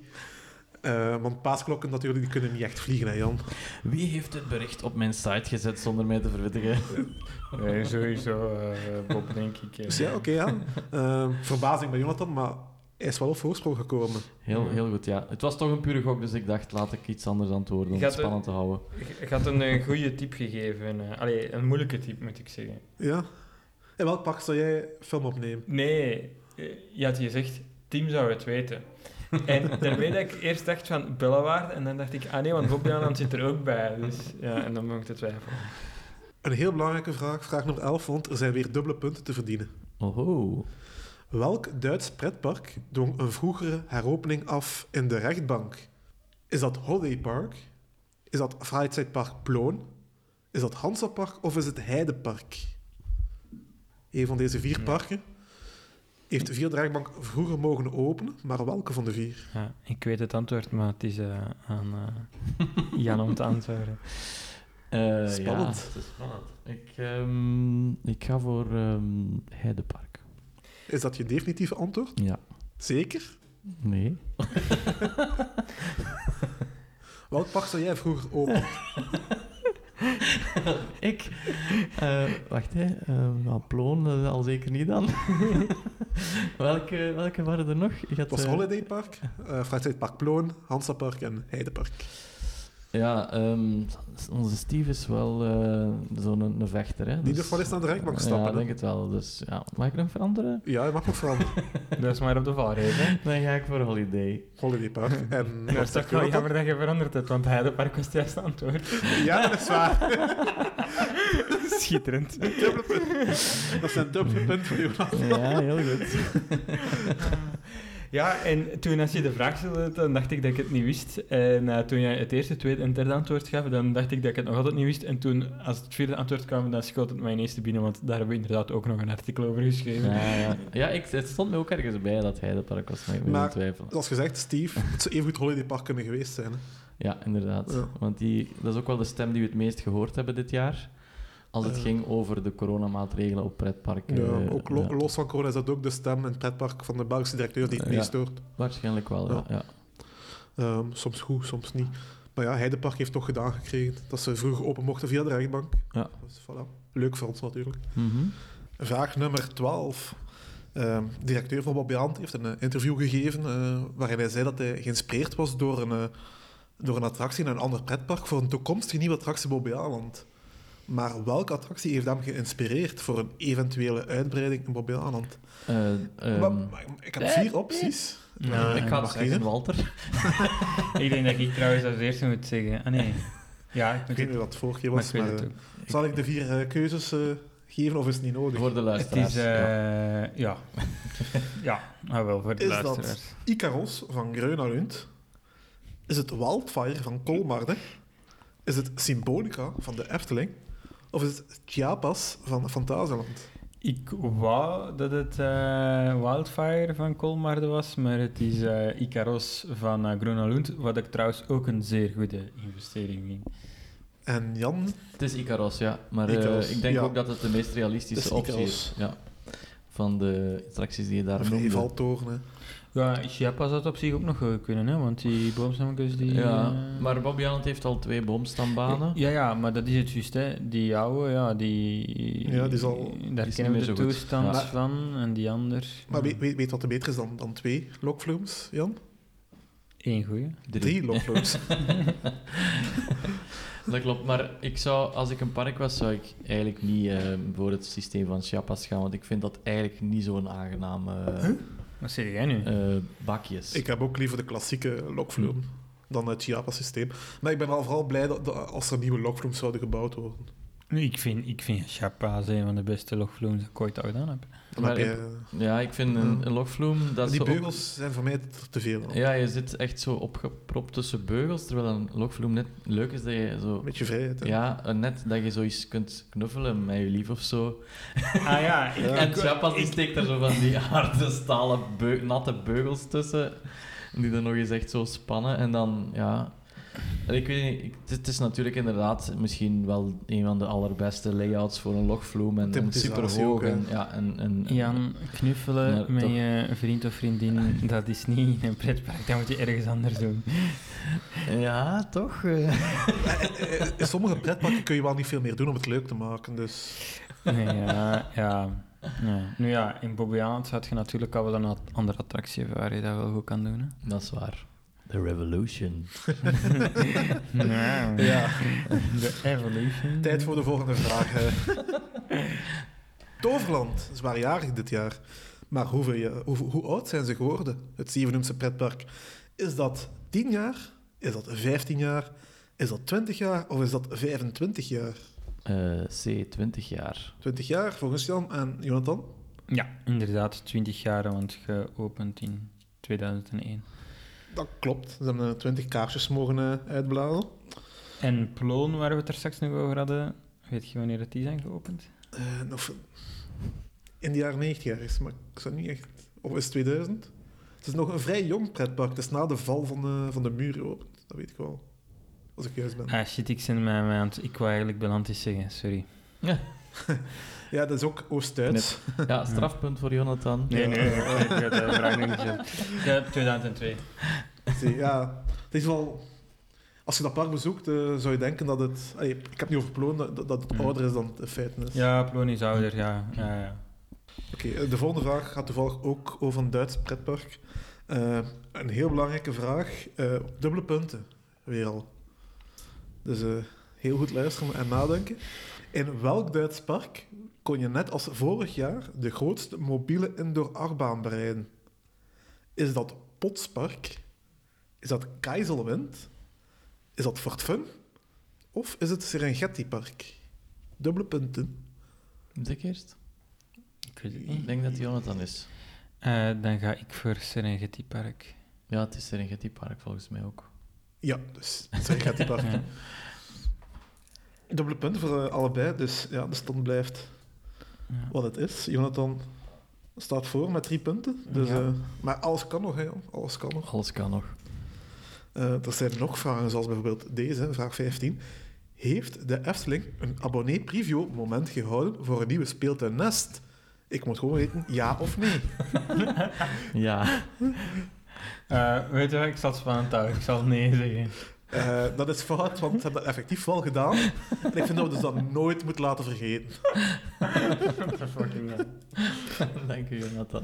[SPEAKER 2] Eh, want paasklokken natuurlijk, die kunnen niet echt vliegen, hè Jan?
[SPEAKER 3] Wie heeft dit bericht op mijn site gezet zonder mij te verwittigen?
[SPEAKER 4] Nee, sowieso, eh, Bob, denk ik. eh.
[SPEAKER 2] Dus ja, oké, ja. Ehm, verbazing bij Jonathan, maar hij is wel op voorsprong gekomen.
[SPEAKER 3] Heel, heel goed, ja. Het was toch een pure gok, dus ik dacht, laat ik iets anders antwoorden om
[SPEAKER 4] Gaat
[SPEAKER 3] het
[SPEAKER 4] er-
[SPEAKER 3] spannend te houden.
[SPEAKER 4] Ik had een eh, goede tip gegeven. eh. allee, een moeilijke tip moet ik zeggen.
[SPEAKER 2] Ja. In welk park zou jij film opnemen?
[SPEAKER 4] Nee, eh, je had gezegd, het Tim zou het weten. En daarmee dat ik eerst dacht van Bellewaard, en dan dacht ik, ah nee, want Bob Janland zit er ook bij. Dus ja, en dan begon ik te twijfelen.
[SPEAKER 2] Een heel belangrijke vraag, vraag nummer 11, want er zijn weer dubbele punten te verdienen.
[SPEAKER 3] Oho.
[SPEAKER 2] Welk Duits pretpark dwong een vroegere heropening af in de rechtbank? Is dat Holiday Park? Is dat Freizeitpark Ploon? Is dat Hansapark of is het Heidepark? Een van deze vier parken heeft vier draagbank vroeger mogen openen, maar welke van de vier?
[SPEAKER 4] Ja, ik weet het antwoord, maar het is eh, aan eh, Jan om te antwoorden.
[SPEAKER 3] Eh,
[SPEAKER 2] Spannend.
[SPEAKER 3] Ja, het is spannend. Ik, ehm, ik ga voor ehm, Heidepark.
[SPEAKER 2] Is dat je definitieve antwoord?
[SPEAKER 3] Ja.
[SPEAKER 2] Zeker?
[SPEAKER 3] Nee.
[SPEAKER 2] Welk park zou jij vroeger openen?
[SPEAKER 3] Ik? Eh, wacht, hè. Eh, nou, Ploon eh, al zeker niet dan. welke, welke waren er nog? Ik had,
[SPEAKER 2] Het was
[SPEAKER 3] eh,
[SPEAKER 2] Holiday Park, eh Freizeitpark Ploon, Hansapark en Heidepark.
[SPEAKER 3] Ja, ehm, onze Steve is wel eh, zo'n een vechter. Hè? dus-
[SPEAKER 2] Die durft wel eens naar de rechtbank te
[SPEAKER 3] Ja,
[SPEAKER 2] stappen,
[SPEAKER 3] ik
[SPEAKER 2] hè?
[SPEAKER 3] denk het wel. Dus, ja. Mag ik nog veranderen?
[SPEAKER 2] Ja, je mag nog veranderen.
[SPEAKER 4] Dat is maar op de valreep, hè.
[SPEAKER 3] Dan ga ik voor Holiday.
[SPEAKER 2] Holiday Park. En
[SPEAKER 4] Dat is toch wel jammer dat je veranderd hebt, want Heidepark was het juiste antwoord.
[SPEAKER 2] Ja, dat is waar.
[SPEAKER 4] Schitterend.
[SPEAKER 2] Dubbele punt. Dat is een dubbele punt voor Jonas.
[SPEAKER 3] Ja, heel goed.
[SPEAKER 4] Ja, en toen als je de vraag stelde, dan dacht ik dat ik het niet wist. En eh, toen jij het eerste, tweede en derde antwoord gaf, dan dacht ik dat ik het nog altijd niet wist. En toen, als het vierde antwoord kwam, dan schoot het mij ineens te binnen, want daar hebben we inderdaad ook nog een artikel over geschreven.
[SPEAKER 3] Ja, ja. ja ik, het stond me ook ergens bij dat hij de park was, maar ik ben
[SPEAKER 2] Maar-
[SPEAKER 3] in twijfel.
[SPEAKER 2] Zoals gezegd, Steve, het zou even goed Holiday Park kunnen geweest zijn. hè.
[SPEAKER 3] Ja, inderdaad.
[SPEAKER 2] Ja.
[SPEAKER 3] Want die, dat is ook wel de stem die we het meest gehoord hebben dit jaar. Als het
[SPEAKER 2] Eh.
[SPEAKER 3] ging over de coronamaatregelen op pretparken.
[SPEAKER 2] Ja,
[SPEAKER 3] Eh,
[SPEAKER 2] ook lo-
[SPEAKER 3] ja.
[SPEAKER 2] los van corona is dat ook de stem en het pretpark van de Belgische directeur die het
[SPEAKER 3] Ja.
[SPEAKER 2] niet stoort.
[SPEAKER 3] Waarschijnlijk wel, ja. ja.
[SPEAKER 2] Ehm, soms goed, soms niet. Maar ja, Heidepark heeft toch gedaan gekregen dat ze vroeger open mochten via de rechtbank.
[SPEAKER 3] Ja.
[SPEAKER 2] Dus voilà. Leuk voor ons natuurlijk.
[SPEAKER 3] Mhm.
[SPEAKER 2] Vraag nummer 12. Ehm, de directeur van Bobby Hand heeft een eh, interview gegeven eh, waarin hij zei dat hij geïnspireerd was door een, eh, door een attractie in een ander pretpark voor een toekomstige nieuwe attractie Bobby Aland. Maar welke attractie heeft hem geïnspireerd voor een eventuele uitbreiding in Bobby Aland?
[SPEAKER 3] Eh,
[SPEAKER 2] Maar-
[SPEAKER 3] ehm,
[SPEAKER 2] maar ik
[SPEAKER 4] Eh,
[SPEAKER 2] heb vier opties. Eh,
[SPEAKER 4] Nou,
[SPEAKER 3] ik ga het
[SPEAKER 2] mag
[SPEAKER 3] zeggen,
[SPEAKER 2] kiezen.
[SPEAKER 3] Walter.
[SPEAKER 4] Ik denk dat ik trouwens als eerste moet zeggen. Ah nee. Ja, ik
[SPEAKER 2] Ik
[SPEAKER 4] moet
[SPEAKER 2] weet
[SPEAKER 4] het,
[SPEAKER 2] niet wat het vorige keer
[SPEAKER 4] maar ik
[SPEAKER 2] was,
[SPEAKER 4] weet
[SPEAKER 2] maar,
[SPEAKER 4] het
[SPEAKER 2] eh,
[SPEAKER 4] ook.
[SPEAKER 2] zal ik de vier eh, keuzes eh, geven of is het niet nodig?
[SPEAKER 3] Voor de
[SPEAKER 4] Het
[SPEAKER 3] luisteraars.
[SPEAKER 4] is, eh, ja. Ja, nou wel, voor de
[SPEAKER 2] Is dat-
[SPEAKER 4] luisteraars.
[SPEAKER 2] Icaros van Gröna Lund? Is het Wildfire van Kolmarden? Is het Symbolica van de Efteling? Of is het Chiapas van Fantasieland?
[SPEAKER 4] Ik wou dat het eh, Wildfire van Kolmarden was, maar het is eh, Icaros van eh, Groena Lund, wat ik trouwens ook een zeer goede investering vind.
[SPEAKER 2] En Jan,
[SPEAKER 3] Het is Icaros, ja. Maar eh,
[SPEAKER 2] Icaros,
[SPEAKER 3] ik denk
[SPEAKER 2] ja.
[SPEAKER 3] ook dat het de meest realistische
[SPEAKER 2] Het is
[SPEAKER 3] optie is. Ja. Van de attracties die je daar
[SPEAKER 2] van
[SPEAKER 3] noemde.
[SPEAKER 2] Valtoren.
[SPEAKER 4] Ja, Chiapas had op zich ook nog eh, kunnen, hè, want die boomstammetjes die...
[SPEAKER 3] Ja,
[SPEAKER 4] eh,
[SPEAKER 3] maar Bobby Alland heeft al twee boomstambanen.
[SPEAKER 4] Ja, ja, maar dat is het juist, hè. Die oude, ja, die...
[SPEAKER 2] Ja, die is al-
[SPEAKER 4] Daar
[SPEAKER 3] is
[SPEAKER 4] kennen we
[SPEAKER 3] niet
[SPEAKER 4] de
[SPEAKER 3] meer zo goed.
[SPEAKER 4] toestand
[SPEAKER 3] Ja.
[SPEAKER 4] van, en die ander...
[SPEAKER 2] Maar
[SPEAKER 3] Hmm.
[SPEAKER 2] weet, weet, weet wat er beter is dan, dan twee lokvloems, Jan?
[SPEAKER 4] Eén goeie.
[SPEAKER 2] Drie, lokvloems.
[SPEAKER 3] Dat klopt, maar ik zou, als ik een park was, zou ik eigenlijk niet eh, voor het systeem van Chiapas gaan, want ik vind dat eigenlijk niet zo'n aangename
[SPEAKER 4] Wat zeg jij nu?
[SPEAKER 3] eh, bakjes.
[SPEAKER 2] ik heb ook liever de klassieke lokvloem
[SPEAKER 3] Hmm.
[SPEAKER 2] dan het Chiapas-systeem. Maar ik ben al vooral blij dat, dat als er nieuwe lokvloems zouden gebouwd worden.
[SPEAKER 4] Nu, ik vind, ik vind Chiapas een van de beste logvloems die ik ooit gedaan heb.
[SPEAKER 2] Dan
[SPEAKER 3] Maar
[SPEAKER 2] heb eh,
[SPEAKER 3] ik-
[SPEAKER 2] je-
[SPEAKER 3] Ja, ik vind een, een logvloem... Dat
[SPEAKER 2] Hmm. die
[SPEAKER 3] zo op-
[SPEAKER 2] beugels zijn voor mij te- te veel.
[SPEAKER 3] ja, je zit echt zo opgepropt tussen beugels, terwijl een logvloem net leuk is dat je zo...
[SPEAKER 2] Een beetje vrijheid. hè.
[SPEAKER 3] Ja, eh, net dat je zoiets kunt knuffelen met je lief of zo.
[SPEAKER 4] Ah ja, ik,
[SPEAKER 3] en
[SPEAKER 4] ik-
[SPEAKER 3] Chiapas die
[SPEAKER 4] ik-
[SPEAKER 3] steekt er zo van die harde stalen beu- natte beugels tussen. Die dan nog eens echt zo spannen. En dan, ja. En Ik weet niet, ik- het is natuurlijk inderdaad misschien wel een van de allerbeste layouts voor een logvloem. En, en
[SPEAKER 2] Thematisatie ook,
[SPEAKER 3] superhoog.
[SPEAKER 2] hè.
[SPEAKER 3] En, ja, en, en, en-
[SPEAKER 4] Jan, knuffelen
[SPEAKER 3] Maar
[SPEAKER 4] met
[SPEAKER 3] toch.
[SPEAKER 4] je vriend of vriendin, dat is niet in een pretpark. Dat moet je ergens anders doen.
[SPEAKER 3] Ja, toch? eh.
[SPEAKER 2] Eh, In sommige pretparken kun je wel niet veel meer doen om het leuk te maken. Dus
[SPEAKER 4] Nee, ja, ja, ja. Nu ja, in Bobbejaanland had je natuurlijk al wel een at- andere attractie hebben waar je dat wel goed kan doen. Hè?
[SPEAKER 3] Dat is waar. The Revolution.
[SPEAKER 4] Ja.
[SPEAKER 2] ja,
[SPEAKER 4] De Evolution.
[SPEAKER 2] tijd voor de volgende vraag. hè. Toverland is waarjarig dit jaar. Maar hoeveel, je- hoe, hoe oud zijn ze geworden, het Zevenumse pretpark? Is dat 10 jaar? Is dat 15 jaar? Is dat 20 jaar? Of is dat 25 jaar?
[SPEAKER 3] Eh, C, 20 jaar.
[SPEAKER 2] 20 jaar volgens Jan en Jonathan?
[SPEAKER 4] Ja, inderdaad, 20 jaar, want geopend in 2001.
[SPEAKER 2] Dat klopt. Ze hebben eh, 20 kaarsjes mogen eh, uitblazen.
[SPEAKER 4] En Ploon, waar we het er straks nog over hadden, weet je wanneer dat die zijn geopend?
[SPEAKER 2] Eh, of in de jaren 90 ergens, maar ik zou niet echt... Of is het 2000? Het is nog een vrij jong pretpark. Het is na de val van de, van de muur geopend. Dat weet ik wel. Als ik juist ben.
[SPEAKER 4] Ah shit, ik zit mij aan het- Ik wou eigenlijk Belantis zeggen, sorry.
[SPEAKER 2] Ja, dat is ook Oost-Duits.
[SPEAKER 3] Ja, strafpunt voor Jonathan.
[SPEAKER 4] Nee, nee, nee, ik had de vraag nog niet gesteld. Ja, 2002.
[SPEAKER 2] Zie, Ja, het is wel... Als je dat park bezoekt, eh, zou je denken dat het... allee, ik heb het niet over Ploen, dat, dat het
[SPEAKER 4] Mm.
[SPEAKER 2] ouder is dan het in feite is.
[SPEAKER 4] Ja, Ploon is ouder, ja. ja, ja.
[SPEAKER 2] Oké, eh, de volgende vraag gaat toevallig ook over een Duits pretpark. Eh, een heel belangrijke vraag. eh, dubbele punten, weer al. Dus eh, heel goed luisteren en nadenken. In welk Duits park kon je net als vorig jaar de grootste mobiele indoor achtbaan bereiden? Is dat Potspark? Is dat Keizelwind? Is dat Fort Fun? Of is het Serengeti Park? Dubbele punten.
[SPEAKER 3] De eerst?
[SPEAKER 4] Ik weet het
[SPEAKER 3] Ik
[SPEAKER 4] niet.
[SPEAKER 3] denk dat het Jonathan is.
[SPEAKER 4] Eh, dan ga ik voor Serengeti Park.
[SPEAKER 3] Ja, het is Serengeti Park volgens mij ook.
[SPEAKER 2] Ja, dus Serengeti Park.
[SPEAKER 4] Ja.
[SPEAKER 2] Dubbele punten voor eh, allebei, dus ja, de stand blijft
[SPEAKER 4] Ja.
[SPEAKER 2] wat het is. Jonathan staat voor met drie punten. Dus,
[SPEAKER 4] Ja.
[SPEAKER 2] eh, maar alles kan nog, hè, jong. alles kan nog.
[SPEAKER 3] Alles kan nog.
[SPEAKER 2] Eh, er zijn nog vragen, zoals bijvoorbeeld deze, hè, vraag 15. Heeft de Efteling een abonnee-preview-moment gehouden voor een nieuwe speeltuin Nest? Ik moet gewoon weten, ja of nee.
[SPEAKER 3] Ja,
[SPEAKER 4] Eh, weet je wat, ik zal het spannend houden. Ik zal nee zeggen.
[SPEAKER 2] Eh, dat is fout, want ze hebben dat effectief wel gedaan. En ik vind dat we dus dat nooit moeten laten vergeten.
[SPEAKER 3] dank u Jonathan.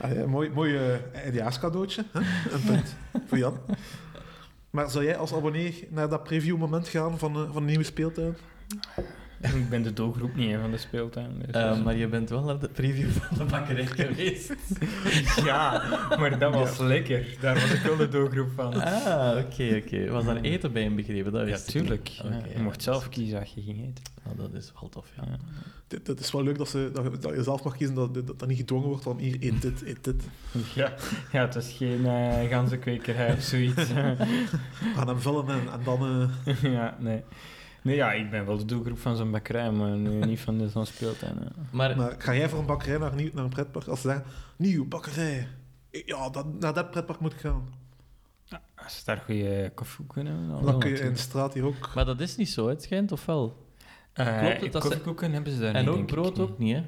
[SPEAKER 2] Ah, ja, mooi mooi eh, eindejaarscadeautje. Hè? Een punt voor Jan. Maar zou jij als abonnee naar dat preview-moment gaan van, eh, van een nieuwe speeltuin?
[SPEAKER 4] Ik ben de doelgroep niet hè, van de speeltuin. dus-
[SPEAKER 3] Eh, maar je bent wel naar de preview van de bakkerij geweest.
[SPEAKER 4] Ja, maar dat was lekker. Daar was ik wel de doelgroep van.
[SPEAKER 3] Ah, oké, oké. Was daar eten bij inbegrepen? Dat
[SPEAKER 4] Ja,
[SPEAKER 3] wist ik
[SPEAKER 4] tuurlijk.
[SPEAKER 3] niet.
[SPEAKER 4] Ja,
[SPEAKER 3] Oké,
[SPEAKER 4] je
[SPEAKER 3] ja,
[SPEAKER 4] mocht
[SPEAKER 3] dat
[SPEAKER 4] zelf
[SPEAKER 3] is-
[SPEAKER 4] kiezen wat je ging eten.
[SPEAKER 3] Ah, dat is wel tof, ja.
[SPEAKER 4] Ja.
[SPEAKER 2] Dit- Dat is wel leuk dat, ze, dat, je- dat je zelf mag kiezen, dat dat, dat niet gedwongen wordt van hier, eet dit, eet dit.
[SPEAKER 4] Ja, ja het was geen eh ganzenkwekerij of zoiets.
[SPEAKER 2] Gaan hem vullen en, en dan... eh,
[SPEAKER 4] ja, nee. Nee, ja, ik ben wel de doelgroep van zo'n bakkerij, maar nu niet van de- zo'n speeltuin. hè.
[SPEAKER 3] Maar,
[SPEAKER 2] Maar ga jij voor een bakkerij naar, een nieuw- naar een pretpark? Als ze zeggen, nieuw bakkerij. Ik- Ja, dat, naar dat pretpark moet ik gaan.
[SPEAKER 4] Als ze daar goede koffie kunnen hebben,
[SPEAKER 2] Dan kun je in de straat hier ook...
[SPEAKER 3] maar dat is niet zo, hè, het schijnt, of wel? klopt het
[SPEAKER 4] klopt het
[SPEAKER 3] dat Eh, ze-
[SPEAKER 4] koffiekoeken hebben ze daar
[SPEAKER 3] en
[SPEAKER 4] niet,
[SPEAKER 3] ook
[SPEAKER 4] denk ik
[SPEAKER 3] brood
[SPEAKER 4] niet.
[SPEAKER 3] ook niet, hè?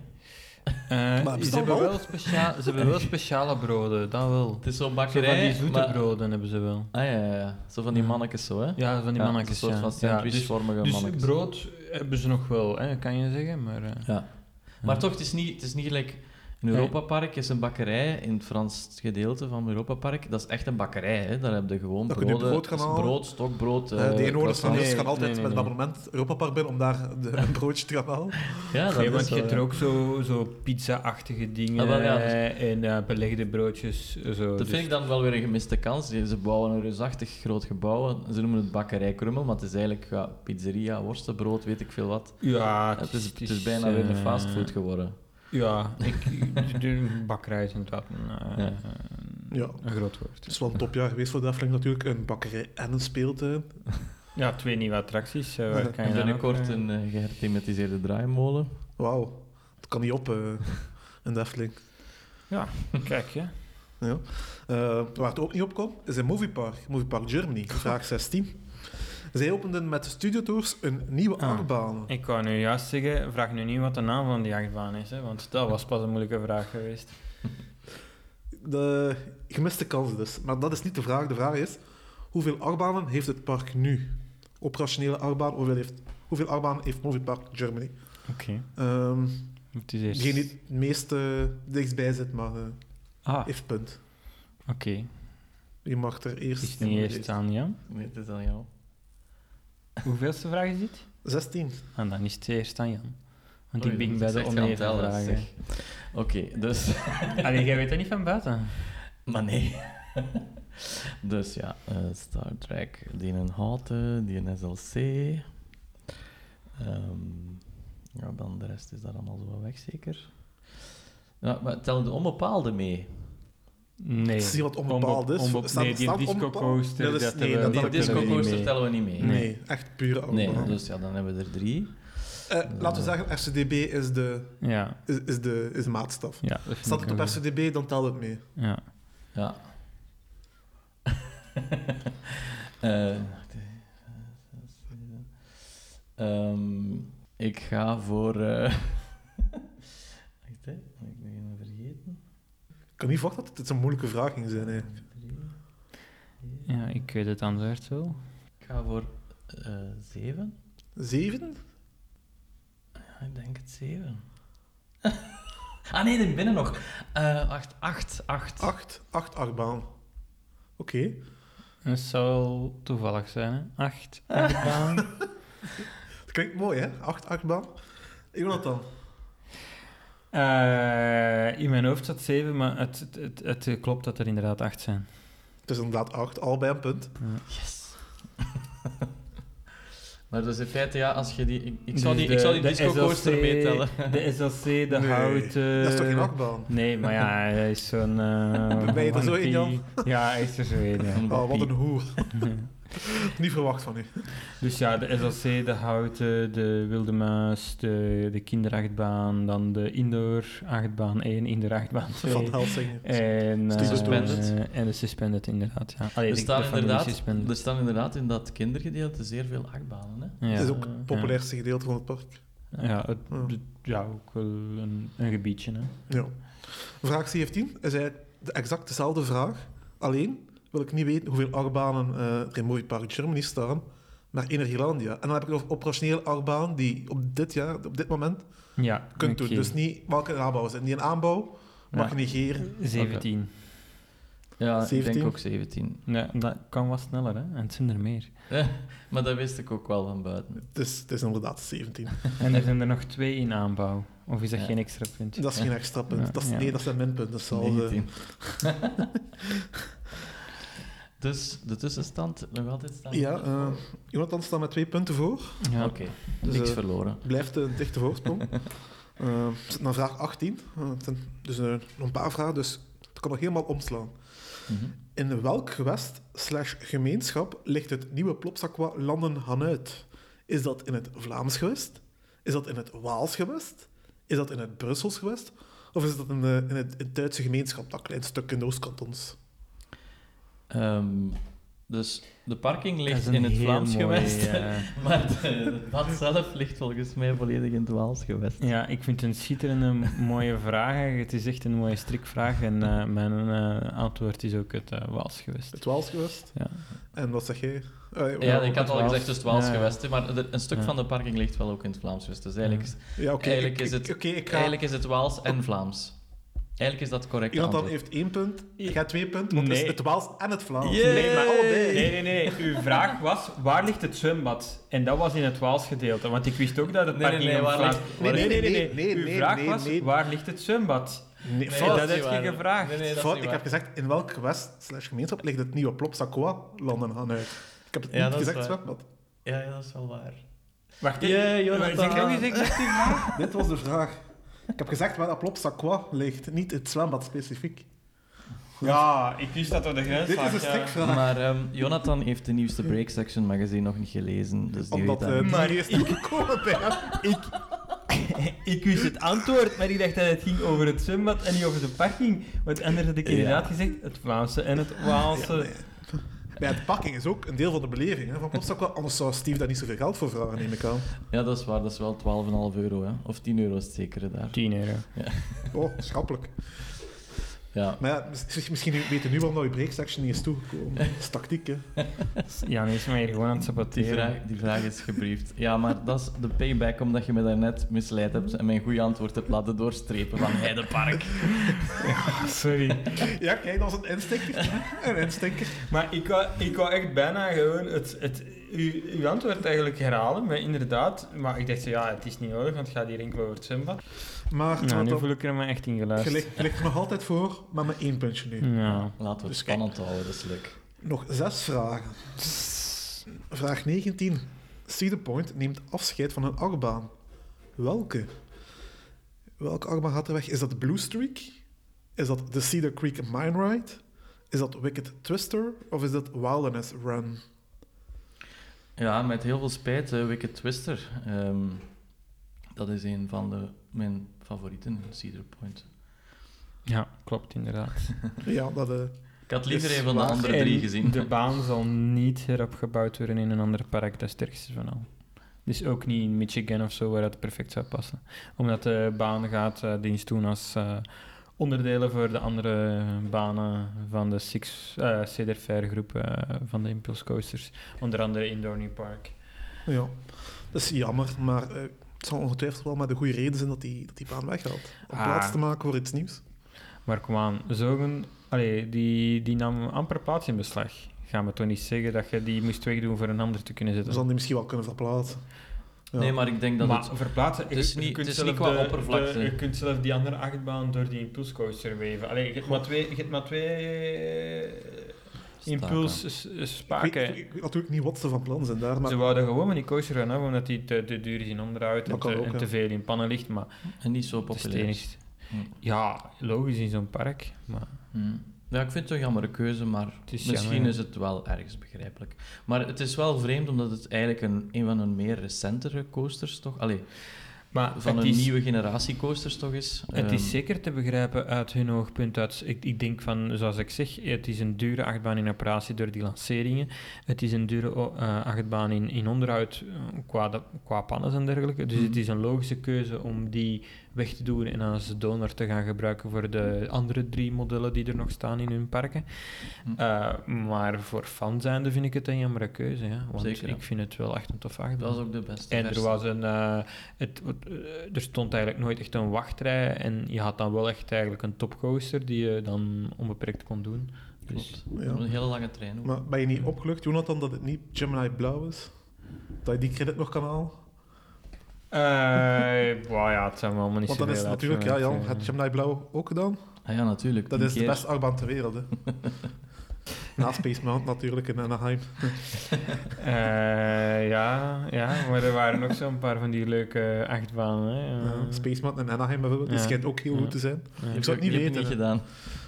[SPEAKER 4] Eh, ze,
[SPEAKER 2] bestaan
[SPEAKER 4] hebben
[SPEAKER 2] wel?
[SPEAKER 4] wel speciaal, ze hebben wel speciale broden, dat wel.
[SPEAKER 3] Het is zo'n
[SPEAKER 4] Zo van
[SPEAKER 3] bakkerij,
[SPEAKER 4] die zoete
[SPEAKER 3] maar-
[SPEAKER 4] broden hebben ze wel.
[SPEAKER 3] Ah, ja, ja, ja. Zo van die mannetjes zo, hè?
[SPEAKER 4] Ja, van die
[SPEAKER 3] Ja,
[SPEAKER 4] mannetjes,
[SPEAKER 3] Een soort
[SPEAKER 4] ja.
[SPEAKER 3] van
[SPEAKER 4] Ja, dus-
[SPEAKER 3] sandwichvormige
[SPEAKER 4] Dus
[SPEAKER 3] mannetjes.
[SPEAKER 4] brood hebben ze nog wel, hè, kan je zeggen. Maar, eh,
[SPEAKER 3] Ja. Maar toch, het is niet, het is niet gelijk... In
[SPEAKER 4] Nee.
[SPEAKER 3] Europa Park is een bakkerij, in het Frans gedeelte van Europa Park, dat is echt een bakkerij. Hè? Daar heb je gewoon
[SPEAKER 2] Daar kun je
[SPEAKER 3] broden,
[SPEAKER 2] brood gaan
[SPEAKER 3] dat is
[SPEAKER 2] halen.
[SPEAKER 3] brood, stokbrood.
[SPEAKER 2] eh,
[SPEAKER 3] eh,
[SPEAKER 2] de inwoners van
[SPEAKER 3] croissants.
[SPEAKER 2] Niels
[SPEAKER 4] nee,
[SPEAKER 2] gaan altijd
[SPEAKER 4] nee, nee,
[SPEAKER 2] met een
[SPEAKER 4] nee.
[SPEAKER 2] abonnement Europa Park binnen om daar de, een broodje te gaan halen.
[SPEAKER 3] Ja, dat
[SPEAKER 4] nee,
[SPEAKER 3] is eh,
[SPEAKER 4] want je
[SPEAKER 3] wel,
[SPEAKER 4] hebt er ook zo, zo pizza-achtige dingen
[SPEAKER 3] Ah, wel, ja, dus-
[SPEAKER 4] eh, en eh, belegde broodjes. eh, Zo,
[SPEAKER 3] Dat
[SPEAKER 4] dus-
[SPEAKER 3] vind ik dan wel weer een gemiste kans. Die- Ze bouwen een reusachtig groot gebouw. Ze noemen het bakkerij Krummel, maar het is eigenlijk ja, pizzeria, worstenbrood, weet ik veel wat.
[SPEAKER 4] Ja,
[SPEAKER 3] Het is, het is bijna weer een
[SPEAKER 4] eh,
[SPEAKER 3] fastfood geworden.
[SPEAKER 4] Ja, ik, de, de bakkerij is inderdaad een, eh,
[SPEAKER 3] Ja.
[SPEAKER 4] een-
[SPEAKER 2] Ja.
[SPEAKER 4] een groot
[SPEAKER 2] Het
[SPEAKER 4] woord.
[SPEAKER 2] is wel een topjaar geweest voor de Efteling natuurlijk. Een bakkerij en een speeltuin.
[SPEAKER 4] Ja, twee nieuwe attracties. eh, waar kan je
[SPEAKER 3] En
[SPEAKER 4] dan ook,
[SPEAKER 3] binnenkort
[SPEAKER 4] eh,
[SPEAKER 3] een eh, geherthematiseerde draaimolen.
[SPEAKER 2] Wauw, dat kan niet op eh in de Efteling.
[SPEAKER 4] Kijk, hè.
[SPEAKER 2] Ja. Eh, waar het ook niet op kwam, is in Moviepark, Moviepark Germany, vraag 16. Zij openden met studiotours een nieuwe
[SPEAKER 4] Ah.
[SPEAKER 2] achtbaan.
[SPEAKER 4] Ik wou nu juist zeggen, vraag nu niet wat de naam van die achtbaan is, hè, want dat was pas een moeilijke vraag geweest.
[SPEAKER 2] De gemiste kans dus. Maar dat is niet de vraag. De vraag is, hoeveel achtbanen heeft het park nu? Operationele achtbaan, hoeveel, heeft, hoeveel achtbanen heeft Moviepark Germany?
[SPEAKER 4] Oké.
[SPEAKER 2] Ehm
[SPEAKER 4] Het is eerst...
[SPEAKER 2] degene die het meest eh, dichtstbij zit, maar eh,
[SPEAKER 4] Ah, oké.
[SPEAKER 2] heeft punt. Je mag er eerst...
[SPEAKER 4] Is het niet eerst aan Jan?
[SPEAKER 3] Nee, het is aan jou.
[SPEAKER 4] Hoeveelste vraag is dit?
[SPEAKER 2] 16.
[SPEAKER 4] Ah, dan is het eerst aan Jan. Want ik
[SPEAKER 3] Oei,
[SPEAKER 4] ben
[SPEAKER 3] moet
[SPEAKER 4] bij de
[SPEAKER 3] echt gaan
[SPEAKER 4] oneven
[SPEAKER 3] tellen,
[SPEAKER 4] vragen.
[SPEAKER 3] zeg. Oké, dus...
[SPEAKER 4] Allee, jij weet dat niet van buiten.
[SPEAKER 3] Maar nee. dus ja, eh, Star Trek, die in Houten, die in SLC. Ehm, ja, dan de rest is daar allemaal zo wat weg, zeker. Ja, maar tellen de onbepaalde mee?
[SPEAKER 4] Nee.
[SPEAKER 2] Het is hier wat onbepaald dus is.
[SPEAKER 4] Onbe-
[SPEAKER 2] Staat-
[SPEAKER 4] nee, die
[SPEAKER 2] staat
[SPEAKER 4] disco
[SPEAKER 2] onbepaald?
[SPEAKER 4] coaster.
[SPEAKER 2] Nee, dat is-
[SPEAKER 4] dat
[SPEAKER 2] nee,
[SPEAKER 4] we-
[SPEAKER 2] dat-
[SPEAKER 3] Die
[SPEAKER 2] tellen
[SPEAKER 3] disco
[SPEAKER 2] we niet
[SPEAKER 3] coaster
[SPEAKER 4] mee.
[SPEAKER 3] tellen we niet mee.
[SPEAKER 4] Nee.
[SPEAKER 2] Nee, echt puur
[SPEAKER 3] Nee,
[SPEAKER 2] onbepaald.
[SPEAKER 3] dus ja, dan hebben we er drie.
[SPEAKER 2] Eh, laten we zeggen, RCDB is de,
[SPEAKER 4] Ja.
[SPEAKER 2] is, is de, is de maatstaf.
[SPEAKER 4] ja dat vind
[SPEAKER 2] Staat
[SPEAKER 4] ik
[SPEAKER 2] het op
[SPEAKER 4] wel.
[SPEAKER 2] RCDB, dan telt het mee.
[SPEAKER 4] Ja.
[SPEAKER 3] Ja. Eh, ehm, ik ga voor. eh Wacht, hè, moet ik nog even vergeten?
[SPEAKER 2] Ik kan niet verwachten dat het zo'n moeilijke vraag ging zijn. Hè.
[SPEAKER 3] Drie.
[SPEAKER 4] ja, ik weet het antwoord wel.
[SPEAKER 3] Ik ga voor eh, zeven.
[SPEAKER 2] Zeven?
[SPEAKER 3] Ja, ik denk het zeven. ah nee, er binnen nog. Eh acht, acht, acht.
[SPEAKER 2] Acht? Acht achtbaan. Oké.
[SPEAKER 4] Dat zou wel toevallig zijn, hè? Acht.
[SPEAKER 3] Ah.
[SPEAKER 4] acht baan.
[SPEAKER 2] Dat klinkt mooi, hè? Acht achtbaan. Jonathan.
[SPEAKER 4] Eh, in mijn hoofd zat zeven, maar het, het, het, het klopt dat er inderdaad acht zijn.
[SPEAKER 2] Het is inderdaad acht, allebei een punt.
[SPEAKER 3] Yes. maar dus in feite, ja, als je die... Ik, ik zou die,
[SPEAKER 4] Dus de-
[SPEAKER 3] ik zou die
[SPEAKER 4] de
[SPEAKER 3] disco coaster
[SPEAKER 4] SLC,
[SPEAKER 3] meetellen.
[SPEAKER 4] De SLC, de
[SPEAKER 2] Nee,
[SPEAKER 4] hout.
[SPEAKER 2] Dat is toch
[SPEAKER 4] Eh,
[SPEAKER 2] geen achtbaan?
[SPEAKER 4] Nee, maar ja, hij is zo'n... eh,
[SPEAKER 2] Ben je er zo in, Jan?
[SPEAKER 4] wampie. Ja, hij is er zo in, ja.
[SPEAKER 2] Oh, wat een hoer. niet verwacht van u.
[SPEAKER 4] Dus ja, de SLC, de houten, de wilde muis, de, de kinderachtbaan, dan de indoor-achtbaan 1, indoor-achtbaan 2.
[SPEAKER 2] Van Helsing.
[SPEAKER 4] En,
[SPEAKER 2] Dus
[SPEAKER 4] eh,
[SPEAKER 3] Suspended.
[SPEAKER 4] en de suspended, inderdaad. Ja. Allee,
[SPEAKER 3] Er
[SPEAKER 4] de- de
[SPEAKER 3] staan,
[SPEAKER 4] familie
[SPEAKER 3] inderdaad,
[SPEAKER 4] suspended.
[SPEAKER 3] er staan inderdaad in dat kindergedeelte zeer veel achtbanen. Hè?
[SPEAKER 4] ja.
[SPEAKER 2] Het is ook het populairste gedeelte van het park.
[SPEAKER 4] Ja, het- het- ja, ook wel een, een gebiedje. Hè.
[SPEAKER 2] Ja. Vraag 17 is eigenlijk de exact dezelfde vraag. Alleen wil ik niet weten hoeveel achtbanen eh, er in Mooi Park Germany staan, maar in Ierlandia. En dan heb ik nog operationele achtbaan die op dit jaar, op dit moment,
[SPEAKER 4] Ja,
[SPEAKER 2] kunt
[SPEAKER 4] oké.
[SPEAKER 2] doen. Dus niet welke aanbouw is het. Niet een aanbouw, maar
[SPEAKER 4] Ja.
[SPEAKER 2] negeren.
[SPEAKER 4] 17.
[SPEAKER 3] Ja, ik
[SPEAKER 2] 17.
[SPEAKER 3] denk ook 17.
[SPEAKER 4] Ja, dat kan wat sneller, hè? En het zijn er meer.
[SPEAKER 3] Eh, maar dat wist ik ook wel van buiten.
[SPEAKER 2] Het is, het is inderdaad 17.
[SPEAKER 4] En er zijn er nog twee in aanbouw. Of is dat
[SPEAKER 3] Ja.
[SPEAKER 4] geen extra punt?
[SPEAKER 2] Dat is geen extra punt.
[SPEAKER 4] Ja,
[SPEAKER 2] dat is,
[SPEAKER 4] ja.
[SPEAKER 2] Nee, dat zijn minpunten. Dat is hetzelfde.
[SPEAKER 3] 19. dus de tussenstand nog altijd staan.
[SPEAKER 2] Ja, eh Jonathan staat met twee punten voor.
[SPEAKER 4] Ja.
[SPEAKER 3] Oké,
[SPEAKER 2] Dus,
[SPEAKER 3] niks
[SPEAKER 2] eh,
[SPEAKER 3] verloren.
[SPEAKER 2] Blijft een dichte voorsprong. Eh, we zitten aan vraag 18. Eh, het zijn dus eh, nog een paar vragen, dus het kan nog helemaal omslaan.
[SPEAKER 3] Mhm.
[SPEAKER 2] In welk gewest slash gemeenschap ligt het nieuwe Plopsaqua Landen Hanuit? Is dat in het Vlaams gewest? Is dat in het Waals gewest? Is dat in het Brussels gewest? Of is dat in, de, in, het, in het Duitse gemeenschap, dat klein stuk in de Oostkantons?
[SPEAKER 3] Ehm, dus de parking
[SPEAKER 4] Dat is
[SPEAKER 3] ligt
[SPEAKER 4] een
[SPEAKER 3] in het
[SPEAKER 4] heel
[SPEAKER 3] Vlaams
[SPEAKER 4] mooi,
[SPEAKER 3] gewest,
[SPEAKER 4] eh,
[SPEAKER 3] maar de, dat zelf ligt volgens mij volledig in het Waals gewest.
[SPEAKER 4] Ja, ik vind het een schitterende, mooie vraag. Het is echt een mooie strikvraag. En eh, mijn eh, antwoord is ook het eh, Waals geweest.
[SPEAKER 2] Het Waals gewest?
[SPEAKER 4] Ja.
[SPEAKER 2] En wat zeg jij? Eh,
[SPEAKER 3] Ja, ik
[SPEAKER 4] ook
[SPEAKER 3] had
[SPEAKER 4] het
[SPEAKER 3] al
[SPEAKER 4] Waals.
[SPEAKER 3] gezegd, dus het Waals
[SPEAKER 4] Ja.
[SPEAKER 3] gewest, hè, maar er- een stuk
[SPEAKER 4] Ja.
[SPEAKER 3] van de parking ligt wel ook in het Vlaams gewest. Dus eigenlijk, is-
[SPEAKER 2] ja, oké,
[SPEAKER 3] eigenlijk,
[SPEAKER 2] ik-
[SPEAKER 3] is, het,
[SPEAKER 2] ik- oké, ik ga-
[SPEAKER 3] eigenlijk is het Waals en Vlaams. Eigenlijk is dat correct
[SPEAKER 2] Jonathan
[SPEAKER 3] antwoord.
[SPEAKER 2] heeft één punt, ik ga twee punten, want het
[SPEAKER 4] Nee.
[SPEAKER 2] is het Waals en het Vlaams. oh,
[SPEAKER 3] Yeah.
[SPEAKER 4] Nee, maar Oh,
[SPEAKER 3] allebei.
[SPEAKER 4] Nee, nee, nee. Uw vraag was, waar ligt het zwembad? En dat was in het Waals gedeelte, want ik wist ook dat het
[SPEAKER 3] Nee,
[SPEAKER 4] parking
[SPEAKER 3] nee, nee,
[SPEAKER 4] in
[SPEAKER 3] waar
[SPEAKER 4] Vlaams...
[SPEAKER 3] ligt-
[SPEAKER 4] Nee, nee, nee, nee,
[SPEAKER 2] nee, nee,
[SPEAKER 4] Uw
[SPEAKER 2] nee,
[SPEAKER 4] vraag
[SPEAKER 2] nee,
[SPEAKER 4] was,
[SPEAKER 2] nee.
[SPEAKER 4] waar ligt het zwembad?
[SPEAKER 2] Nee,
[SPEAKER 3] Nee,
[SPEAKER 2] fout.
[SPEAKER 4] dat
[SPEAKER 3] is
[SPEAKER 4] heb
[SPEAKER 3] niet
[SPEAKER 4] je
[SPEAKER 3] waar.
[SPEAKER 4] gevraagd.
[SPEAKER 3] Nee, nee, dat
[SPEAKER 2] Fout,
[SPEAKER 3] is
[SPEAKER 2] ik
[SPEAKER 3] niet
[SPEAKER 2] heb
[SPEAKER 3] waar.
[SPEAKER 2] gezegd, in welk gewest slash gemeenschap ligt het nieuwe Plopsaqua Landen Hanuit? Ik heb het
[SPEAKER 3] Ja,
[SPEAKER 2] niet
[SPEAKER 3] dat is
[SPEAKER 2] gezegd,
[SPEAKER 3] waar.
[SPEAKER 2] zwembad.
[SPEAKER 3] Ja, ja, dat is wel waar.
[SPEAKER 4] Wacht,
[SPEAKER 3] Yeah, Jonathan.
[SPEAKER 4] Zeg nog eens exact uw vraag.
[SPEAKER 2] Dit was de vraag. Ik heb gezegd waar dat Plopsaqua ligt, niet het zwembad specifiek.
[SPEAKER 4] Ja, ik wist dat door de grens
[SPEAKER 2] Dit is
[SPEAKER 4] lag,
[SPEAKER 2] een
[SPEAKER 4] ja.
[SPEAKER 2] strikvraag.
[SPEAKER 3] Maar ehm, Jonathan heeft de nieuwste Break Section magazine nog niet gelezen, dus die
[SPEAKER 2] Omdat
[SPEAKER 3] weet
[SPEAKER 2] eh,
[SPEAKER 3] dat.
[SPEAKER 2] die
[SPEAKER 4] Maar
[SPEAKER 2] eerst gekomen bij hem.
[SPEAKER 4] Ik wist het antwoord, maar ik dacht dat het ging over het zwembad en niet over de parking. Want anders had ik
[SPEAKER 3] Ja.
[SPEAKER 4] inderdaad gezegd het Vlaamse en het Waalse.
[SPEAKER 2] Bij het pakking is ook een deel van de beleving hè, van Plopsaqua. Anders zou Steve daar niet zoveel geld voor vragen, neem ik aan.
[SPEAKER 3] Ja, dat is waar, dat is wel 12,5 euro, hè. Of 10 euro is het zekere daar.
[SPEAKER 4] 10 euro.
[SPEAKER 2] Oh, schappelijk.
[SPEAKER 3] Ja.
[SPEAKER 2] Maar ja, mis- misschien weten nu waarom dat je breaksection niet is toegekomen. Dat is tactiek, hè.
[SPEAKER 4] Ja, nee, is mij hier gewoon aan het
[SPEAKER 3] Die
[SPEAKER 4] saboteren.
[SPEAKER 3] vraag, die vraag is gebriefd. Ja, maar dat is de payback omdat je me daarnet misleid hebt en mijn goede antwoord hebt laten doorstrepen van Heidepark.
[SPEAKER 4] Ah, Sorry.
[SPEAKER 2] Ja, kijk, dat was een instekker. Een instekker.
[SPEAKER 4] Maar ik wou, ik wou echt bijna gewoon het, het u- uw antwoord eigenlijk herhalen, maar inderdaad. Maar ik dacht, zo, ja, het is niet nodig, want het gaat hier enkel over het zwembad.
[SPEAKER 2] Maar
[SPEAKER 4] Nou,
[SPEAKER 2] want
[SPEAKER 4] nu
[SPEAKER 2] dat-
[SPEAKER 4] voel ik er maar echt in
[SPEAKER 2] je
[SPEAKER 4] geluisterd.
[SPEAKER 2] ligt- je ligt er nog altijd voor, maar met één puntje nu.
[SPEAKER 4] Ja.
[SPEAKER 3] Laten we het
[SPEAKER 2] Dus kijk.
[SPEAKER 3] spannend houden, dat is leuk.
[SPEAKER 2] Nog zes vragen. Vraag 19. Cedar Point neemt afscheid van een achtbaan. Welke? Welke achtbaan gaat er weg? Is dat Blue Streak? Is dat de Cedar Creek Mine Ride? Is dat Wicked Twister? Of is dat Wilderness Run?
[SPEAKER 3] Ja, met heel veel spijt, eh, Wicked Twister. Ehm, dat is een van de, mijn favorieten, Cedar Point.
[SPEAKER 4] ja, klopt inderdaad.
[SPEAKER 2] Ja, dat... eh,
[SPEAKER 3] Ik had liever
[SPEAKER 2] Is
[SPEAKER 3] een van de
[SPEAKER 2] waar.
[SPEAKER 3] andere
[SPEAKER 4] En
[SPEAKER 3] drie gezien.
[SPEAKER 4] Dus De baan zal niet heropgebouwd worden in een ander park, dat is het ergste van al. Dus ook niet in Michigan of zo, waar dat perfect zou passen. Omdat de baan gaat eh, dienst doen als eh, onderdelen voor de andere banen van de Six eh Cedar Fair groep eh, van de Impulse Coasters. Onder andere in Dorney Park.
[SPEAKER 2] ja. Dat is jammer, maar eh, het zal ongetwijfeld wel met de goede reden zijn dat die, dat die baan weggaat. Om
[SPEAKER 4] Ah.
[SPEAKER 2] plaats te maken voor iets nieuws.
[SPEAKER 4] Maar kom aan, zogen, allee, die, die nam amper plaats in beslag. Ga me toch niet zeggen dat je die moest wegdoen voor een ander te kunnen
[SPEAKER 2] We
[SPEAKER 4] zetten.
[SPEAKER 2] zal Dus die misschien wel kunnen verplaatsen. Ja.
[SPEAKER 3] Nee, maar ik denk dat
[SPEAKER 4] maar
[SPEAKER 3] het...
[SPEAKER 4] verplaatsen,
[SPEAKER 3] het is
[SPEAKER 4] je-
[SPEAKER 3] niet-
[SPEAKER 4] je kunt
[SPEAKER 3] het is niet
[SPEAKER 4] zelf
[SPEAKER 3] qua
[SPEAKER 4] de-
[SPEAKER 3] oppervlakte.
[SPEAKER 4] de- je kunt zelf die andere achtbaan door die impulscoaster weven. Allee, je hebt maar twee, eh, je hebt maar twee
[SPEAKER 3] Staken.
[SPEAKER 2] Ik
[SPEAKER 4] impulsspaken.
[SPEAKER 2] weet, ik weet natuurlijk niet wat ze van plan zijn daar, maar...
[SPEAKER 4] Ze wouden gewoon met die coaster gaan af, omdat die te, te duur is in onderhoud en,
[SPEAKER 2] Dat kan
[SPEAKER 4] te,
[SPEAKER 2] ook,
[SPEAKER 4] en
[SPEAKER 2] ja.
[SPEAKER 4] te veel in pannen ligt. Maar
[SPEAKER 3] En niet zo
[SPEAKER 4] het is het
[SPEAKER 3] populair.
[SPEAKER 4] enigste.
[SPEAKER 3] Hm.
[SPEAKER 4] Ja, logisch in zo'n park. Maar
[SPEAKER 3] Hm. Ja, ik vind het een jammere keuze, maar
[SPEAKER 4] Het is
[SPEAKER 3] misschien
[SPEAKER 4] jammer,
[SPEAKER 3] is
[SPEAKER 4] ja.
[SPEAKER 3] het wel ergens begrijpelijk. Maar het is wel vreemd, omdat het eigenlijk een, een van hun meer recentere coasters toch... Allee,
[SPEAKER 4] maar
[SPEAKER 3] van
[SPEAKER 4] het
[SPEAKER 3] een
[SPEAKER 4] is-
[SPEAKER 3] nieuwe generatie coasters toch is.
[SPEAKER 4] Het
[SPEAKER 3] Ehm,
[SPEAKER 4] is zeker te begrijpen uit hun oogpunt. Uit, ik, ik denk van, zoals ik zeg, het is een dure achtbaan in operatie door die lanceringen. Het is een dure o- eh, achtbaan in, in onderhoud eh, qua, de- qua pannen en dergelijke. Dus
[SPEAKER 3] Mhm.
[SPEAKER 4] het is een logische keuze om die weg te doen en als donor te gaan gebruiken voor de andere drie modellen die er nog staan in hun parken.
[SPEAKER 3] Mm.
[SPEAKER 4] Eh, maar voor fan zijnde vind ik het een jammere keuze. Ja? Want
[SPEAKER 3] Zeker, ja.
[SPEAKER 4] ik vind het wel echt een tof achtbaan.
[SPEAKER 3] Dat was ook de beste
[SPEAKER 4] En er
[SPEAKER 3] versie.
[SPEAKER 4] was een... eh, het, eh, er stond eigenlijk nooit echt een wachtrij. En je had dan wel echt eigenlijk een topcoaster die je dan onbeperkt kon doen. Dus,
[SPEAKER 3] Klopt.
[SPEAKER 2] Ja.
[SPEAKER 3] Dat was Een hele lange trein. ook.
[SPEAKER 2] Maar ben je niet opgelucht, Jonathan, dat het niet Gemini Blauw is? Dat je die credit nog kan halen?
[SPEAKER 4] Eh, wauw, Eh, ja, het zijn wel allemaal niet eh,
[SPEAKER 2] Want dan is
[SPEAKER 4] zoveel
[SPEAKER 2] het natuurlijk, ja Jan,
[SPEAKER 4] uitzendingen.
[SPEAKER 2] had Gemini Blauw ook gedaan?
[SPEAKER 3] Ah ja, natuurlijk.
[SPEAKER 2] Dat
[SPEAKER 3] tien
[SPEAKER 2] is de
[SPEAKER 3] keer.
[SPEAKER 2] beste achtbaan ter wereld, hè. Na Space Mountain natuurlijk in Anaheim.
[SPEAKER 4] Eh, ja, ja, maar er waren nog zo'n paar van die leuke achtbanen. Hè. Eh,
[SPEAKER 2] Ja, Space Mountain in Anaheim bijvoorbeeld, die
[SPEAKER 4] Ja.
[SPEAKER 2] schijnt ook heel
[SPEAKER 4] Ja.
[SPEAKER 2] goed te zijn.
[SPEAKER 3] Je
[SPEAKER 2] Ik
[SPEAKER 3] hebt
[SPEAKER 2] zou het niet
[SPEAKER 3] je hebt
[SPEAKER 2] weten.
[SPEAKER 3] gedaan.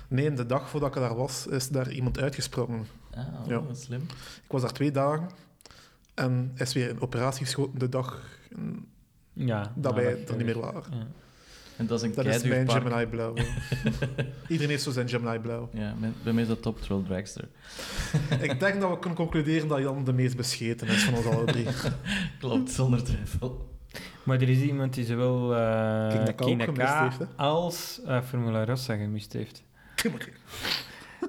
[SPEAKER 2] Nee, en de dag voordat ik daar was, is daar iemand uitgesprongen.
[SPEAKER 3] Ah, oh,
[SPEAKER 2] Ja.
[SPEAKER 3] dat is slim.
[SPEAKER 2] Ik was daar twee dagen en is weer in operatie geschoten de dag
[SPEAKER 4] ja,
[SPEAKER 2] dat wij
[SPEAKER 4] nadat je
[SPEAKER 2] er niet meer
[SPEAKER 4] weer-
[SPEAKER 2] waren.
[SPEAKER 4] Ja.
[SPEAKER 3] En dat is een
[SPEAKER 2] Dat is mijn
[SPEAKER 3] keiduur park.
[SPEAKER 2] Gemini Blauw. Iedereen heeft zo zijn Gemini Blauw.
[SPEAKER 3] Ja, mijn- bij mij is dat Top Thrill Dragster.
[SPEAKER 2] Ik denk dat we kunnen concluderen dat Jan de meest bescheten is van ons alle drie.
[SPEAKER 3] Klopt, zonder twijfel.
[SPEAKER 4] Maar er is iemand die zowel eh
[SPEAKER 2] King Dakar ook
[SPEAKER 4] King
[SPEAKER 2] gemist
[SPEAKER 4] Dakar
[SPEAKER 2] heeft, hè?
[SPEAKER 4] als eh, Formula Rossa gemist heeft.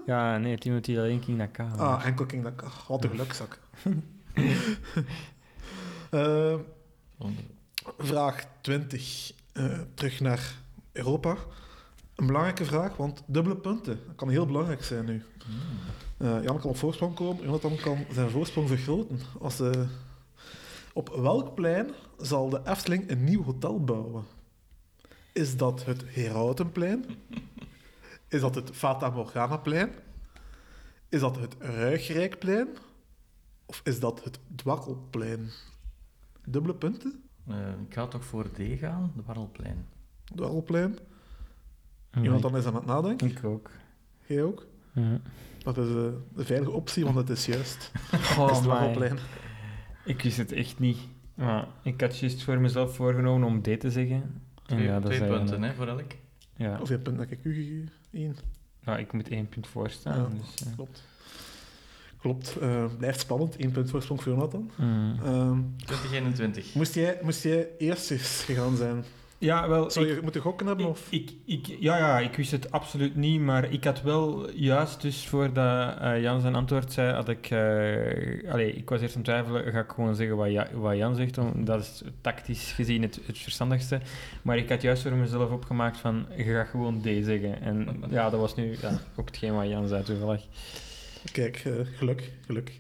[SPEAKER 4] Ja, nee, het is iemand die alleen King Dakar hoort.
[SPEAKER 2] Ah, enkel King Dakar. Wat een gelukzak. Eh,
[SPEAKER 3] Zonder-
[SPEAKER 2] vraag 20. Eh, terug naar Europa. Een belangrijke vraag, want dubbele punten dat kan heel belangrijk zijn nu. Eh, Jan kan op voorsprong komen, Jonathan kan zijn voorsprong vergroten. Als, eh, op welk plein zal de Efteling een nieuw hotel bouwen? Is dat het Herautenplein? Is dat het Fata Morganaplein? Is dat het Ruigrijkplein? Of is dat het Dwarrelplein? Dubbele punten?
[SPEAKER 3] Eh, ik ga toch voor D gaan, de Warrelplein.
[SPEAKER 2] Dwarrelplein.
[SPEAKER 4] Ja,
[SPEAKER 2] Jonathan is aan het nadenken.
[SPEAKER 4] Ik ook.
[SPEAKER 2] Jij ook?
[SPEAKER 4] Ja.
[SPEAKER 2] Dat is eh, de veilige optie, want het is juist. het is
[SPEAKER 4] Oh, my.
[SPEAKER 2] Dwarrelplein.
[SPEAKER 4] Ik wist het echt niet. Maar ik had juist voor mezelf voorgenomen om D te zeggen. En
[SPEAKER 3] Twee,
[SPEAKER 4] ja, dat eh,
[SPEAKER 3] twee
[SPEAKER 4] zei je
[SPEAKER 3] punten,
[SPEAKER 4] net.
[SPEAKER 3] hè, voor elk.
[SPEAKER 4] Ja.
[SPEAKER 2] Hoeveel punten heb ik u gegeven? Eén.
[SPEAKER 4] ja, ik moet één punt voorstaan.
[SPEAKER 2] Ja.
[SPEAKER 4] Dus, ja.
[SPEAKER 2] Klopt. Klopt. eh, blijft spannend. Eén punt voorsprong voor Jonathan.
[SPEAKER 4] Mm.
[SPEAKER 2] Ehm,
[SPEAKER 3] 2021.
[SPEAKER 2] moest, jij, moest jij eerst eens gegaan zijn?
[SPEAKER 4] ja, wel.
[SPEAKER 2] Zou
[SPEAKER 4] ik-
[SPEAKER 2] je moeten gokken hebben? Of?
[SPEAKER 4] Ik, ik, ja, ja, ik wist het absoluut niet, maar ik had wel juist, dus voordat eh, Jan zijn antwoord zei, had ik... eh, allee, ik was eerst aan het twijfelen, ga ik gewoon zeggen wat, Ja- wat Jan zegt, om, dat is tactisch gezien het, het verstandigste. Maar ik had juist voor mezelf opgemaakt van, je gaat gewoon D zeggen. En ja, dat was nu ja, ook hetgeen wat Jan zei toevallig.
[SPEAKER 2] Kijk, eh, geluk. Geluk.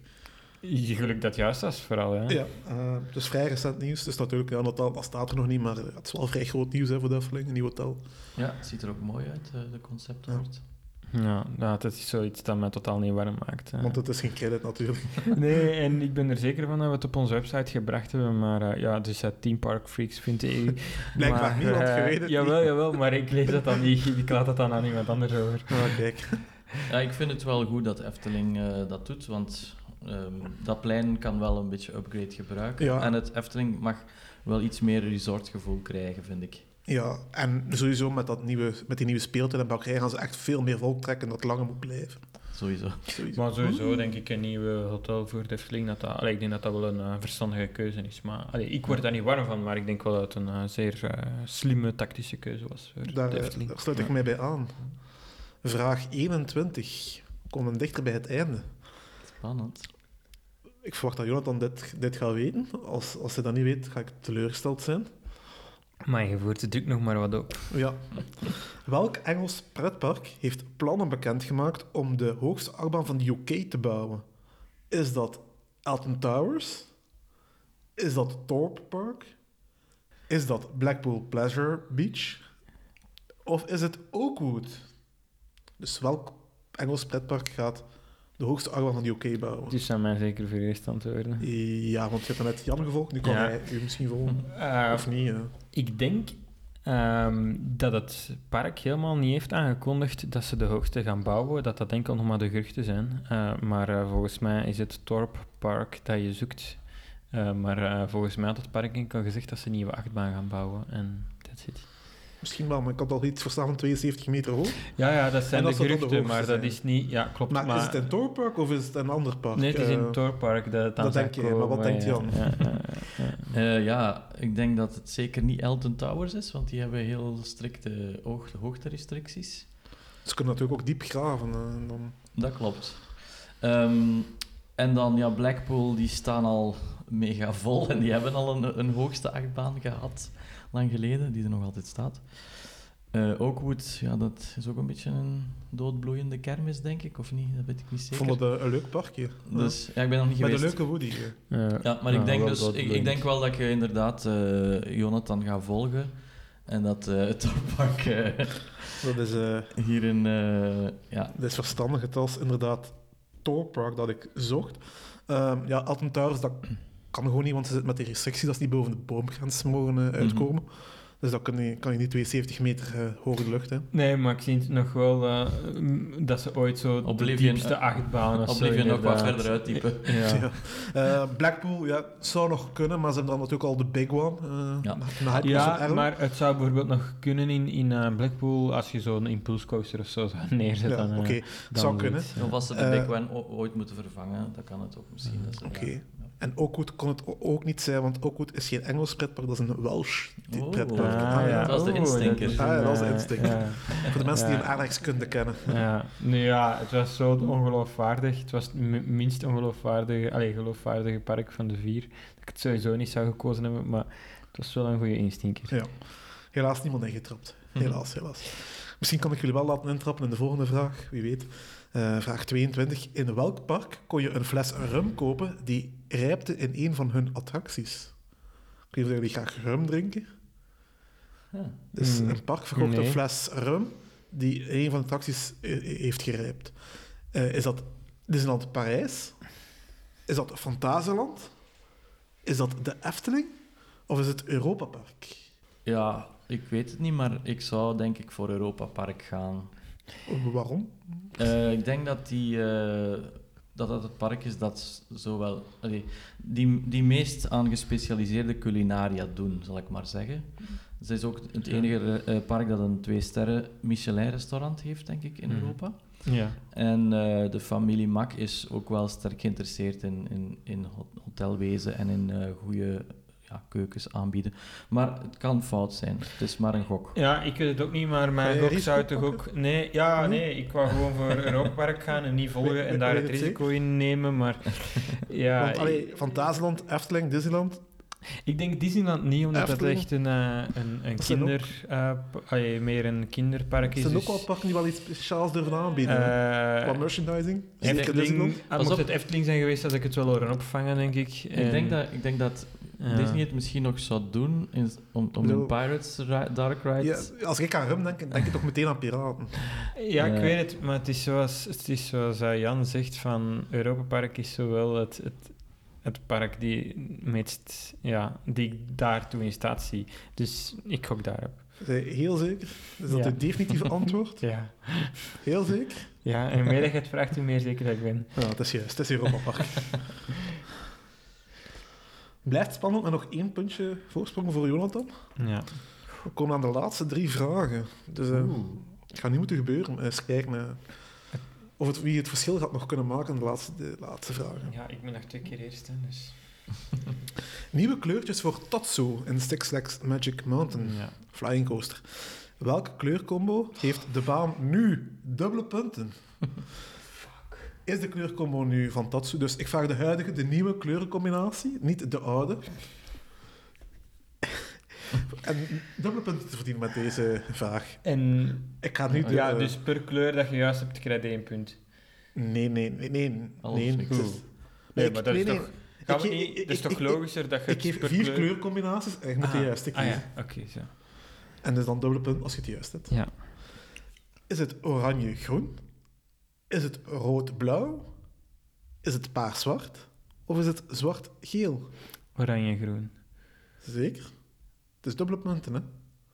[SPEAKER 4] Je geluk dat juist was, vooral. Hè?
[SPEAKER 2] Ja, eh, het is vrij recent nieuws. Het is natuurlijk, ja, dat, dat staat er nog niet, maar eh, het is wel vrij groot nieuws hè, voor de Efteling, een nieuw hotel.
[SPEAKER 3] Ja, het ziet er ook mooi uit, eh, de conceptart.
[SPEAKER 4] Ja, nou, dat is zoiets dat mij totaal niet warm maakt. hè.
[SPEAKER 2] Want het is geen credit natuurlijk.
[SPEAKER 4] Nee, en ik ben er zeker van dat we het op onze website gebracht hebben, maar eh, ja, dus dat Team Park Freaks vindt EU.
[SPEAKER 2] Blijkbaar
[SPEAKER 4] maar,
[SPEAKER 2] niet, want je
[SPEAKER 4] eh,
[SPEAKER 2] weet het
[SPEAKER 4] Jawel,
[SPEAKER 2] niet.
[SPEAKER 4] jawel, maar ik lees dat dan niet. Ik laat dat dan aan iemand anders over.
[SPEAKER 2] Maar kijk,
[SPEAKER 3] Ja, ik vind het wel goed dat Efteling eh, dat doet, want ehm, dat plein kan wel een beetje upgrade gebruiken.
[SPEAKER 2] Ja.
[SPEAKER 3] En het Efteling mag wel iets meer resortgevoel krijgen, vind ik.
[SPEAKER 2] ja, en sowieso met, dat nieuwe, met die nieuwe speeltuin en bakkerij gaan ze echt veel meer volk trekken dat langer moet blijven.
[SPEAKER 3] Sowieso.
[SPEAKER 2] Sowieso.
[SPEAKER 4] Maar
[SPEAKER 2] Ah.
[SPEAKER 4] sowieso denk ik een nieuwe hotel voor de Efteling, dat dat, allee, ik denk dat dat wel een eh, verstandige keuze is. Maar allee, ik word daar niet warm van, maar ik denk wel dat het een eh, zeer eh, slimme tactische keuze was voor
[SPEAKER 2] Daar,
[SPEAKER 4] de
[SPEAKER 2] eh,
[SPEAKER 4] Efteling.
[SPEAKER 2] daar sluit ik
[SPEAKER 4] Ja.
[SPEAKER 2] mij bij aan. Vraag 21. We komen dichter bij het einde.
[SPEAKER 3] Spannend.
[SPEAKER 2] Ik verwacht dat Jonathan dit, dit gaat weten. Als, als hij dat niet weet, ga ik teleurgesteld zijn.
[SPEAKER 4] Maar je voert de druk nog maar wat op.
[SPEAKER 2] Ja. Welk Engels pretpark heeft plannen bekendgemaakt om de hoogste achtbaan van de UK te bouwen? Is dat Alton Towers? Is dat Thorpe Park? Is dat Blackpool Pleasure Beach? Of is het Oakwood? Dus welk Engels pretpark gaat de hoogste achtbaan van de UK bouwen?
[SPEAKER 4] Dus zijn mij zeker voor eerst antwoorden.
[SPEAKER 2] Ja, want je hebt net Jan gevolgd, nu kan
[SPEAKER 4] Ja.
[SPEAKER 2] hij u misschien volgen. Of niet, eh. ja.
[SPEAKER 4] Eh, Ik denk ehm, dat het park helemaal niet heeft aangekondigd dat ze de hoogste gaan bouwen. Dat dat enkel nog maar de geruchten zijn. Eh, maar eh, volgens mij is het Torp Park dat je zoekt. Eh, maar eh, volgens mij had het park enkel gezegd dat ze een nieuwe achtbaan gaan bouwen. En that's it.
[SPEAKER 2] Misschien wel, maar ik had al iets verstaan van 72 meter hoog.
[SPEAKER 4] Ja, ja dat zijn
[SPEAKER 2] En dat
[SPEAKER 4] de
[SPEAKER 2] ze dan de
[SPEAKER 4] geruchten,
[SPEAKER 2] hoogste
[SPEAKER 4] maar dat
[SPEAKER 2] zijn.
[SPEAKER 4] is niet... Ja, klopt.
[SPEAKER 2] Maar, is het in Torenpark of is het een ander park?
[SPEAKER 4] Nee, het is in
[SPEAKER 2] Eh,
[SPEAKER 4] het Torpark dat het aan
[SPEAKER 2] dat
[SPEAKER 4] zou
[SPEAKER 2] denk je, maar wat
[SPEAKER 4] komen,
[SPEAKER 2] denkt
[SPEAKER 4] ja,
[SPEAKER 2] Jan?
[SPEAKER 4] ja, ja, ja.
[SPEAKER 3] Eh, ja, ik denk dat het zeker niet Elton Towers is, want die hebben heel strikte oog- hoogterestricties.
[SPEAKER 2] Ze kunnen natuurlijk ook diep graven. eh, en dan...
[SPEAKER 3] Dat klopt. Ehm, en dan, ja, Blackpool, die staan al mega vol en die hebben al een, een hoogste achtbaan gehad, lang geleden, die er nog altijd staat. Eh Oakwood, ja, dat is ook een beetje een doodbloeiende kermis, denk ik, of niet? Dat weet ik niet
[SPEAKER 2] Ik
[SPEAKER 3] zeker.
[SPEAKER 2] vond het eh, een leuk parkje.
[SPEAKER 3] Dus ja, ik ben nog niet
[SPEAKER 2] Met een
[SPEAKER 3] geweest.
[SPEAKER 2] leuke Woody. eh.
[SPEAKER 4] Eh,
[SPEAKER 3] Ja, maar ik denk
[SPEAKER 4] wel
[SPEAKER 3] dus,
[SPEAKER 4] dat
[SPEAKER 3] ik, ik
[SPEAKER 4] bedoel
[SPEAKER 3] denk wel dat je inderdaad eh, Jonathan gaat volgen. En dat eh, het topak eh,
[SPEAKER 2] Dat is, eh,
[SPEAKER 3] hier in, eh, ja,
[SPEAKER 2] dat is verstandig. Het was inderdaad Torenpark dat ik zocht. Ehm, ja, Alton Towers, dat kan gewoon niet, want ze zit met die restrictie dat ze niet boven de boomgrens mogen eh, uitkomen. Dus dat kan je, kan je niet 72 meter eh, hoog de lucht. Hè.
[SPEAKER 4] Nee, maar ik zie het nog wel eh, m- dat ze ooit zo
[SPEAKER 3] Oblivion,
[SPEAKER 4] de diepste
[SPEAKER 3] eh,
[SPEAKER 4] achtbaan of zo,
[SPEAKER 3] Oblivion nog wat
[SPEAKER 4] inderdaad.
[SPEAKER 3] verder uittypen.
[SPEAKER 4] Ja.
[SPEAKER 2] Ja. Eh, Blackpool, ja, het zou nog kunnen, maar ze hebben dan natuurlijk al de big one. eh,
[SPEAKER 3] Ja.
[SPEAKER 2] na- na Hype House
[SPEAKER 4] Ja,
[SPEAKER 2] en Arrow.
[SPEAKER 4] maar het zou bijvoorbeeld nog kunnen in, in eh, Blackpool als je zo'n impulscoaster of zo zou neerzetten.
[SPEAKER 2] Ja,
[SPEAKER 4] dan,
[SPEAKER 2] Oké,
[SPEAKER 4] eh, dan
[SPEAKER 2] zou
[SPEAKER 4] zoiets,
[SPEAKER 2] kunnen.
[SPEAKER 4] ja.
[SPEAKER 3] Of als ze de Big
[SPEAKER 2] Eh, Ah,
[SPEAKER 3] One o- ooit moeten vervangen, dan kan het ook misschien. dat ze-
[SPEAKER 2] Oké.
[SPEAKER 3] ja.
[SPEAKER 2] En Oakwood kon het o- ook niet zijn, want Oakwood is geen Engels pretpark, dat is een Welsh di-
[SPEAKER 3] Oh.
[SPEAKER 2] pretpark.
[SPEAKER 3] Ah,
[SPEAKER 2] Ah,
[SPEAKER 3] ja.
[SPEAKER 2] ja.
[SPEAKER 3] Dat was de
[SPEAKER 4] Oh,
[SPEAKER 3] instinker.
[SPEAKER 4] is
[SPEAKER 2] Ah, ja, dat was de
[SPEAKER 4] eh,
[SPEAKER 2] instinker.
[SPEAKER 4] ja.
[SPEAKER 2] Voor de mensen die
[SPEAKER 4] Ja.
[SPEAKER 2] hem aardrijkskunde kennen.
[SPEAKER 4] Ja, nu ja, het was zo ongeloofwaardig. Het was het mi- minst ongeloofwaardige, allee, geloofwaardige park van de vier. Dat ik het sowieso niet zou gekozen hebben, maar het was wel een goede instinker.
[SPEAKER 2] Ja. Helaas niemand ingetrapt. Helaas, helaas. Misschien kan ik jullie wel laten intrappen in de volgende vraag, wie weet. Eh, vraag 22. In welk park kon je een fles rum kopen die rijpte in een van hun attracties? Ik weet niet of jullie graag rum drinken.
[SPEAKER 3] Ja.
[SPEAKER 2] Dus
[SPEAKER 4] Hmm,
[SPEAKER 2] een park verkoopt een
[SPEAKER 4] nee.
[SPEAKER 2] fles rum die in een van de attracties eh, heeft gerijpt. Eh, is dat Disneyland Parijs? Is dat Fantasieland? Is dat de Efteling? Of is het Europa Park?
[SPEAKER 3] Ja, ik weet het niet, maar ik zou denk ik voor Europa Park gaan.
[SPEAKER 2] Waarom?
[SPEAKER 3] Eh, ik denk dat die, eh, dat, dat het park is dat s- zowel, allee, die, die meest aan gespecialiseerde culinaria doen, zal ik maar zeggen. Het is ook het enige eh, park dat een twee-sterren Michelin-restaurant heeft, denk ik, in
[SPEAKER 4] Mhm.
[SPEAKER 3] Europa.
[SPEAKER 4] Ja.
[SPEAKER 3] En eh, de familie Mak is ook wel sterk geïnteresseerd in, in, in hot- hotelwezen en in eh goede ja, keukens aanbieden. Maar het kan fout zijn. Het is maar een gok.
[SPEAKER 4] Ja, ik weet het ook niet, maar
[SPEAKER 2] Ga
[SPEAKER 4] mijn
[SPEAKER 2] je
[SPEAKER 4] gok
[SPEAKER 2] risico
[SPEAKER 4] zou toch
[SPEAKER 2] pakken? Hm?
[SPEAKER 4] ook... Nee, ja, nee, ik wou gewoon voor Europa Park gaan en niet
[SPEAKER 2] Weet-
[SPEAKER 4] volgen en
[SPEAKER 2] weet-
[SPEAKER 4] daar
[SPEAKER 2] weet
[SPEAKER 4] het
[SPEAKER 2] het
[SPEAKER 4] risico in nemen, maar... Ja,
[SPEAKER 2] Want allee, Fantasieland, Efteling, Disneyland,
[SPEAKER 4] Ik denk Disneyland niet, omdat het
[SPEAKER 2] Efteling.
[SPEAKER 4] echt een, eh, een, een
[SPEAKER 2] Dat zijn ook-
[SPEAKER 4] kinder... eh, p- allee, meer een kinderpark
[SPEAKER 2] Er
[SPEAKER 4] is.
[SPEAKER 2] zijn ook
[SPEAKER 4] dus,
[SPEAKER 2] wel pakken die wel iets speciaals durven aanbieden.
[SPEAKER 4] eh,
[SPEAKER 2] Wat merchandising. Zeker
[SPEAKER 4] Efteling,
[SPEAKER 2] Disneyland.
[SPEAKER 4] ah,
[SPEAKER 3] Pas
[SPEAKER 4] mocht
[SPEAKER 3] op.
[SPEAKER 4] het Efteling zijn geweest, had ik het wel horen opvangen, denk ik.
[SPEAKER 3] Ik denk dat, ik denk dat Disney het misschien nog zou doen is om, om
[SPEAKER 2] Bedoel-
[SPEAKER 3] een Pirates Ri- Dark Ride...
[SPEAKER 2] Ja, als ik aan rum denk, denk ik toch meteen aan piraten.
[SPEAKER 4] Ja, ik
[SPEAKER 3] Eh.
[SPEAKER 4] weet het, maar het is zoals, het is zoals eh, Jan zegt, van Europa Park is zowel het, het, het park die, meest, ja, die ik daartoe in staat zie. Dus ik gok daarop.
[SPEAKER 2] Zij- Heel zeker. Is dat
[SPEAKER 4] Ja.
[SPEAKER 2] het definitieve antwoord?
[SPEAKER 4] Ja,
[SPEAKER 2] Heel zeker.
[SPEAKER 4] ja en hoe meer dat je het vraagt, hoe meer zeker dat ik ben.
[SPEAKER 2] Ja, dat is juist. Het is Europa Park. Blijft spannend met nog één puntje voorsprong voor Jonathan.
[SPEAKER 4] Ja.
[SPEAKER 2] We komen aan de laatste drie vragen. Dus eh, het gaat niet moeten gebeuren. Eens kijken eh, of het, wie het verschil gaat nog kunnen maken in de laatste, de laatste vragen.
[SPEAKER 4] ja, ik ben nog twee keer eerst, dus...
[SPEAKER 2] Nieuwe kleurtjes voor Tatsu in Six Flags Magic Mountain.
[SPEAKER 4] Ja.
[SPEAKER 2] Flying Coaster. Welke kleurcombo heeft de baan nu dubbele punten? Is de kleurcombo nu van Tatsu? Dus ik vraag de huidige, de nieuwe kleurencombinatie, niet de oude. en dubbele punten te verdienen met deze vraag.
[SPEAKER 4] En
[SPEAKER 2] Ik ga nu de...
[SPEAKER 4] ja, dus per kleur dat je juist hebt, krijg je één punt.
[SPEAKER 2] Nee, nee, nee, nee.
[SPEAKER 3] Alles
[SPEAKER 2] nee,
[SPEAKER 3] niks.
[SPEAKER 2] het is-
[SPEAKER 4] Goed. Nee, maar dat is toch- Gaan we
[SPEAKER 2] Ik-
[SPEAKER 4] niet,
[SPEAKER 2] ik-
[SPEAKER 4] dat is
[SPEAKER 2] ik-
[SPEAKER 4] toch
[SPEAKER 2] ik-
[SPEAKER 4] logischer dat je
[SPEAKER 2] Ik
[SPEAKER 4] het
[SPEAKER 2] geef
[SPEAKER 4] per
[SPEAKER 2] vier
[SPEAKER 4] kleur-
[SPEAKER 2] kleurcombinaties en je moet de
[SPEAKER 4] Ah,
[SPEAKER 2] juiste
[SPEAKER 4] Ah
[SPEAKER 2] kiezen.
[SPEAKER 4] ja, oké, zo.
[SPEAKER 2] En dus dan dubbele punt als je het juist hebt.
[SPEAKER 4] Ja.
[SPEAKER 2] Is het oranje-groen? Is het rood-blauw? Is het paars-zwart? Of is het zwart-geel?
[SPEAKER 4] Oranje-groen.
[SPEAKER 2] Zeker. Het is dubbele punten, hè?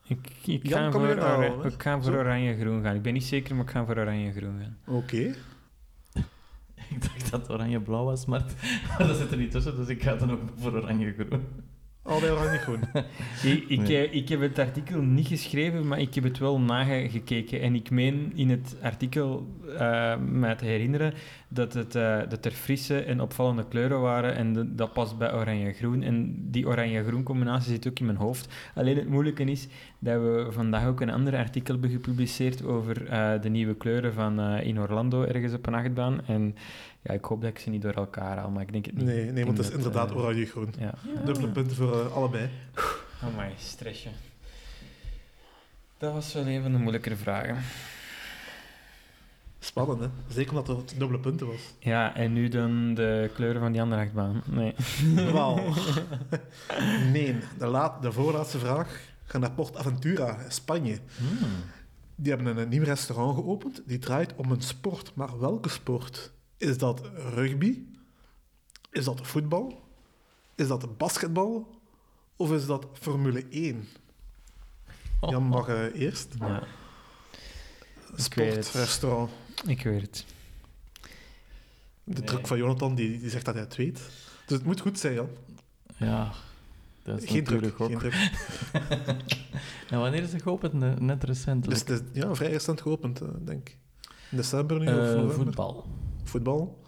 [SPEAKER 4] Ik, ik,
[SPEAKER 2] Jan,
[SPEAKER 4] ga
[SPEAKER 2] kom
[SPEAKER 4] voor,
[SPEAKER 2] je nou,
[SPEAKER 4] ora-
[SPEAKER 2] hè?
[SPEAKER 4] ik ga voor
[SPEAKER 2] Zo.
[SPEAKER 4] oranje-groen gaan. Ik ben niet zeker, maar ik ga voor oranje-groen gaan.
[SPEAKER 2] Oké.
[SPEAKER 3] Ik dacht dat het oranje-blauw was, maar maar dat zit er niet tussen, dus ik ga dan ook voor oranje-groen.
[SPEAKER 2] Allebei oranje-groen.
[SPEAKER 4] Ik, ik,
[SPEAKER 3] Nee.
[SPEAKER 4] eh, ik heb het artikel niet geschreven, maar ik heb het wel nagekeken. En ik meen in het artikel eh mij te herinneren dat, het, eh, dat er frisse en opvallende kleuren waren. En de- dat past bij oranje-groen. En die oranje-groen combinatie zit ook in mijn hoofd. Alleen het moeilijke is dat we vandaag ook een ander artikel hebben gepubliceerd over eh, de nieuwe kleuren van eh, in Orlando, ergens op een achtbaan. En ja, ik hoop dat ik ze niet door elkaar haal, maar ik denk het niet.
[SPEAKER 2] Nee,
[SPEAKER 4] Ik
[SPEAKER 2] nee,
[SPEAKER 4] denk
[SPEAKER 2] want het is
[SPEAKER 4] dat,
[SPEAKER 2] inderdaad
[SPEAKER 4] eh,
[SPEAKER 2] oranje-groen.
[SPEAKER 4] Ja.
[SPEAKER 2] Dubbele punten voor eh, allebei.
[SPEAKER 4] Amai, stressje. Dat was wel een van de moeilijkere vragen.
[SPEAKER 2] Spannend, hè? Zeker omdat het dubbele punten was.
[SPEAKER 4] Ja, en nu dan de kleuren van die andere achtbaan. Nee.
[SPEAKER 2] Wauw. nee, de, laat, de voorlaatste vraag gaat naar Port Aventura, Spanje.
[SPEAKER 3] Hmm.
[SPEAKER 2] Die hebben een nieuw restaurant geopend. Die draait om een sport. Maar welke sport? Is dat rugby? Is dat voetbal? Is dat basketbal? Of is dat Formule 1? Jan mag eh, eerst.
[SPEAKER 4] Ja, weet het.
[SPEAKER 2] Sportrestaurant.
[SPEAKER 4] ik weet het.
[SPEAKER 2] De
[SPEAKER 3] Nee.
[SPEAKER 2] druk van Jonathan die, die zegt dat hij het weet. Dus het moet goed zijn, Jan.
[SPEAKER 3] Ja, dat is
[SPEAKER 2] Geen druk.
[SPEAKER 3] natuurlijk ook.
[SPEAKER 2] Geen druk.
[SPEAKER 3] En wanneer is het geopend? Ne- Net recentelijk.
[SPEAKER 2] Dus het is, ja, vrij recent geopend, eh, denk ik. In december nu
[SPEAKER 3] Eh,
[SPEAKER 2] of november.
[SPEAKER 3] voetbal.
[SPEAKER 2] Voetbal.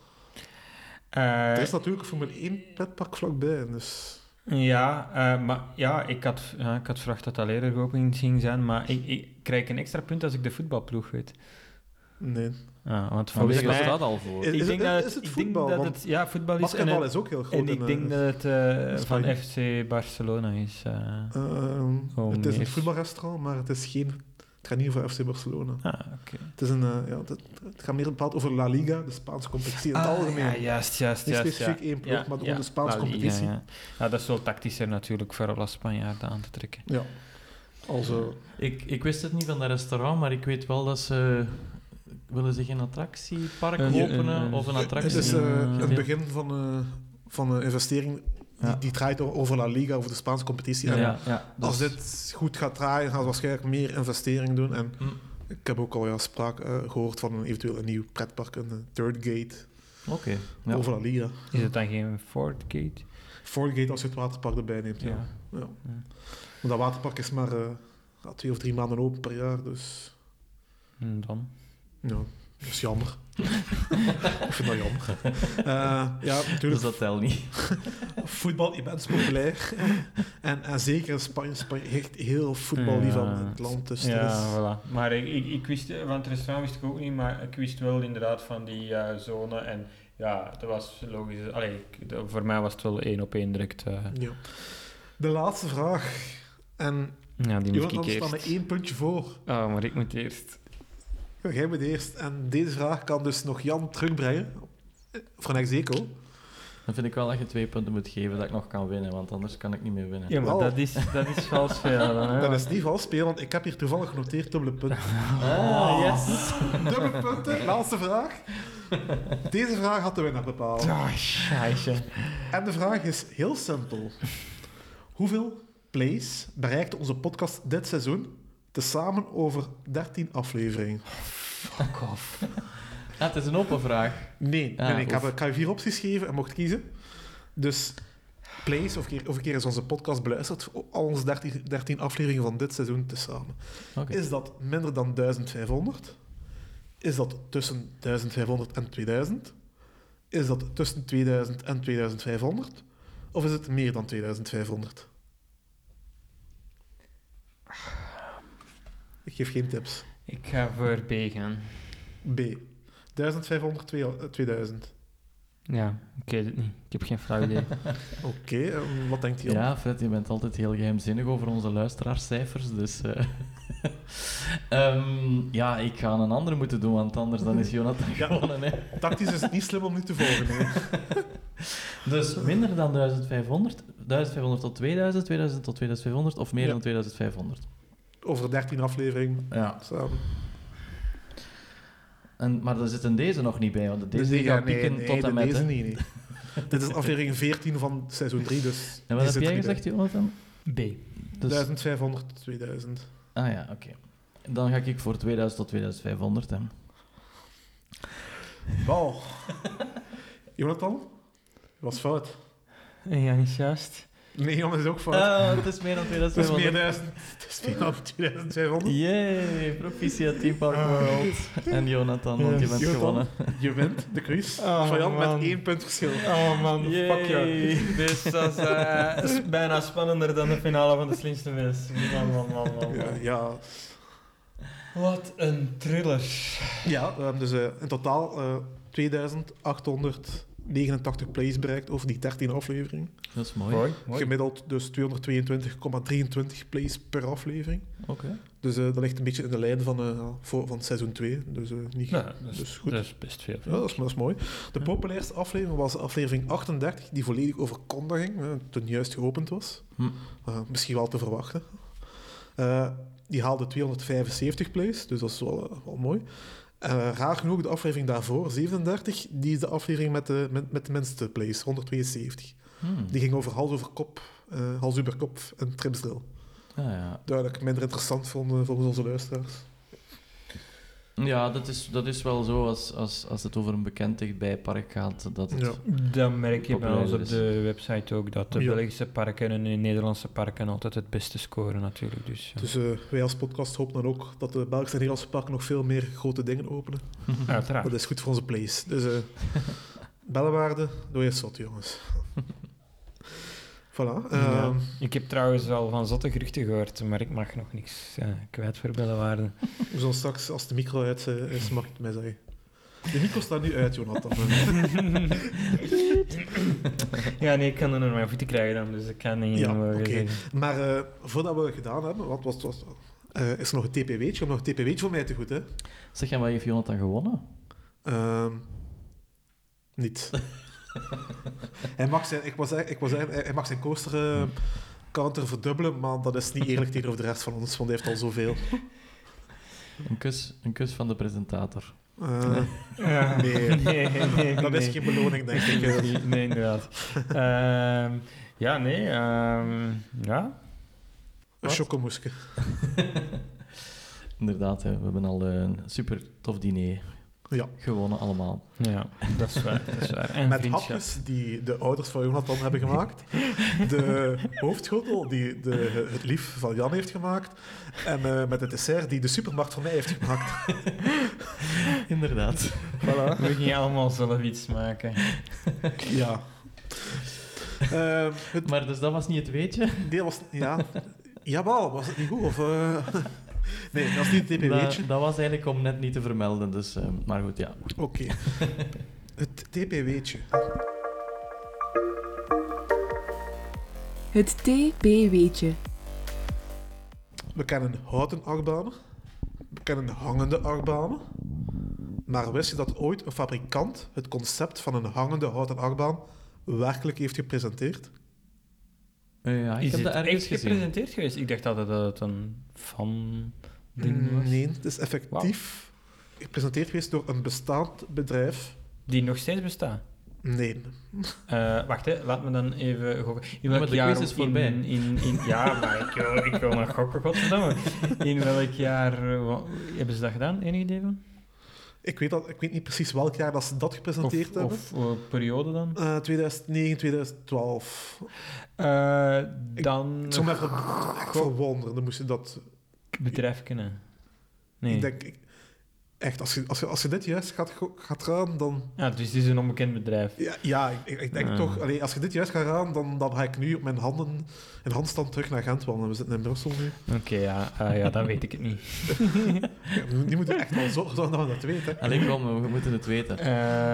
[SPEAKER 4] Eh,
[SPEAKER 2] er is natuurlijk een Formule 1 pretpark vlakbij. Dus
[SPEAKER 4] ja, eh, maar ja, ik had, ja, ik had verwacht dat dat eerder geopend ging zijn, maar ik, ik krijg een extra punt als ik de voetbalploeg weet.
[SPEAKER 2] nee.
[SPEAKER 4] Ah, want
[SPEAKER 3] Van
[SPEAKER 4] volgens
[SPEAKER 3] wie was
[SPEAKER 4] mij...
[SPEAKER 3] dat al voor?
[SPEAKER 2] Is-
[SPEAKER 4] ik
[SPEAKER 2] is
[SPEAKER 4] denk
[SPEAKER 2] het-
[SPEAKER 4] dat
[SPEAKER 2] is het
[SPEAKER 4] ik denk
[SPEAKER 2] voetbal?
[SPEAKER 4] dat
[SPEAKER 2] Want
[SPEAKER 4] het, ja, voetbal is... En,
[SPEAKER 2] Basketbal
[SPEAKER 4] het-
[SPEAKER 2] is ook heel groot.
[SPEAKER 4] en ik
[SPEAKER 2] in,
[SPEAKER 4] denk
[SPEAKER 2] eh,
[SPEAKER 4] dat het eh, van
[SPEAKER 2] Spanje.
[SPEAKER 4] FC Barcelona is. eh.
[SPEAKER 2] Ehm,
[SPEAKER 4] Oh,
[SPEAKER 2] het is een
[SPEAKER 4] nee.
[SPEAKER 2] voetbalrestaurant, maar het is geen. Het gaat niet over FC Barcelona.
[SPEAKER 4] Ah, oké.
[SPEAKER 2] Het, is een, eh, ja, het, het gaat meer bepaald over La Liga, de Spaanse competitie in het
[SPEAKER 4] Ah,
[SPEAKER 2] algemeen.
[SPEAKER 4] Ja, juist, juist,
[SPEAKER 2] Niet
[SPEAKER 4] juist.
[SPEAKER 2] specifiek
[SPEAKER 4] ja.
[SPEAKER 2] één ploeg, maar gewoon de Spaanse
[SPEAKER 4] La Liga,
[SPEAKER 2] competitie.
[SPEAKER 4] Ja, Ja, dat is wel tactischer natuurlijk voor alle Spanjaarden aan te trekken.
[SPEAKER 2] Ja. Also,
[SPEAKER 3] Ik, ik wist het niet van dat restaurant, maar ik weet wel dat ze... Willen zich een attractiepark
[SPEAKER 4] Een-
[SPEAKER 3] openen
[SPEAKER 4] een-
[SPEAKER 3] of een attractie...
[SPEAKER 2] het is eh,
[SPEAKER 4] een
[SPEAKER 2] het
[SPEAKER 3] gedeelte?
[SPEAKER 2] begin van, eh, van een investering die,
[SPEAKER 3] Ja.
[SPEAKER 2] die draait o- over La Liga, over de Spaanse competitie.
[SPEAKER 3] Ja,
[SPEAKER 2] En
[SPEAKER 3] ja, ja.
[SPEAKER 2] Als
[SPEAKER 3] Dus-
[SPEAKER 2] dit goed gaat draaien, gaan ze waarschijnlijk meer investering doen. En
[SPEAKER 3] Hm.
[SPEAKER 2] ik heb ook al ja, spraak eh, gehoord van een eventueel een nieuw pretpark, een eh, Third Gate,
[SPEAKER 3] Oké. ja.
[SPEAKER 2] over La Liga.
[SPEAKER 4] Is het dan geen Ford Gate?
[SPEAKER 2] Fourth Gate als je het waterpark erbij neemt. Ja.
[SPEAKER 4] Ja.
[SPEAKER 2] Ja. Want dat waterpark is maar eh, ja, twee of drie maanden open per jaar, dus
[SPEAKER 4] En Hmm, dan?
[SPEAKER 2] ja, dat is jammer. Ik vind dat jammer. Eh, ja,
[SPEAKER 3] Dus
[SPEAKER 2] natuurlijk.
[SPEAKER 3] dat telt niet.
[SPEAKER 2] Voetbal immens populair. en, en zeker in Spanje. Spanje heeft heel voetballief aan
[SPEAKER 4] Ja.
[SPEAKER 2] het land. Dus er is-
[SPEAKER 4] Ja, voilà. Maar ik, ik, ik wist, eh, van het restaurant wist ik ook niet, maar ik wist wel inderdaad van die eh, zone. En ja, dat was logisch. Allee, ik- dat- voor mij was het wel één op één direct. eh.
[SPEAKER 2] ja. De laatste vraag. En
[SPEAKER 4] Ja, die moet
[SPEAKER 2] Jonathan
[SPEAKER 4] ik
[SPEAKER 2] staat met
[SPEAKER 4] eerst.
[SPEAKER 2] één puntje voor.
[SPEAKER 4] Oh, maar ik moet eerst.
[SPEAKER 2] Ja, Jij bent eerst. En deze vraag kan dus nog Jan terugbrengen. eh, Van Execo.
[SPEAKER 3] Dan vind ik wel dat je twee punten moet geven dat ik nog kan winnen, want anders kan ik niet meer winnen.
[SPEAKER 4] Ja, maar
[SPEAKER 2] Wel.
[SPEAKER 4] dat is, dat is vals veel. Dan, hè,
[SPEAKER 2] Dat
[SPEAKER 4] want-
[SPEAKER 2] is niet vals spelen, want ik heb hier toevallig genoteerd dubbele punten.
[SPEAKER 3] Ah, yes!
[SPEAKER 2] dubbele punten, laatste vraag. Deze vraag had de winnaar bepaald.
[SPEAKER 4] Ah, scheisse.
[SPEAKER 2] En de vraag is heel simpel. Hoeveel plays bereikte onze podcast dit seizoen? Tezamen over 13 afleveringen.
[SPEAKER 4] Fuck off.
[SPEAKER 3] Ah, het is een open vraag.
[SPEAKER 2] Nee,
[SPEAKER 3] Ah,
[SPEAKER 2] nee, nee, ik, heb,
[SPEAKER 3] oef.
[SPEAKER 2] ik heb je vier opties gegeven en mocht kiezen. Dus plays, of, keer, of een keer is onze podcast beluisterd, al onze 13, 13 afleveringen van dit seizoen tezamen.
[SPEAKER 3] Oké.
[SPEAKER 2] Is dat minder dan 1500? Is dat tussen 1500 en 2000? Is dat tussen 2000 en 2500? Of is het meer dan 2500? Ik geef geen tips.
[SPEAKER 4] Ik ga voor B gaan.
[SPEAKER 2] B. 1500, 2000.
[SPEAKER 4] Ja, ik weet het niet. Ik heb geen flauw idee.
[SPEAKER 2] Oké, en wat denkt hij
[SPEAKER 3] Ja, Fred, je bent altijd heel geheimzinnig over onze luisteraarscijfers, dus... eh. Ehm, ja, ik ga een andere moeten doen, want anders dan is Jonathan
[SPEAKER 2] Ja.
[SPEAKER 3] gewonnen, hè.
[SPEAKER 2] Tactisch is het niet slim om nu te volgen. nee.
[SPEAKER 3] Dus minder dan 1500, 1500 tot 2000, 2000 tot 2500 of meer
[SPEAKER 2] Ja.
[SPEAKER 3] dan 2500.
[SPEAKER 2] Over 13 afleveringen
[SPEAKER 3] Ja.
[SPEAKER 2] samen.
[SPEAKER 3] En, maar daar zitten deze nog niet bij, want deze
[SPEAKER 2] Dus die-
[SPEAKER 3] die gaat
[SPEAKER 2] ja, nee,
[SPEAKER 3] pieken
[SPEAKER 2] nee,
[SPEAKER 3] tot
[SPEAKER 2] de-
[SPEAKER 3] en met.
[SPEAKER 2] Deze
[SPEAKER 3] hè.
[SPEAKER 2] niet, nee. Dit is aflevering 14 van seizoen 3, dus.
[SPEAKER 3] En
[SPEAKER 2] die zit
[SPEAKER 3] wat heb
[SPEAKER 2] er
[SPEAKER 3] jij
[SPEAKER 2] niet bij.
[SPEAKER 3] gezegd, Jonathan?
[SPEAKER 4] B.
[SPEAKER 3] Dus,
[SPEAKER 2] 1500, 2000.
[SPEAKER 3] ah ja, oké. Dan ga ik voor 2000 tot 2500. Hè.
[SPEAKER 2] Wow. Jonathan? Was fout.
[SPEAKER 4] Ja, niet juist.
[SPEAKER 2] Nee, Jan is ook fout.
[SPEAKER 3] Ah, het is meer dan
[SPEAKER 2] het is meer 1000.
[SPEAKER 3] 2500.
[SPEAKER 2] Het is meer dan 2500.
[SPEAKER 3] Yay, proficiat Team Park
[SPEAKER 2] Ah.
[SPEAKER 3] World. En Jonathan, want je
[SPEAKER 4] Yes.
[SPEAKER 3] bent
[SPEAKER 2] Jonathan.
[SPEAKER 3] gewonnen.
[SPEAKER 2] Je wint de quiz
[SPEAKER 4] Oh,
[SPEAKER 2] van Jan
[SPEAKER 4] man.
[SPEAKER 2] met één punt verschil.
[SPEAKER 4] Oh man,
[SPEAKER 3] Yay.
[SPEAKER 4] fuck jou. Dus dat is, eh, is bijna spannender dan de finale van de slimste mens. Man, man, man, man,
[SPEAKER 2] Ja,
[SPEAKER 4] man.
[SPEAKER 2] ja.
[SPEAKER 4] Wat een thriller.
[SPEAKER 2] Ja, we hebben dus eh, in totaal eh 2889 plays bereikt over die 13 afleveringen.
[SPEAKER 3] Dat is mooi. Oké.
[SPEAKER 2] Gemiddeld dus 222,23 plays per aflevering. Dus eh, dat ligt een beetje in de lijn van, eh, voor, van seizoen 2. Dus eh, niet
[SPEAKER 4] Ja, Nou, dat is,
[SPEAKER 2] Dus goed. Oh.
[SPEAKER 4] dat is best veel.
[SPEAKER 2] Ja, dat is, dat is mooi. De populairste aflevering was aflevering 38, die volledig over Conda ging, eh, toen juist geopend was.
[SPEAKER 3] Hm.
[SPEAKER 2] Eh, misschien wel te verwachten. Eh, die haalde 275 plays, dus dat is wel, eh, wel mooi. Eh, raar genoeg, de aflevering daarvoor, 37, die is de aflevering met de, met, met de minste plays, 172.
[SPEAKER 3] Hmm.
[SPEAKER 2] Die ging over hals over kop, eh, hals over kop en tripsdrill.
[SPEAKER 3] Ah, ja.
[SPEAKER 2] Duidelijk minder interessant eh, vonden volgens onze luisteraars.
[SPEAKER 3] Ja, dat is, dat is wel zo als, als, als het over een bekend dichtbij park gaat. Dat het...
[SPEAKER 2] Ja.
[SPEAKER 4] Dan merk je bij ons
[SPEAKER 3] Populairder
[SPEAKER 4] op
[SPEAKER 3] is.
[SPEAKER 4] de website ook dat de
[SPEAKER 2] Ja.
[SPEAKER 4] Belgische parken en de Nederlandse parken altijd het beste scoren natuurlijk. Dus, ja.
[SPEAKER 2] Dus eh, wij als podcast hopen dan ook dat de Belgische en Nederlandse parken nog veel meer grote dingen openen.
[SPEAKER 4] Uiteraard.
[SPEAKER 2] Dat is goed voor onze place. Dus eh bellenwaarde, doe je zot, jongens. Voilà.
[SPEAKER 4] Ja.
[SPEAKER 2] ehm,
[SPEAKER 4] Ik heb trouwens al van zotte geruchten gehoord, maar ik mag nog niks eh, kwijt voor Bellewaarde.
[SPEAKER 2] we zullen straks, als de micro uit eh, is, mag ik het mij zeggen. De micro staat nu uit, Jonathan.
[SPEAKER 4] ja, nee, ik kan er nog mijn voeten krijgen dan, dus ik kan niet
[SPEAKER 2] Ja,
[SPEAKER 4] mogen
[SPEAKER 2] oké.
[SPEAKER 4] zeggen.
[SPEAKER 2] maar eh, voordat we het gedaan hebben, wat was, was, eh, is er nog een TPW'tje? Om nog een TPW'tje voor mij te goed, hè?
[SPEAKER 3] Zeg, en wat heeft Jonathan gewonnen?
[SPEAKER 2] Ehm, niet. hij, mag zijn, ik was, ik was, hij hij mag zijn coaster eh, counter verdubbelen, maar dat is niet eerlijk tegenover de rest van ons, want hij heeft al zoveel.
[SPEAKER 3] Een kus, een kus van de presentator.
[SPEAKER 2] Eh,
[SPEAKER 4] Ja.
[SPEAKER 2] Nee.
[SPEAKER 4] nee, nee,
[SPEAKER 2] Dat is
[SPEAKER 4] nee.
[SPEAKER 2] geen beloning, denk ik. dus.
[SPEAKER 4] Dat is niet- nee, inderdaad. Ehm, ja, nee, ehm, ja.
[SPEAKER 2] Een chocomoeske.
[SPEAKER 3] Inderdaad, hè, we hebben al eh, een super tof diner
[SPEAKER 2] Ja.
[SPEAKER 3] gewonnen allemaal.
[SPEAKER 4] ja, dat is waar. Dat is waar. En
[SPEAKER 2] Met
[SPEAKER 4] vriendschap.
[SPEAKER 2] hapjes die de ouders van Jonathan hebben gemaakt. De hoofdschotel die de, het lief van Jan heeft gemaakt. En eh, met het dessert die de supermarkt van mij heeft gemaakt.
[SPEAKER 3] Inderdaad.
[SPEAKER 2] Voilà.
[SPEAKER 4] We gingen allemaal zelf iets maken.
[SPEAKER 2] Ja. Ehm, het
[SPEAKER 3] Maar dus dat was niet het weetje.
[SPEAKER 2] Nee, dat was... Ja. Jawel, was het niet goed? Of, eh, Nee, dat is niet het
[SPEAKER 3] Dat,
[SPEAKER 2] TPW'tje.
[SPEAKER 3] dat was eigenlijk om net niet te vermelden. Dus, eh, maar goed, ja.
[SPEAKER 2] Oké. Het TPW'tje.
[SPEAKER 1] Het TP-weetje.
[SPEAKER 2] We kennen houten achtbanen. We kennen hangende achtbanen. Maar wist je dat ooit een fabrikant het concept van een hangende houten achtbaan werkelijk heeft gepresenteerd?
[SPEAKER 3] Eh, ja, ik
[SPEAKER 4] Is
[SPEAKER 3] heb
[SPEAKER 4] het
[SPEAKER 3] dat ergens
[SPEAKER 4] echt
[SPEAKER 3] gezien.
[SPEAKER 4] gepresenteerd geweest? Ik dacht altijd dat het een fan-ding Mm, was.
[SPEAKER 2] Mm, Nee, het is effectief gepresenteerd geweest door een bestaand bedrijf.
[SPEAKER 4] Die nog steeds bestaat.
[SPEAKER 2] Nee.
[SPEAKER 4] Eh, wacht, hè, laat me dan even gokken. In
[SPEAKER 3] maar
[SPEAKER 4] welk
[SPEAKER 3] de
[SPEAKER 4] jaar
[SPEAKER 3] quiz is
[SPEAKER 4] in-
[SPEAKER 3] voorbij.
[SPEAKER 4] In, in- ja, maar ik wil, ik wil nog gokken, godverdomme. In welk jaar eh, wa- hebben ze dat gedaan? Enig idee van?
[SPEAKER 2] Ik weet, dat, ik weet niet precies welk jaar dat ze dat gepresenteerd
[SPEAKER 4] Of,
[SPEAKER 2] hebben.
[SPEAKER 4] of eh, periode dan?
[SPEAKER 2] Eh, 2009, 2012.
[SPEAKER 4] Eh, dan
[SPEAKER 2] Ik zou me even echt verwonderen. Dan moest je dat...
[SPEAKER 4] bedrijf kennen. Nee.
[SPEAKER 2] Ik denk... ik- echt, als je, als, je, als je dit juist gaat, go- gaat raden, dan...
[SPEAKER 4] Ah, dus het is een onbekend bedrijf.
[SPEAKER 2] Ja, ja ik, ik- ik denk
[SPEAKER 4] Ah.
[SPEAKER 2] toch... allee, als je dit juist gaat raden, dan, dan ga ik nu op mijn handen... In handstand terug naar Gent wandelen. We zitten in Brussel nu.
[SPEAKER 4] Oké, ja, ah, ja, dan weet ik het niet.
[SPEAKER 2] Ja, nu moeten we echt wel zorgen dat we dat weten. hè.
[SPEAKER 3] Allee, kom, we moeten het weten.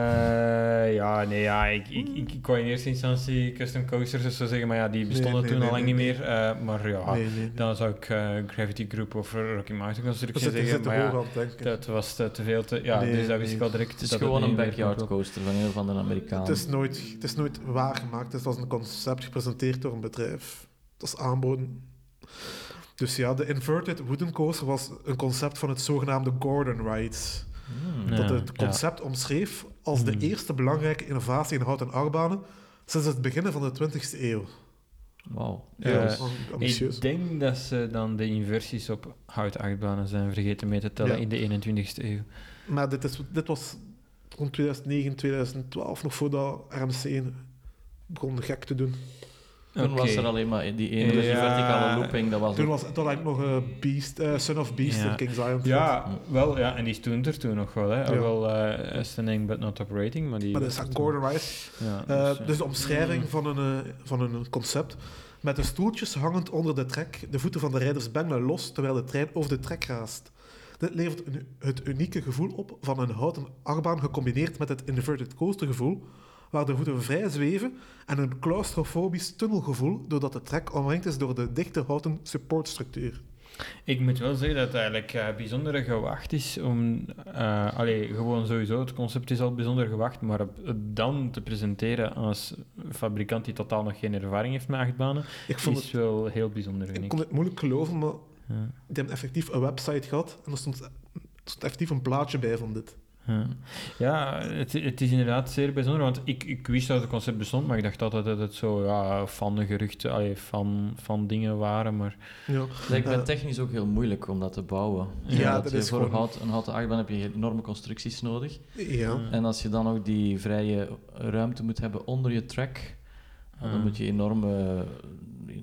[SPEAKER 4] Eh, ja, nee, ja, ik, ik, ik, ik wou in eerste instantie custom coasters of zo zeggen, maar ja, die bestonden
[SPEAKER 2] nee,
[SPEAKER 4] toen
[SPEAKER 2] nee,
[SPEAKER 4] al lang
[SPEAKER 2] nee,
[SPEAKER 4] niet
[SPEAKER 2] nee.
[SPEAKER 4] meer. eh, maar ja,
[SPEAKER 2] Nee, nee, nee.
[SPEAKER 4] Dan zou ik eh, Gravity Group of Rocky Mountain
[SPEAKER 2] We
[SPEAKER 4] Construction
[SPEAKER 2] zitten, we
[SPEAKER 4] zeggen,
[SPEAKER 2] zitten
[SPEAKER 4] maar
[SPEAKER 2] hoog
[SPEAKER 4] ja,
[SPEAKER 2] aan het denken.
[SPEAKER 4] dat was te, te veel te... Ja,
[SPEAKER 2] Nee,
[SPEAKER 4] dus dat wist
[SPEAKER 2] nee.
[SPEAKER 4] ik al direct.
[SPEAKER 3] Het is
[SPEAKER 4] dat
[SPEAKER 3] gewoon een
[SPEAKER 4] niet meer
[SPEAKER 3] backyard
[SPEAKER 4] kon.
[SPEAKER 3] coaster van een van de Amerikanen.
[SPEAKER 2] Het is, nooit, het is nooit waargemaakt. Het was een concept gepresenteerd door een bedrijf. Dat is aanboden. Dus ja, de Inverted Wooden Coaster was een concept van het zogenaamde Gordon Ride.
[SPEAKER 3] Hmm.
[SPEAKER 2] dat
[SPEAKER 4] Ja,
[SPEAKER 2] het concept omschreef als de
[SPEAKER 4] Hmm.
[SPEAKER 2] eerste belangrijke innovatie in houten achtbanen sinds het begin van de 20e eeuw.
[SPEAKER 3] Wauw.
[SPEAKER 4] Ja,
[SPEAKER 2] Ja,
[SPEAKER 4] eh,
[SPEAKER 2] dat is am- ambitieus.
[SPEAKER 4] Ik denk dat ze dan de inversies op houten achtbanen zijn vergeten mee te tellen
[SPEAKER 2] Ja.
[SPEAKER 4] in de 21ste eeuw.
[SPEAKER 2] Maar dit, is, dit was rond 2009, 2012, nog voordat RMC begon gek te doen.
[SPEAKER 3] Toen was er
[SPEAKER 4] Oké.
[SPEAKER 3] alleen maar die ene, dus die
[SPEAKER 4] Ja.
[SPEAKER 3] verticale looping, dat was
[SPEAKER 2] Toen
[SPEAKER 3] het.
[SPEAKER 2] was het al eigenlijk nog eh, Beast, eh, Son of Beast
[SPEAKER 4] Ja.
[SPEAKER 2] in King's Island.
[SPEAKER 4] Ja, wel, ja, en die stond er toen nog wel, hè.
[SPEAKER 2] Ja.
[SPEAKER 4] Ook wel eh standing but not operating, maar die...
[SPEAKER 2] Maar dat is
[SPEAKER 4] was er
[SPEAKER 2] aan
[SPEAKER 4] toen.
[SPEAKER 2] Gordon Rice.
[SPEAKER 4] Ja,
[SPEAKER 2] Eh,
[SPEAKER 4] dus, eh,
[SPEAKER 2] dus de omschrijving van, een, eh, van een concept. Met de stoeltjes hangend onder de trek, de voeten van de rijders bengelen los terwijl de trein over de trek raast. Dit levert een- het unieke gevoel op van een houten achtbaan gecombineerd met het inverted coaster gevoel, waar de voeten vrij zweven en een claustrofobisch tunnelgevoel doordat de trek omringd is door de dichte houten supportstructuur.
[SPEAKER 4] Ik moet wel zeggen dat het eigenlijk eh bijzonder gewacht is om... eh allee, gewoon sowieso, het concept is al bijzonder gewacht, maar op- het dan te presenteren als fabrikant die totaal nog geen ervaring heeft met achtbanen,
[SPEAKER 2] Ik vond
[SPEAKER 4] is
[SPEAKER 2] het,
[SPEAKER 4] wel heel bijzonder, vind
[SPEAKER 2] ik
[SPEAKER 4] ik.
[SPEAKER 2] kon het moeilijk geloven, maar
[SPEAKER 4] Ja,
[SPEAKER 2] die hebben effectief een website gehad en er stond, er stond effectief een plaatje bij van dit.
[SPEAKER 4] ja. Ja, het, het is inderdaad zeer bijzonder, want ik, ik wist dat het concept bestond, maar ik dacht altijd dat het zo ja, van geruchten, allee, van, van dingen waren, maar...
[SPEAKER 2] Ja.
[SPEAKER 3] Het lijkt me
[SPEAKER 2] Eh,
[SPEAKER 3] technisch ook heel moeilijk om dat te bouwen.
[SPEAKER 2] Ja,
[SPEAKER 3] Omdat
[SPEAKER 2] dat
[SPEAKER 3] je
[SPEAKER 2] is
[SPEAKER 3] voor
[SPEAKER 2] gewoon-
[SPEAKER 3] hout, een houten achtbaan heb je enorme constructies nodig.
[SPEAKER 2] Eh, ja.
[SPEAKER 3] En als je dan ook die vrije ruimte moet hebben onder je track, dan
[SPEAKER 4] Ja.
[SPEAKER 3] moet je enorme,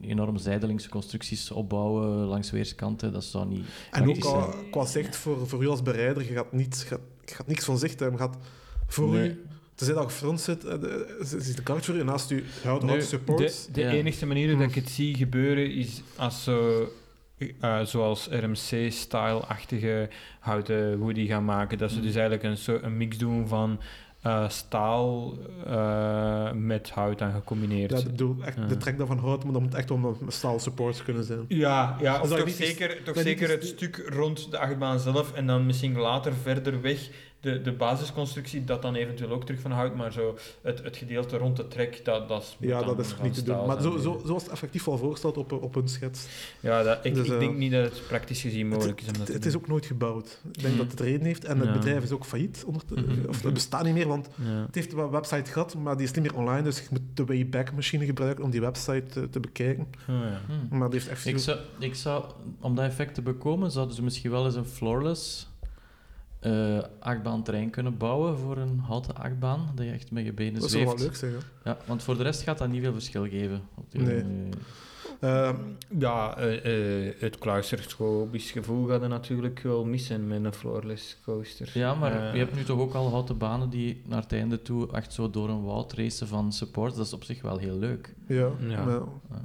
[SPEAKER 3] enorm zijdelingse constructies opbouwen langs weerskanten. Dat zou niet...
[SPEAKER 2] En ook
[SPEAKER 3] praktisch
[SPEAKER 2] qua,
[SPEAKER 4] eh,
[SPEAKER 3] zijn.
[SPEAKER 2] qua zicht voor, voor u als bereider, je gaat, niet, je gaat, je gaat niks van zicht hebben. Je gaat voor
[SPEAKER 3] Nee.
[SPEAKER 2] u, tenzij dat je front zit, eh, de- zit zit de kaart voor u en naast u houdt
[SPEAKER 4] Nee,
[SPEAKER 2] houdt supports.
[SPEAKER 4] De, de
[SPEAKER 3] Ja.
[SPEAKER 4] enige manier dat ik het zie gebeuren is als ze eh, zoals RMC-style-achtige houten woody gaan maken. Dat ze dus eigenlijk een, soort- een mix doen van eh, staal eh, met hout aan gecombineerd.
[SPEAKER 2] Ja, ik bedoel, echt, de
[SPEAKER 4] Ja.
[SPEAKER 2] trek daarvan houdt, maar dat moet echt wel met staal supports kunnen zijn.
[SPEAKER 4] Ja, ja of
[SPEAKER 2] dat
[SPEAKER 4] toch
[SPEAKER 2] niet is-
[SPEAKER 4] zeker, toch
[SPEAKER 2] dat niet
[SPEAKER 4] zeker
[SPEAKER 2] is-
[SPEAKER 4] het stuk rond de achtbaan zelf en dan misschien later verder weg de, de basisconstructie, dat dan eventueel ook terug van hout, maar zo het, het gedeelte rond de trek, dat, dat is... moet
[SPEAKER 2] Ja,
[SPEAKER 4] dan
[SPEAKER 2] dat is
[SPEAKER 4] van
[SPEAKER 2] niet te doen.
[SPEAKER 4] staal
[SPEAKER 2] Maar
[SPEAKER 4] zijn.
[SPEAKER 2] zo, zo, zo was het effectief al voorgesteld op, op hun schets.
[SPEAKER 4] Ja, dat, ik,
[SPEAKER 2] Dus,
[SPEAKER 4] ik
[SPEAKER 2] eh,
[SPEAKER 4] denk niet dat het praktisch gezien mogelijk is om dat
[SPEAKER 2] Het,
[SPEAKER 4] te
[SPEAKER 2] het is
[SPEAKER 4] doen.
[SPEAKER 2] ook nooit gebouwd. Ik denk
[SPEAKER 4] Mm.
[SPEAKER 2] dat het reden heeft. En het
[SPEAKER 4] Ja.
[SPEAKER 2] bedrijf is ook failliet. ondertussen.
[SPEAKER 4] Mhm.
[SPEAKER 2] Of het bestaat niet meer, want
[SPEAKER 4] Ja.
[SPEAKER 2] het heeft wel een website gehad, maar die is niet meer online. Dus je moet de Wayback-machine gebruiken om die website eh, te bekijken.
[SPEAKER 4] Oh, ja.
[SPEAKER 3] Hm.
[SPEAKER 2] Maar die heeft echt
[SPEAKER 3] Ik zou, ik zou, om dat effect te bekomen, zouden ze misschien wel eens een floorless eh achtbaantrein kunnen bouwen voor een houten achtbaan, dat je echt met je benen
[SPEAKER 2] Dat zou wel
[SPEAKER 3] zweeft.
[SPEAKER 2] leuk zijn, ja.
[SPEAKER 3] Ja, want voor de rest gaat dat niet veel verschil geven. Op die-
[SPEAKER 2] Nee. Ehm,
[SPEAKER 4] Ja, eh, eh, het claustrophobisch gevoel gaat er natuurlijk wel missen met een floorless coaster.
[SPEAKER 3] Ja, maar
[SPEAKER 4] Eh,
[SPEAKER 3] je hebt nu toch ook al houten banen die naar het einde toe echt zo door een woud racen van supports. Dat is op zich wel heel leuk.
[SPEAKER 2] ja,
[SPEAKER 4] Ja.
[SPEAKER 2] maar-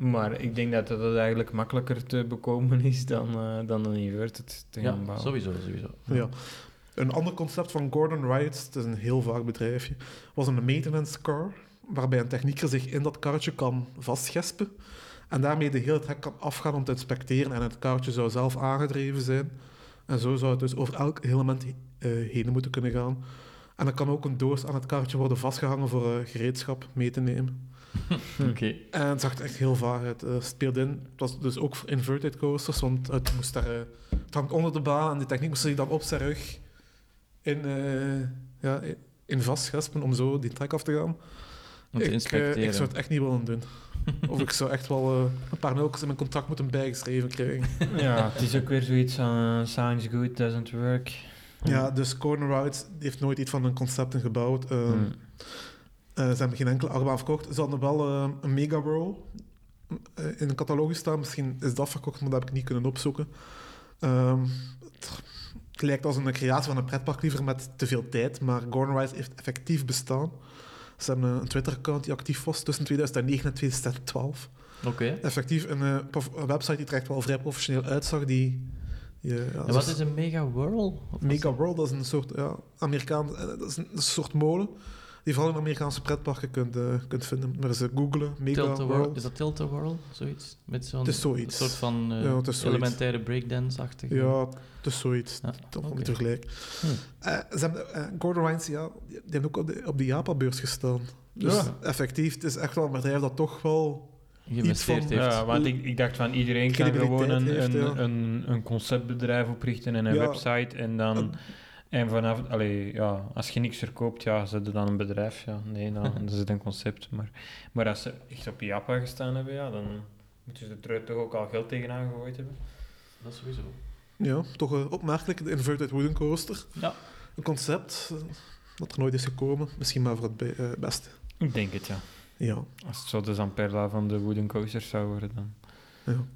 [SPEAKER 4] Maar ik denk dat dat eigenlijk makkelijker te bekomen is dan, eh, dan een inverted te gaan
[SPEAKER 3] ja,
[SPEAKER 4] bouwen.
[SPEAKER 3] sowieso, sowieso.
[SPEAKER 2] ja. Een ander concept van Gordon Rides, het is een heel vaag bedrijfje, was een maintenance car, waarbij een technieker zich in dat karretje kan vastgespen En daarmee de hele trek kan afgaan om te inspecteren. En het kaartje zou zelf aangedreven zijn. En zo zou het dus over elk element eh, heen moeten kunnen gaan. En er kan ook een doos aan het kaartje worden vastgehangen voor eh, gereedschap mee te nemen.
[SPEAKER 3] Oké.
[SPEAKER 2] En het zag er echt heel vaag uit. Eh, Het speelde in. Het was dus ook voor inverted coasters, want het, moest daar, eh, het hangt onder de baan en die techniek moest hij dan op zijn rug in, eh, ja, in- in vastgaspen om zo die trek af te gaan.
[SPEAKER 3] Om te
[SPEAKER 2] ik, eh,
[SPEAKER 3] inspecteren.
[SPEAKER 2] ik zou het echt niet willen doen. Of ik zou echt wel eh, een paar nulkes in mijn contract moeten bijgeschreven krijgen.
[SPEAKER 4] Ja, het is ook weer zoiets aan sounds good, doesn't work.
[SPEAKER 2] Ja, dus Corner Routes heeft nooit iets van een concept in gebouwd. Ehm,
[SPEAKER 4] Hmm.
[SPEAKER 2] eh, ze hebben geen enkele achtbaan verkocht. Ze hadden wel ehm, een Mega Roll eh, in de catalogus staan. Misschien is dat verkocht, maar dat heb ik niet kunnen opzoeken. Ehm, het, het lijkt als een creatie van een pretpark liever met te veel tijd, maar Corner Routes heeft effectief bestaan. Ze hebben een Twitter-account die actief was tussen 2009 en 2012.
[SPEAKER 3] Oké.
[SPEAKER 2] Effectief een, eh, prof- een website die er echt wel vrij professioneel uitzag. Die, die, eh, ja,
[SPEAKER 3] En wat is een mega whirl? Of wat
[SPEAKER 2] Mega World, dat is een soort ja, Amerikaan, eh, dat is een, een soort molen die je vooral in Amerikaanse pretparken kunt, eh, kunt vinden. Maar ze googelen,
[SPEAKER 3] is
[SPEAKER 2] Mega
[SPEAKER 3] Tilt a whirl?
[SPEAKER 2] World.
[SPEAKER 3] Is dat tilt a whirl? Zoiets? Met zo'n
[SPEAKER 2] Het is zoiets.
[SPEAKER 3] soort van eh,
[SPEAKER 2] Ja, het is zoiets.
[SPEAKER 3] elementaire breakdance-achtige...
[SPEAKER 2] Ja, het is zoiets.
[SPEAKER 3] Ja,
[SPEAKER 2] Toch
[SPEAKER 3] oké. Hm.
[SPEAKER 2] niet tegelijk. Eh, ze hebben, eh, Gordon Ryan's, ja, die, die hebben ook op de, op de Japan-beurs gestaan. Dus
[SPEAKER 4] Ja.
[SPEAKER 2] effectief, het is echt wel een bedrijf dat toch wel...
[SPEAKER 3] Geïnvesteerd
[SPEAKER 2] van-
[SPEAKER 3] heeft.
[SPEAKER 4] Ja, want ik, ik dacht van iedereen kan
[SPEAKER 2] Credibiliteit
[SPEAKER 4] gewoon een,
[SPEAKER 2] heeft,
[SPEAKER 4] een,
[SPEAKER 2] ja.
[SPEAKER 4] een, een conceptbedrijf oprichten en een
[SPEAKER 2] Ja.
[SPEAKER 4] website en dan... En vanaf, allee, ja, als je niks verkoopt, ja, zet er dan een bedrijf. Ja. Nee, dan, dan is het een concept. Maar, maar als ze echt op Japa gestaan hebben, ja, dan moeten ze er toch ook al geld tegenaan gegooid hebben.
[SPEAKER 3] Dat is sowieso.
[SPEAKER 2] Ja, toch eh, opmerkelijk. De Inverted Wooden Coaster.
[SPEAKER 3] Ja.
[SPEAKER 2] Een concept eh, dat er nooit is gekomen. Misschien maar voor het be- eh, beste.
[SPEAKER 4] Ik denk het, ja.
[SPEAKER 2] Ja.
[SPEAKER 4] Als het zo de Zamperla van de Wooden Coasters zou worden, dan...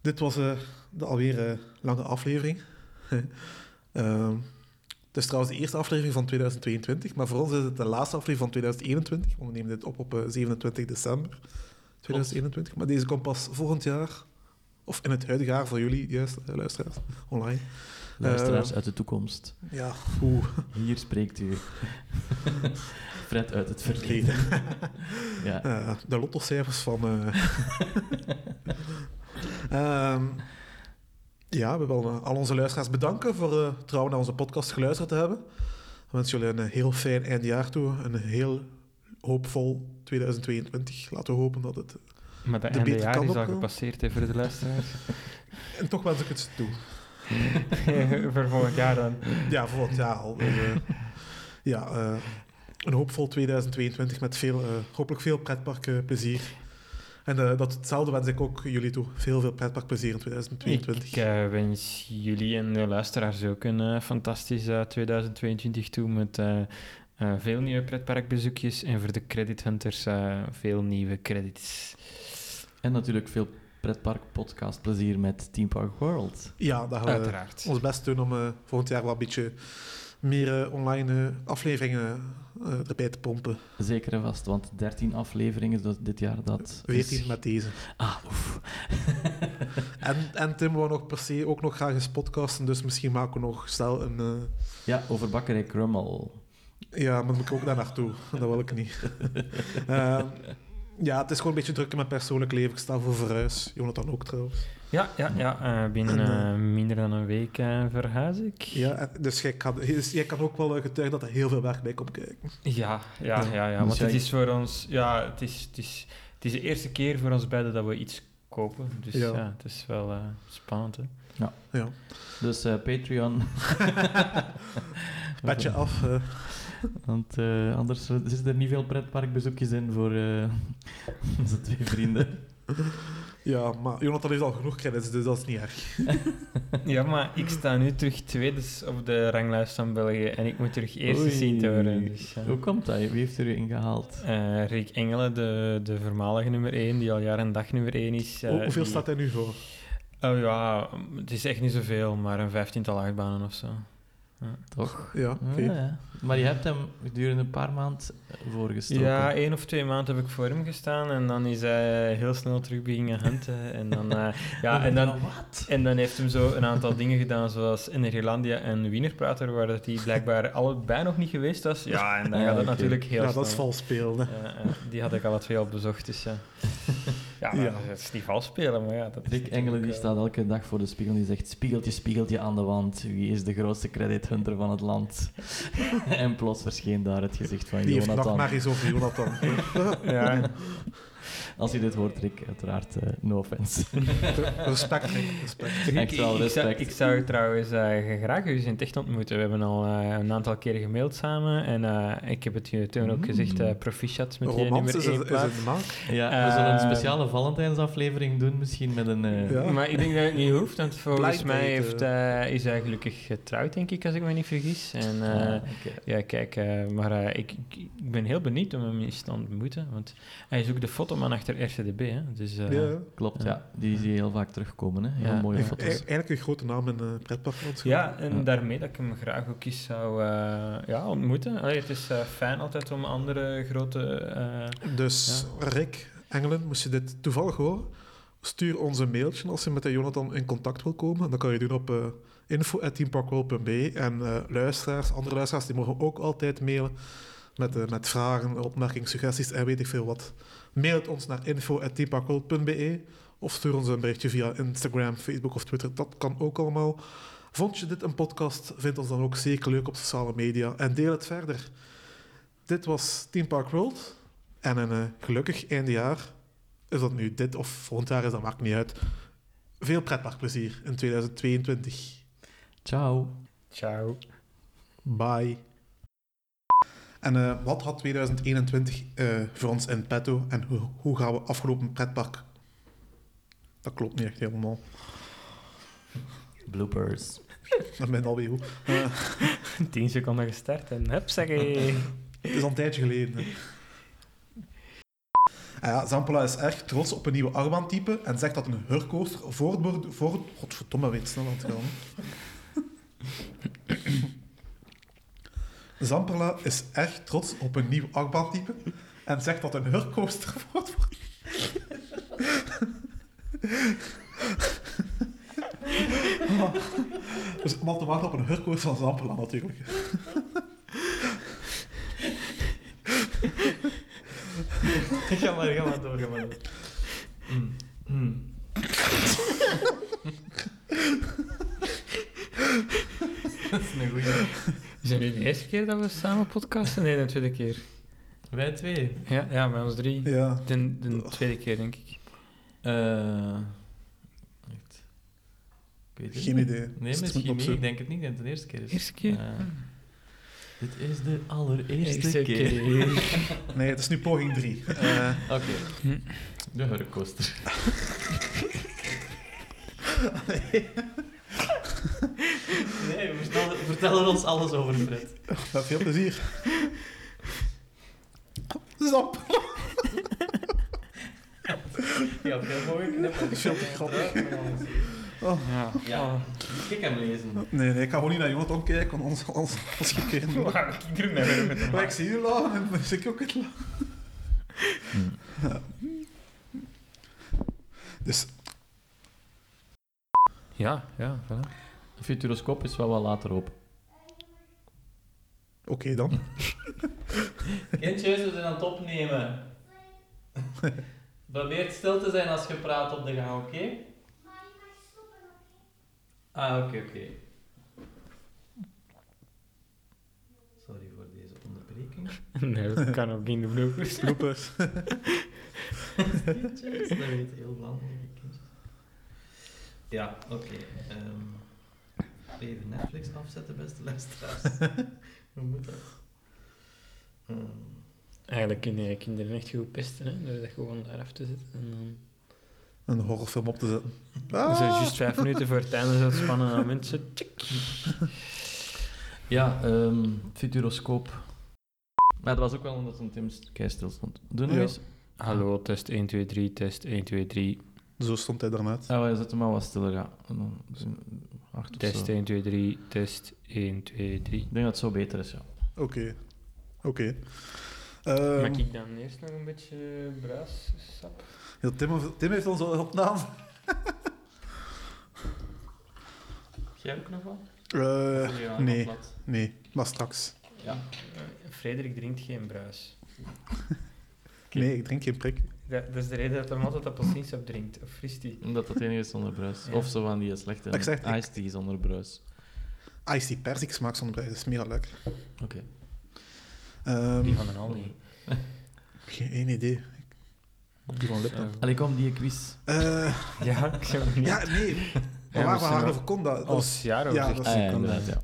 [SPEAKER 2] Dit was eh, de alweer eh, lange aflevering. Ehm, het is trouwens de eerste aflevering van 2022, maar voor ons is het de laatste aflevering van 2021. want We nemen dit op op eh, 27 december 2021. Maar deze komt pas volgend jaar, of in het huidige jaar voor jullie, juist, eh, luisteraars, online. Eh. Ehm,
[SPEAKER 3] Luisteraars uit de toekomst.
[SPEAKER 2] Ja, oeh,
[SPEAKER 3] Hier spreekt u. Fred uit het verleden.
[SPEAKER 2] verleden.
[SPEAKER 3] Ja.
[SPEAKER 2] Eh, de lottocijfers van. eh. Ehm, ja, we willen eh, al onze luisteraars bedanken voor eh, trouw naar onze podcast geluisterd te hebben. We wensen jullie een eh, heel fijn eindjaar toe. Een heel hoopvol 2022. Laten we hopen dat het.
[SPEAKER 4] Maar dat
[SPEAKER 2] De
[SPEAKER 4] einde
[SPEAKER 2] beter
[SPEAKER 4] jaar
[SPEAKER 2] kan
[SPEAKER 4] is al
[SPEAKER 2] opkomen.
[SPEAKER 4] gepasseerd hè, voor de luisteraars.
[SPEAKER 2] En toch wens ik het ze toe.
[SPEAKER 4] voor volgend jaar dan.
[SPEAKER 2] Ja, voor het jaar al. Dus, eh, ja, eh, een hoopvol 2022 met veel, eh, hopelijk veel pretparkplezier. En eh, dat hetzelfde wens ik ook jullie toe. Veel, veel pretparkplezier in 2022.
[SPEAKER 4] Ik eh, wens jullie en de luisteraars ook een eh, fantastisch eh, 2022 toe met eh, eh, veel nieuwe pretparkbezoekjes en voor de credit hunters eh, veel nieuwe credits.
[SPEAKER 3] En natuurlijk veel pretpark podcast plezier met Team Park World.
[SPEAKER 2] Ja, daar gaan we
[SPEAKER 4] Uiteraard.
[SPEAKER 2] ons best doen om eh, volgend jaar wel een beetje meer eh, online eh, afleveringen eh, erbij te pompen.
[SPEAKER 3] Zeker en vast, want 13 afleveringen dat- dit jaar dat. is-
[SPEAKER 2] 14 met deze.
[SPEAKER 3] Dus- Ah, oef.
[SPEAKER 2] En, en Tim wou nog per se ook nog graag eens podcasten, dus misschien maken we nog snel een... eh,
[SPEAKER 3] Ja, over Bakkerij Krummel.
[SPEAKER 2] ja, maar dan moet ik ook daar naartoe. Dat wil ik niet. Eh, ja, het is gewoon een beetje druk in mijn persoonlijk leven. Ik sta voor verhuis. Jonathan ook trouwens.
[SPEAKER 4] Ja, ja, ja eh, binnen
[SPEAKER 2] En,
[SPEAKER 4] eh, minder dan een week eh, verhuis ik.
[SPEAKER 2] Ja, en- dus jij kan, dus jij kan ook wel eh, getuigen dat er heel veel werk bij komt kijken.
[SPEAKER 4] Ja, ja, ja, ja.
[SPEAKER 3] Dus
[SPEAKER 4] Want
[SPEAKER 3] jij-
[SPEAKER 4] het is voor ons, ja, het is, het is, het is de eerste keer voor ons beiden dat we iets kopen. Dus
[SPEAKER 2] Ja.
[SPEAKER 4] ja, het is wel eh, spannend. Hè?
[SPEAKER 2] Ja.
[SPEAKER 3] Dus eh, Patreon.
[SPEAKER 2] Petje af. eh.
[SPEAKER 3] Want eh, anders zitten er niet veel pretparkbezoekjes in voor eh, onze twee vrienden.
[SPEAKER 2] ja, maar Jonathan heeft al genoeg credits, dus dat is niet erg.
[SPEAKER 4] Ja, maar ik sta nu terug tweede op de ranglijst van België en ik moet terug eerste
[SPEAKER 3] Oei.
[SPEAKER 4] zien te worden. Dus, ja.
[SPEAKER 3] Hoe komt dat? Wie heeft er u ingehaald?
[SPEAKER 4] Eh, Rick Engelen, de, de voormalige nummer 1, die al jaar en dag nummer 1 is. eh,
[SPEAKER 2] Hoe- hoeveel
[SPEAKER 4] die-
[SPEAKER 2] staat hij nu voor?
[SPEAKER 4] Oh ja, het is echt niet zoveel, maar een vijftiental achtbanen of zo.
[SPEAKER 3] Toch?
[SPEAKER 2] Ja, oké.
[SPEAKER 3] Ah, Ja, ja. Maar je hebt hem gedurende een paar maanden voorgestoken.
[SPEAKER 4] Ja, één of twee maanden heb ik voor hem gestaan en dan is hij eh, heel snel terug beginnen hunten. En dan, eh, ja, en dan, en dan heeft hem zo een aantal dingen gedaan, zoals Energelandia en Wienerprater, waar dat hij blijkbaar allebei nog niet geweest was. Ja, en dan
[SPEAKER 3] Ah,
[SPEAKER 4] gaat dat
[SPEAKER 3] oké.
[SPEAKER 4] natuurlijk heel
[SPEAKER 2] ja,
[SPEAKER 4] snel.
[SPEAKER 2] dat is vals spelen. hè.
[SPEAKER 4] Ja, ja, die had ik alle twee al bezocht, dus ja. Ja, maar
[SPEAKER 2] Ja.
[SPEAKER 4] dat is niet vals spelen, maar ja. Dat is
[SPEAKER 3] Dick Engelen die
[SPEAKER 4] natuurlijk,
[SPEAKER 3] staat elke dag voor de spiegel en die zegt: Spiegeltje, spiegeltje aan de wand. Wie is de grootste credit hunter van het land? en plots verscheen daar het gezicht van
[SPEAKER 2] Die heeft
[SPEAKER 3] Jonathan.
[SPEAKER 2] nachtmerries over Jonathan.
[SPEAKER 4] eh, Ja,
[SPEAKER 3] Als je dit hoort, Rick, uiteraard eh, no offense.
[SPEAKER 2] respect, Rick, respect.
[SPEAKER 3] Echt
[SPEAKER 4] Rick,
[SPEAKER 3] wel
[SPEAKER 4] ik- ik, zou,
[SPEAKER 3] respect.
[SPEAKER 4] ik zou trouwens eh, graag u eens in het echt ontmoeten. We hebben al eh, een aantal keren gemaild samen. En eh, ik heb het je toen ook gezegd, eh, proficiat met je
[SPEAKER 2] Romance
[SPEAKER 4] nummer
[SPEAKER 2] Mm. is,
[SPEAKER 4] 1
[SPEAKER 2] in- is in de maak.
[SPEAKER 3] ja, we zullen een
[SPEAKER 4] Eh,
[SPEAKER 3] speciale Valentijnsaflevering doen, misschien met een. eh,
[SPEAKER 2] Ja.
[SPEAKER 4] Maar ik denk dat het niet hoeft, want volgens
[SPEAKER 2] Blind
[SPEAKER 4] mij
[SPEAKER 2] date,
[SPEAKER 4] heeft, eh, is hij gelukkig getrouwd, denk ik, als ik me niet vergis. En eh,
[SPEAKER 3] ah, oké.
[SPEAKER 4] ja, kijk, eh, maar eh, ik, ik- ik ben heel benieuwd om hem eens te ontmoeten. Want hij is ook de fotoman achter RCDB, hè. Dus eh,
[SPEAKER 2] Ja.
[SPEAKER 3] Klopt, ja. Die zie je heel vaak terugkomen. Hè. Heel
[SPEAKER 4] Ja.
[SPEAKER 3] mooie
[SPEAKER 2] E- e-
[SPEAKER 3] foto's.
[SPEAKER 2] Eigenlijk een grote naam in eh pretparkland.
[SPEAKER 4] Ja, en
[SPEAKER 3] Ja.
[SPEAKER 4] daarmee dat ik hem graag ook eens zou eh, ja, ontmoeten. Allee, het is eh, fijn altijd om andere grote... eh,
[SPEAKER 2] Dus Rick Engelen, moest je dit toevallig horen, stuur ons een mailtje als je met de Jonathan in contact wil komen. Dat kan je doen op eh info.teamparkworld.be. En eh, luisteraars, andere luisteraars, die mogen ook altijd mailen met, eh, met vragen, opmerkingen, suggesties en weet ik veel wat. Mail het ons naar info.teamparkworld.be e of stuur ons een berichtje via Instagram, Facebook of Twitter. Dat kan ook allemaal. Vond je dit een podcast? Vind ons dan ook zeker leuk op sociale media en deel het verder. Dit was Team Park World. En een eh, gelukkig eindjaar, is dat nu dit of volgend jaar, is dat maakt niet uit. Veel pretparkplezier in 2022.
[SPEAKER 3] Ciao.
[SPEAKER 4] ciao.
[SPEAKER 2] Bye. En eh, wat had 2021 eh, voor ons in petto en hoe, hoe gaan we afgelopen pretpark? Dat klopt niet echt helemaal.
[SPEAKER 3] Bloopers.
[SPEAKER 2] Dat ben alweer hoe. Eh,
[SPEAKER 4] 10 seconden gestart en hup, zeg
[SPEAKER 2] het is al een tijdje geleden. hè. Ah ja, Zampola is erg trots op een nieuwe armbandtype en zegt dat een hurcoaster voor het... bord- Voor het godverdomme, weet snel aan het gaan. Zamperla is erg trots op een nieuw achtbaantype en zegt dat een hurcoaster wordt. Ah, Dus om al te wachten op een hurcoaster van Zamperla natuurlijk.
[SPEAKER 4] ga maar, ga maar door, ga maar door. Mm.
[SPEAKER 3] Dat is een goeie.
[SPEAKER 4] Is het nu de eerste keer dat we samen podcasten? Nee, de tweede keer.
[SPEAKER 3] Wij twee.
[SPEAKER 4] Ja, ja met ons drie.
[SPEAKER 2] Ja.
[SPEAKER 4] De, de tweede keer, denk ik.
[SPEAKER 3] Eh, echt. Ik weet het
[SPEAKER 2] Geen
[SPEAKER 3] niet.
[SPEAKER 2] idee. Dus
[SPEAKER 3] Nee,
[SPEAKER 2] het moet
[SPEAKER 3] misschien niet.
[SPEAKER 2] opzoeken.
[SPEAKER 3] Ik denk het niet dat het de eerste keer is.
[SPEAKER 4] Eerste keer?
[SPEAKER 3] Eh, dit is de allereerste
[SPEAKER 4] Eerste
[SPEAKER 3] keer.
[SPEAKER 4] keer.
[SPEAKER 2] Nee, het is nu poging Eh, 3.
[SPEAKER 3] Oké. De hurkcoaster. nee, vertel, vertel er ons alles over, Fred.
[SPEAKER 2] Ja, veel plezier. Zap.
[SPEAKER 3] Ja, veel mooie knippen.
[SPEAKER 2] Veel te grappig.
[SPEAKER 4] Ja.
[SPEAKER 3] Ja.
[SPEAKER 4] ja.
[SPEAKER 3] Ik heb hem lezen.
[SPEAKER 2] Nee, nee, ik ga gewoon niet naar Jonathan kijken, want ons, ons, ons gekeken.
[SPEAKER 4] ik doe mij weer met hem.
[SPEAKER 2] Maar ik zie je lachen en dan zie ik ook het lachen. Dus
[SPEAKER 4] Ja, ja, voilà.
[SPEAKER 3] De futuroscoop is wel wat later op.
[SPEAKER 2] oké dan.
[SPEAKER 3] Kindjes, we zijn aan het opnemen. Probeer stil te zijn als je praat op de gang, oké? Ah, oké, oké. Sorry voor deze onderbreking.
[SPEAKER 4] Nee, dat kan ook in de bloepers.
[SPEAKER 2] Bloepers.
[SPEAKER 3] Kindjes, dat weet heel belangrijk. kindjes. Ja, oké. ehm, even Netflix afzetten, beste luisteraars. Hoe moet dat? Ehm,
[SPEAKER 4] Eigenlijk kun je kinderen echt goed pesten, hè? door dat gewoon daar af te zetten. En dan...
[SPEAKER 2] Een horrorfilm op te zetten.
[SPEAKER 4] Zo,
[SPEAKER 2] Ah.
[SPEAKER 4] juist vijf minuten voor het einde, zo'n spannende moment. Zo, tjik.
[SPEAKER 3] Ja, ehm, Futuroscoop. Maar dat was ook wel omdat een Tim kei stil stond. Doe nog
[SPEAKER 2] Ja.
[SPEAKER 3] eens.
[SPEAKER 4] Hallo, test 1, 2, 3, test 1, 2, 3,
[SPEAKER 2] Zo stond hij daarnet.
[SPEAKER 3] Ah, we zetten maar wat stiller, ja. En dan zijn we acht of zo.
[SPEAKER 4] test 1, 2, 3, test 1, 2, 3.
[SPEAKER 3] Ik denk dat het zo beter is, ja.
[SPEAKER 2] Oké. Oké. Ehm,
[SPEAKER 4] Maak ik dan eerst nog een beetje bruissap?
[SPEAKER 2] ja, Tim, Tim heeft ons al opname.
[SPEAKER 3] Jij ook nog wat?
[SPEAKER 2] Eh nee, nee, maar straks.
[SPEAKER 3] Ja.
[SPEAKER 4] Frederik drinkt geen bruis.
[SPEAKER 2] Nee, ik drink geen prik.
[SPEAKER 4] Dat, dat is de reden dat hem altijd appelsiensap drinkt. Of vriest die.
[SPEAKER 3] Omdat dat enige is zonder bruis.
[SPEAKER 4] Ja.
[SPEAKER 3] Of zo van die slechte
[SPEAKER 2] Ik zeg, ik-
[SPEAKER 3] iced tea zonder bruis.
[SPEAKER 2] Ice tea persik smaak zonder bruis, dat is mega lekker.
[SPEAKER 3] Oké.
[SPEAKER 2] Ehm,
[SPEAKER 4] Die van een Aldi.
[SPEAKER 2] geen idee. Die van Lipton.
[SPEAKER 3] Allee, kom, die quiz.
[SPEAKER 2] Eh,
[SPEAKER 4] Ja, ik zou hem niet...
[SPEAKER 2] ja, nee. Maar waar we
[SPEAKER 4] misschien
[SPEAKER 2] haar
[SPEAKER 4] wel.
[SPEAKER 2] over kon, dat, dat
[SPEAKER 4] Als
[SPEAKER 2] was-
[SPEAKER 4] jaar
[SPEAKER 2] ja, dat
[SPEAKER 3] Ah, ja, inderdaad,
[SPEAKER 2] is-
[SPEAKER 3] ja.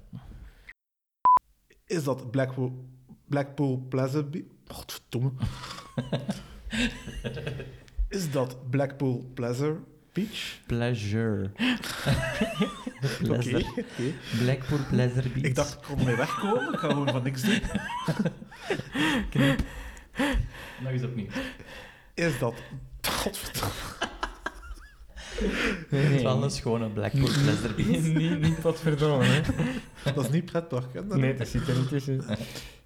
[SPEAKER 2] is dat Blackpool, Blackpool Plaza... Be- Godverdomme. is dat Blackpool Plaza Beach?
[SPEAKER 3] Pleasure. Pleasure.
[SPEAKER 2] oké.
[SPEAKER 3] Blackpool Pleasure Beach.
[SPEAKER 2] Ik dacht, ik kon ermee wegkomen. Ik ga gewoon van niks doen.
[SPEAKER 3] Nog eens opnieuw.
[SPEAKER 2] Is dat... Godverdomme.
[SPEAKER 4] Nee,
[SPEAKER 3] Het is
[SPEAKER 4] nee.
[SPEAKER 3] wel een schone Blackpool Pleasure Beach.
[SPEAKER 4] niet, niet wat verdomme, hè.
[SPEAKER 2] Dat is niet pretpark, hè?
[SPEAKER 4] Nee, dat zit er niet tussen.